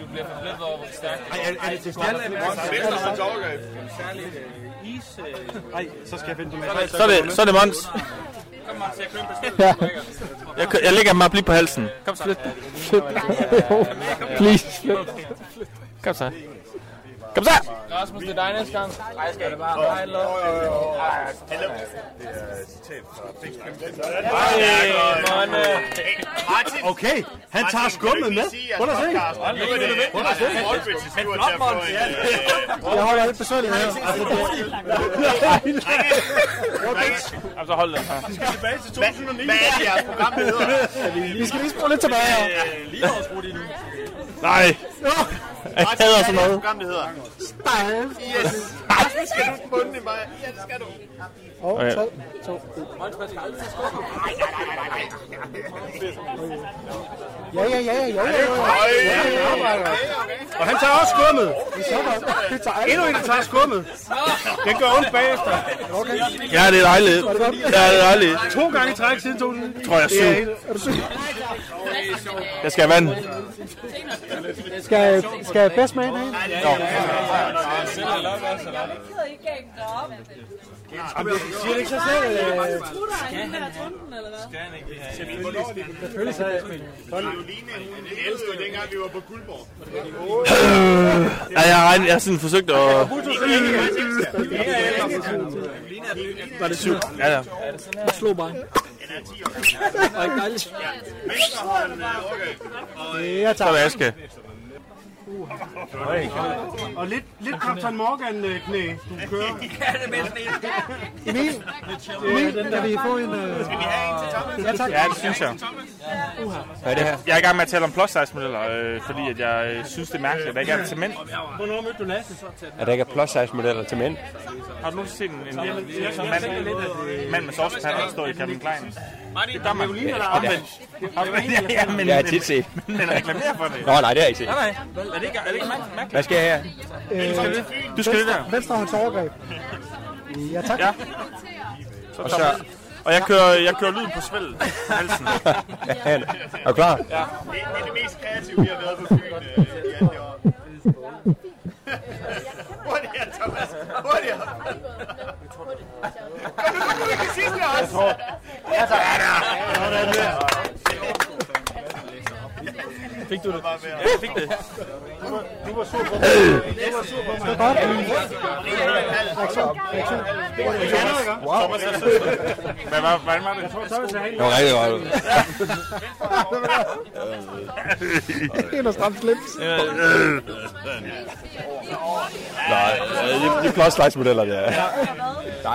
[SPEAKER 9] Du bliver forblændet over, hvor stærkt det
[SPEAKER 8] Er- Er det til stjæl?
[SPEAKER 10] Venstre hans overgreb.
[SPEAKER 9] er. Særligt øh, is. øh,
[SPEAKER 8] Nej, så skal jeg finde det med.
[SPEAKER 6] Så er det, så er det Mons.
[SPEAKER 9] Kom, Max, jeg køber en bestil.
[SPEAKER 2] Ja.
[SPEAKER 6] Jeg, kø- jeg lægger mig lige på halsen.
[SPEAKER 9] Kom så.
[SPEAKER 2] Please.
[SPEAKER 1] Kom så.
[SPEAKER 6] Kom så!
[SPEAKER 9] Rasmus, det er dig næste gang. Nej, skal det bare dig, eller?
[SPEAKER 8] Martin. Okay, han tager skummet med. Prøv at se. Prøv at se.
[SPEAKER 2] Jeg holder lidt personligt her. Altså, det-
[SPEAKER 1] Jamen, så hold den.
[SPEAKER 8] Tilbage til 2009. Hvad er det, jeres program hedder?
[SPEAKER 2] Vi skal lige spole lidt tilbage her.
[SPEAKER 8] Øh,
[SPEAKER 6] Nej. Jeg hader sådan noget.
[SPEAKER 8] program, det hedder? Yes. Skal du bunde i mig? Ja, det skal du.
[SPEAKER 2] Og
[SPEAKER 6] Okay.
[SPEAKER 2] tre, to, en. Ja, ja, ja, ja, ja, ja, ja. Ja, vi arbejder.
[SPEAKER 8] Og han tager også skummet.
[SPEAKER 2] Vi stopper. Vi tager
[SPEAKER 8] Endnu en, der tager skummet. Den gør ondt bagefter.
[SPEAKER 6] Ja, det er dejligt. Ja, det er dejligt.
[SPEAKER 8] To gange i træk siden 2009.
[SPEAKER 6] Tror jeg er syv.
[SPEAKER 2] Er du syg?
[SPEAKER 6] Jeg skal have vand.
[SPEAKER 2] Skal, skal bedst med ind
[SPEAKER 8] Siger det ikke sig selv? øh. Den ældste, dengang vi var på Guldborg.
[SPEAKER 6] Ja, jeg har, regnet- jeg har sådan forsøgt at...
[SPEAKER 8] Var det syv?
[SPEAKER 6] Ja, ja.
[SPEAKER 9] Slå bare. Og ikke dejligt.
[SPEAKER 2] Ja,
[SPEAKER 6] Så
[SPEAKER 2] tak.
[SPEAKER 6] er det Aske.
[SPEAKER 8] Og lidt, lidt Captain øh, Morgan-knæ, du kører.
[SPEAKER 2] Emil, Emil, kan vi få en... øh, Ja, tak.
[SPEAKER 1] Ja, det synes jeg.
[SPEAKER 6] Hvad er det her?
[SPEAKER 1] Jeg er i gang med at tale om plus size modeller, øh, fordi at jeg øh, synes, det er mærkeligt, at der ikke er til mænd.
[SPEAKER 9] Hvornår mødte du Lasse?
[SPEAKER 6] Er der ikke plus size modeller til mænd?
[SPEAKER 1] Har du nogensinde set en, en, en, en mand, mand med sovspatter stå i Calvin Klein? Det gør man.
[SPEAKER 8] Violin eller omvendt?
[SPEAKER 1] Ja, ja, men,
[SPEAKER 6] Jeg har tit set.
[SPEAKER 1] men reklamerer for det.
[SPEAKER 6] Nå, nej, det har jeg ikke set.
[SPEAKER 1] Nej, er det ikke, er det ikke mærkeligt?
[SPEAKER 6] Hvad skal jeg her?
[SPEAKER 1] Du skal det der.
[SPEAKER 2] Venstre hånds overgreb. Ja, tak.
[SPEAKER 1] Ja.
[SPEAKER 6] Og så...
[SPEAKER 1] Og jeg kører, jeg kører lyden på svæld. Halsen.
[SPEAKER 6] Er du klar?
[SPEAKER 8] Det er det mest kreative, vi har været på Fyn øh, i alle år. Hurtigere, Thomas! Hurtigere! Kom nu, du kan sidste også!
[SPEAKER 1] Fik du det? Ja, jeg fik det.
[SPEAKER 2] Godt.
[SPEAKER 1] Thomas er sød. Hvad var, hvordan var det?
[SPEAKER 6] Det var rigtig godt.
[SPEAKER 2] Det er noget stramt slips.
[SPEAKER 6] Nej, de, de plus size modeller, det er.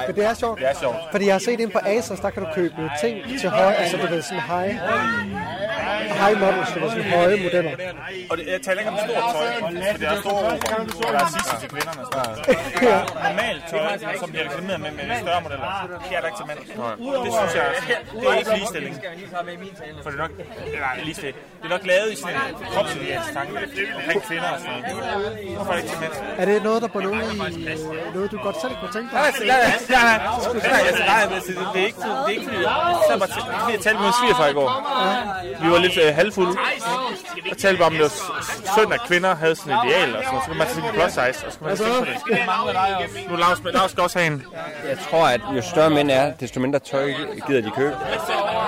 [SPEAKER 2] Men det er sjovt. Det er sjovt. Fordi jeg har set ind på Asos, der kan du købe ting til høje, altså du ved, sådan high, high models, du ved, sådan høje modeller.
[SPEAKER 1] Og det, jeg taler ikke om stort tøj, fordi der er store opera, og der er sidst til kvinderne. og sådan noget.
[SPEAKER 2] Ja.
[SPEAKER 1] Normalt tøj, som bliver reklameret med, med de større modeller, det er der ikke til mænd. Det synes jeg, altså, det er ikke ligestilling. For det er nok, nej, ligestilling. Det er nok lavet i sådan en kropsidealisk tanke, omkring kvinder og sådan noget. Hvorfor er det ikke til mænd?
[SPEAKER 2] Er det noget, der på nogen i, noget, du godt selv kunne tænke dig?
[SPEAKER 1] Nej, Altså, nej, nej, nej, nej, nej, altså, nej, altså, det er ikke, det er ikke, fordi jeg sad bare til, fordi jeg talte med min svigerfar i går. Vi var lidt øh, halvfulde, og talte bare om, det var s- synd, at kvinder havde sådan et ideal, og sådan, noget. så kunne man tænke plus size, og så kunne man tænke på Altså, det. Nu Lars, men Lars skal også have en.
[SPEAKER 6] Jeg tror, at jo større mænd er, desto mindre tøj gider de købe.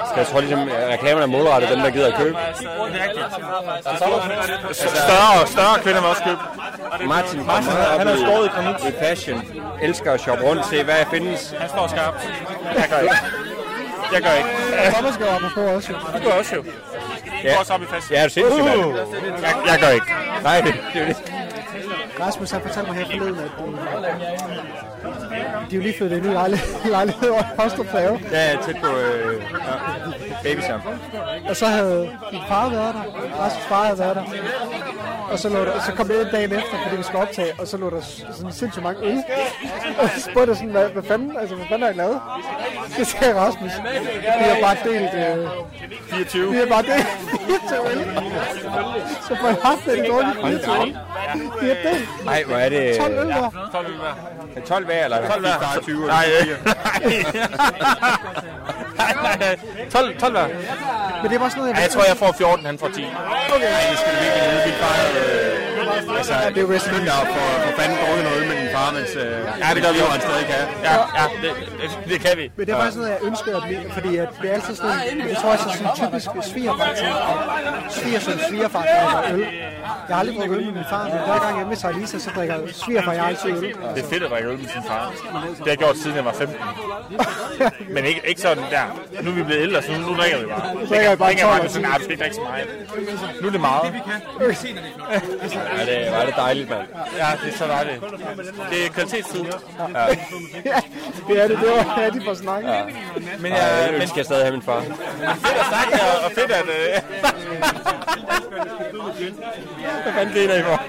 [SPEAKER 6] Så jeg tror ligesom, at reklamerne er målrettet dem, der gider at købe.
[SPEAKER 1] Større og større kvinder vil også købe.
[SPEAKER 6] Martin,
[SPEAKER 1] Martin, han har skåret i granit.
[SPEAKER 6] i fashion. Elsker at shoppe rundt, se hvad jeg findes.
[SPEAKER 1] Han står skarpt. Jeg kan ikke.
[SPEAKER 11] Jeg gør ikke.
[SPEAKER 2] Thomas går op og får også.
[SPEAKER 11] Du gør også jo.
[SPEAKER 6] Ja.
[SPEAKER 11] Ja. Også op i fast.
[SPEAKER 6] Ja, er du sindssyg, mand?
[SPEAKER 11] Uh.
[SPEAKER 6] Jeg, jeg gør ikke. Nej, det det er jo det.
[SPEAKER 2] Rasmus har fortalt mig her forleden, at øh, de er jo lige flyttet ind i lejlighed, lejlighed over i Hostrup Færge.
[SPEAKER 6] Ja, tæt på øh, ja. baby sammen.
[SPEAKER 2] Og så havde min far været der, Rasmus' far havde været der. Og så, lå der, så kom jeg ind dagen efter, fordi vi skulle optage, og så lå der s- sådan sindssygt mange øl. Og så spurgte jeg sådan, hvad, hvad fanden, altså, hvad fanden har I lavet? Det sagde Rasmus. Vi har bare delt... Øh,
[SPEAKER 11] 24.
[SPEAKER 2] vi har bare delt 24 øl. Så for jeg har haft det dårligt.
[SPEAKER 6] Hold da op.
[SPEAKER 2] Vi har delt
[SPEAKER 6] Nej, hvor er det...
[SPEAKER 2] 12 øl hver.
[SPEAKER 11] 12 øl hver.
[SPEAKER 6] Er 12 hver, eller?
[SPEAKER 11] 12 hver.
[SPEAKER 6] Bare 20
[SPEAKER 11] Nej, øh,
[SPEAKER 6] nej, nej.
[SPEAKER 11] 12, 12 hver.
[SPEAKER 2] Men det var sådan noget,
[SPEAKER 11] Ja, jeg tror, jeg får 14, han får 10.
[SPEAKER 6] Okay. Nej, det skal du virkelig vide. Min far, øh, altså, det er jo vist der for, for fanden drukket noget med min far, mens øh, ja, det gør vi jo, han stadig kan.
[SPEAKER 11] Ja, ja det, det, det kan vi.
[SPEAKER 2] Men det var sådan noget, jeg ønskede at blive, fordi at det er altid sådan, jeg tror, jeg er sådan typisk svigerfar til. Svigersøn, svigerfar drikker øl. Jeg har aldrig drukket øl med min far, men hver gang jeg med sig Lisa, så drikker svigerfar jeg altid øl.
[SPEAKER 11] Det er fedt at drikke øl med sin far. Det har jeg gjort siden jeg var 15. Men ikke, ikke sådan der. Nu er vi blevet ældre, så nu, nu drikker vi bare. Nu
[SPEAKER 2] drikker jeg bare
[SPEAKER 11] Dengang var
[SPEAKER 2] 12
[SPEAKER 11] det sådan, nej, vi skal ikke drikke så meget. Nu er det meget.
[SPEAKER 6] Ja, det var det dejligt, mand.
[SPEAKER 11] Ja, det er så dejligt. Det er kvalitetstid.
[SPEAKER 2] ja, det er det, det var ja, de får snakket.
[SPEAKER 11] Men
[SPEAKER 6] Ja,
[SPEAKER 11] jeg,
[SPEAKER 6] jeg
[SPEAKER 11] men
[SPEAKER 6] ønsker jeg stadig have min far.
[SPEAKER 11] fedt at snakke og, og fedt at... Øh,
[SPEAKER 6] Hvad fanden griner I for?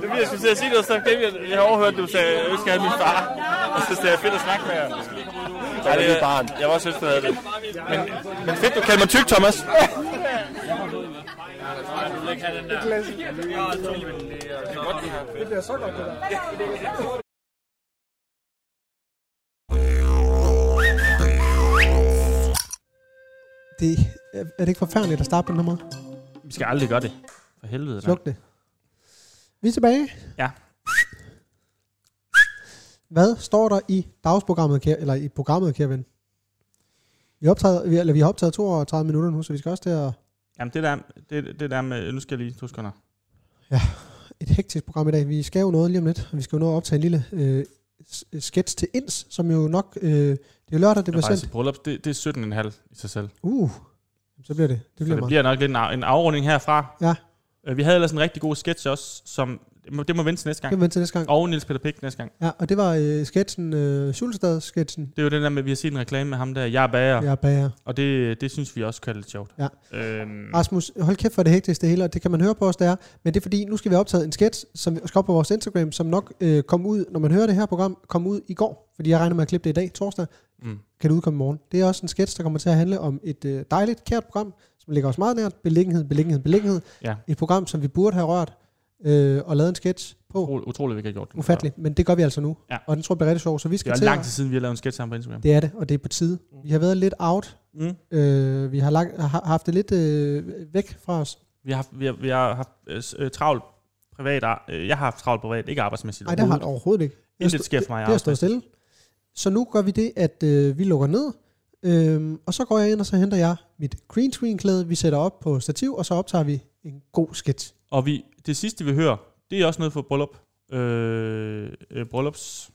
[SPEAKER 11] det bliver, jeg skulle til at sige noget, så glemte jeg, jeg overhørte, du sagde, jeg ønsker at have min far. Og så sagde jeg, fedt at snakke med jer. Ja,
[SPEAKER 6] det er mit barn.
[SPEAKER 11] Jeg var også ønsket, at jeg havde det. Men, men fedt, du kalder mig tyk, Thomas.
[SPEAKER 2] Det bliver så godt, det der. Det, er er det ikke forfærdeligt at starte på den her måde?
[SPEAKER 1] Vi skal aldrig gøre det. For helvede.
[SPEAKER 2] Sluk det. Vi er tilbage.
[SPEAKER 1] Ja.
[SPEAKER 2] Hvad står der i dagsprogrammet, kære, eller i programmet, kære ven? Vi, optager, vi, eller vi har optaget 32 minutter nu, så vi skal også til at...
[SPEAKER 1] Jamen det der, det, det der med, nu skal jeg lige to sekunder.
[SPEAKER 2] Et hektisk program i dag. Vi skal jo noget lige om lidt. og Vi skal jo nå at optage en lille øh, s- sketch til Ins, som jo nok... Øh, det er lørdag, det
[SPEAKER 1] Det er
[SPEAKER 2] bliver
[SPEAKER 1] faktisk
[SPEAKER 2] sendt.
[SPEAKER 1] et bryllup, det, det er 17,5 i sig selv.
[SPEAKER 2] Uh, så bliver det. Det
[SPEAKER 1] Så
[SPEAKER 2] bliver
[SPEAKER 1] det
[SPEAKER 2] meget.
[SPEAKER 1] bliver nok lidt en, af, en afrunding herfra.
[SPEAKER 2] Ja.
[SPEAKER 1] Øh, vi havde ellers en rigtig god sketch også, som det må, det må vente til næste
[SPEAKER 2] Det
[SPEAKER 1] gang.
[SPEAKER 2] venter til næste gang.
[SPEAKER 1] Og Niels Peter Pick næste gang.
[SPEAKER 2] Ja, og det var øh, sketchen, øh, Schulstad-sketchen.
[SPEAKER 1] Det er jo den der med, at vi har set en reklame med ham der, jeg er bager.
[SPEAKER 2] Ja.
[SPEAKER 1] Ja.
[SPEAKER 2] Jeg bager.
[SPEAKER 1] Og det, det synes vi også kører lidt sjovt.
[SPEAKER 2] Ja.
[SPEAKER 1] Øhm,
[SPEAKER 2] Rasmus, hold kæft for det hektigste hele, og det kan man høre på os, det er. Men det er fordi, nu skal vi have optaget en sketch, som vi skal op på vores Instagram, som nok øh, kom ud, når man hører det her program, kom ud i går. Fordi jeg regner med at klippe det i dag, torsdag,
[SPEAKER 1] mm.
[SPEAKER 2] kan det udkomme i morgen. Det er også en sketch, der kommer til at handle om et øh, dejligt, kært program, som ligger os meget nært. Beliggenhed, beliggenhed, beliggenhed.
[SPEAKER 1] Ja.
[SPEAKER 2] Et program, som vi burde have rørt øh, og lavet en sketch på.
[SPEAKER 1] Utro- Utroligt, vi ikke har gjort det.
[SPEAKER 2] Ufatteligt, men det gør vi altså nu.
[SPEAKER 1] Ja.
[SPEAKER 2] Og den tror jeg bliver rigtig sjov, så vi
[SPEAKER 1] Det
[SPEAKER 2] skal
[SPEAKER 1] er
[SPEAKER 2] til.
[SPEAKER 1] lang
[SPEAKER 2] at-
[SPEAKER 1] tid siden, vi har lavet en sketch sammen på Instagram.
[SPEAKER 2] Det er det, og det er på tide. Vi har været lidt out.
[SPEAKER 1] Mm.
[SPEAKER 2] Øh, vi har, lagt, har haft det lidt øh, væk fra os.
[SPEAKER 1] Vi har haft, vi har, vi har haft øh, s- øh, travlt privat. ar- Øh, jeg har haft travlt privat, ikke arbejdsmæssigt.
[SPEAKER 2] Nej, det har det overhovedet ikke. Jeg
[SPEAKER 1] Intet
[SPEAKER 2] stod-
[SPEAKER 1] sker for mig i
[SPEAKER 2] Det har stået stille. Så nu gør vi det, at øh, vi lukker ned, øhm, og så går jeg ind, og så henter jeg mit green screen klæde, vi sætter op på stativ, og så optager vi en god sketch.
[SPEAKER 1] Og vi, det sidste, vi hører, det er også noget for bryllup. Øh, øh, bryllups...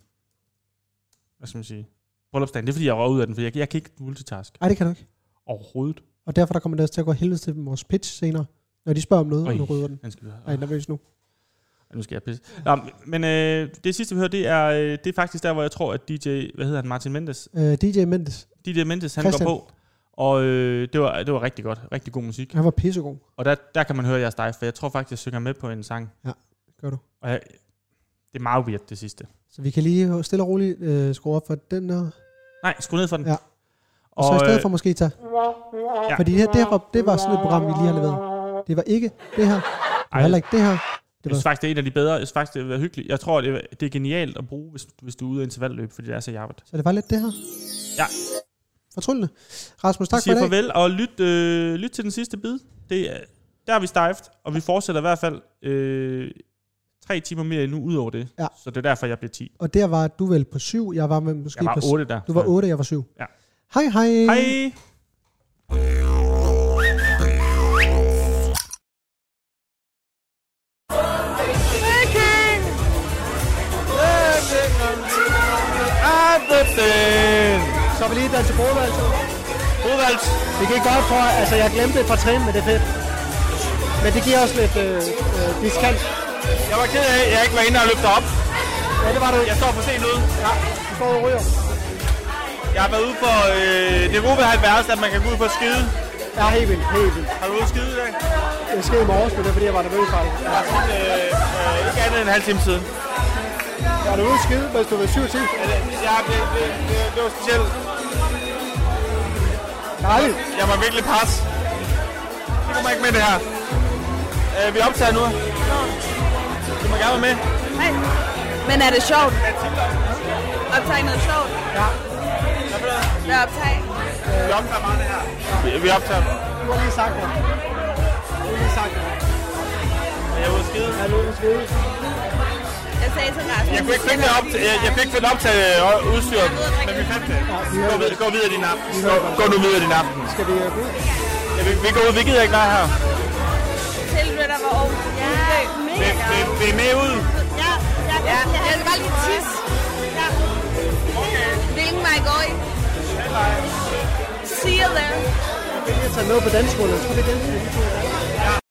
[SPEAKER 1] Hvad skal man sige? Bryllupsdagen. Det er, fordi jeg røg ud af den, fordi jeg, jeg kan ikke multitask
[SPEAKER 2] Ej, det kan du ikke.
[SPEAKER 1] overhovedet.
[SPEAKER 2] Og derfor der kommer det også til at gå helvedes til vores pitch senere, når de spørger om noget, og
[SPEAKER 1] Oj. Ah.
[SPEAKER 2] nu rydder den.
[SPEAKER 1] Den skal vi høre.
[SPEAKER 2] Jeg er nervøs nu.
[SPEAKER 1] Ej, nu skal jeg pisse. Nå, men øh, det sidste, vi hører, det er, øh, det er faktisk der, hvor jeg tror, at DJ... Hvad hedder han? Martin Mendes.
[SPEAKER 2] Øh, DJ Mendes,
[SPEAKER 1] DJ Mendes, han
[SPEAKER 2] Christian.
[SPEAKER 1] går på. Og øh, det, var, det var rigtig godt. Rigtig god musik.
[SPEAKER 2] han var pissegod.
[SPEAKER 1] Og der, der kan man høre jeres dig, for jeg tror faktisk, jeg synger med på en sang.
[SPEAKER 2] Gør du.
[SPEAKER 1] Og jeg, det er meget weird, det sidste.
[SPEAKER 2] Så vi kan lige stille og roligt øh, skrue op for den der.
[SPEAKER 1] Nej, skru ned for den.
[SPEAKER 2] Ja. Og, så i stedet for
[SPEAKER 1] øh,
[SPEAKER 2] måske tage. Ja. Fordi det her, det, her, var- det var sådan et program, vi lige har leveret. Det var ikke det her. Det var
[SPEAKER 1] Ej.
[SPEAKER 2] heller ikke det her.
[SPEAKER 1] Jeg synes faktisk, det er en af de bedre. Jeg synes faktisk, det er hyggeligt. Jeg tror, det er, det er genialt at bruge, hvis, hvis du er ude i intervalløb, fordi det er så javet.
[SPEAKER 2] Så det var lidt det her.
[SPEAKER 1] Ja.
[SPEAKER 2] Fortryllende. Rasmus, tak
[SPEAKER 1] Tak
[SPEAKER 2] for i
[SPEAKER 1] siger
[SPEAKER 2] dag.
[SPEAKER 1] farvel, og lyt, øh, lyt til den sidste bid. Det er, der er vi stejft, og vi fortsætter i hvert fald øh, tre timer mere endnu ud over det.
[SPEAKER 2] Ja.
[SPEAKER 1] Så det er derfor, jeg bliver 10.
[SPEAKER 2] Og der var du vel på syv. Jeg var vel måske
[SPEAKER 1] Jeg var
[SPEAKER 2] på...
[SPEAKER 1] 8 der.
[SPEAKER 2] Du var otte, jeg var syv.
[SPEAKER 1] Ja.
[SPEAKER 2] Hej, hej.
[SPEAKER 1] Hej!
[SPEAKER 12] Viking! Everything!
[SPEAKER 6] Everything! Så
[SPEAKER 2] Skal vi lige danse bordvalg? Bordvalg. Det gik godt, tror jeg. Altså, jeg glemte et par trin, men det er fedt. Men det giver også lidt øh, øh, diskant.
[SPEAKER 1] Jeg var ked af, at jeg ikke var inde og løfte op.
[SPEAKER 2] Ja, det var du.
[SPEAKER 1] Jeg står for sent ude.
[SPEAKER 2] Ja, du står og ryger.
[SPEAKER 1] Jeg har været ude for øh, det gode ved 70, at man kan gå ud på skide.
[SPEAKER 2] Ja, helt vildt, helt vildt.
[SPEAKER 1] Har du ude at skide i dag?
[SPEAKER 2] Det skete i morges, men det er fordi, jeg var nervøs faktisk.
[SPEAKER 1] Jeg har sådan, øh, øh, ikke andet end en halv time siden.
[SPEAKER 2] Ja, du er ude at skide, hvis du var 7 til.
[SPEAKER 1] Ja, det, ja, det, det, det, det var specielt.
[SPEAKER 2] Dejligt.
[SPEAKER 1] Jeg var virkelig pas. Det kommer ikke med det her. Øh, vi optager nu. Du må gerne være med.
[SPEAKER 8] Hej. Men er det sjovt? Optage noget sjovt?
[SPEAKER 2] Ja.
[SPEAKER 8] Hvad optage?
[SPEAKER 1] Vi optager bare det her. Vi, vi optager.
[SPEAKER 2] Du har lige sagt det. Du har lige sagt det.
[SPEAKER 1] Jeg er ude at skide.
[SPEAKER 2] Jeg er ude at skide.
[SPEAKER 8] Jeg sagde til Rasmus.
[SPEAKER 1] Jeg kunne ikke finde det op til, jeg, jeg kunne ikke finde op til øh, udstyret, men vi fandt det. Gå, vid- gå videre din aften. Gå, gå nu videre din aften.
[SPEAKER 2] Skal vi øh, gå ud?
[SPEAKER 1] Ja, vi, vi går ud, vi gider ikke være her.
[SPEAKER 8] Tilflytter var Aarhus. Ja,
[SPEAKER 1] Vi,
[SPEAKER 8] mega
[SPEAKER 1] vi, vi er med ud.
[SPEAKER 8] Ja, ja, ja. Jeg vil bare lige tisse. Ja. Hvilken vej går I? See you there.
[SPEAKER 2] Jeg vil lige tage med på danskolen. Jeg tror, det er den, vi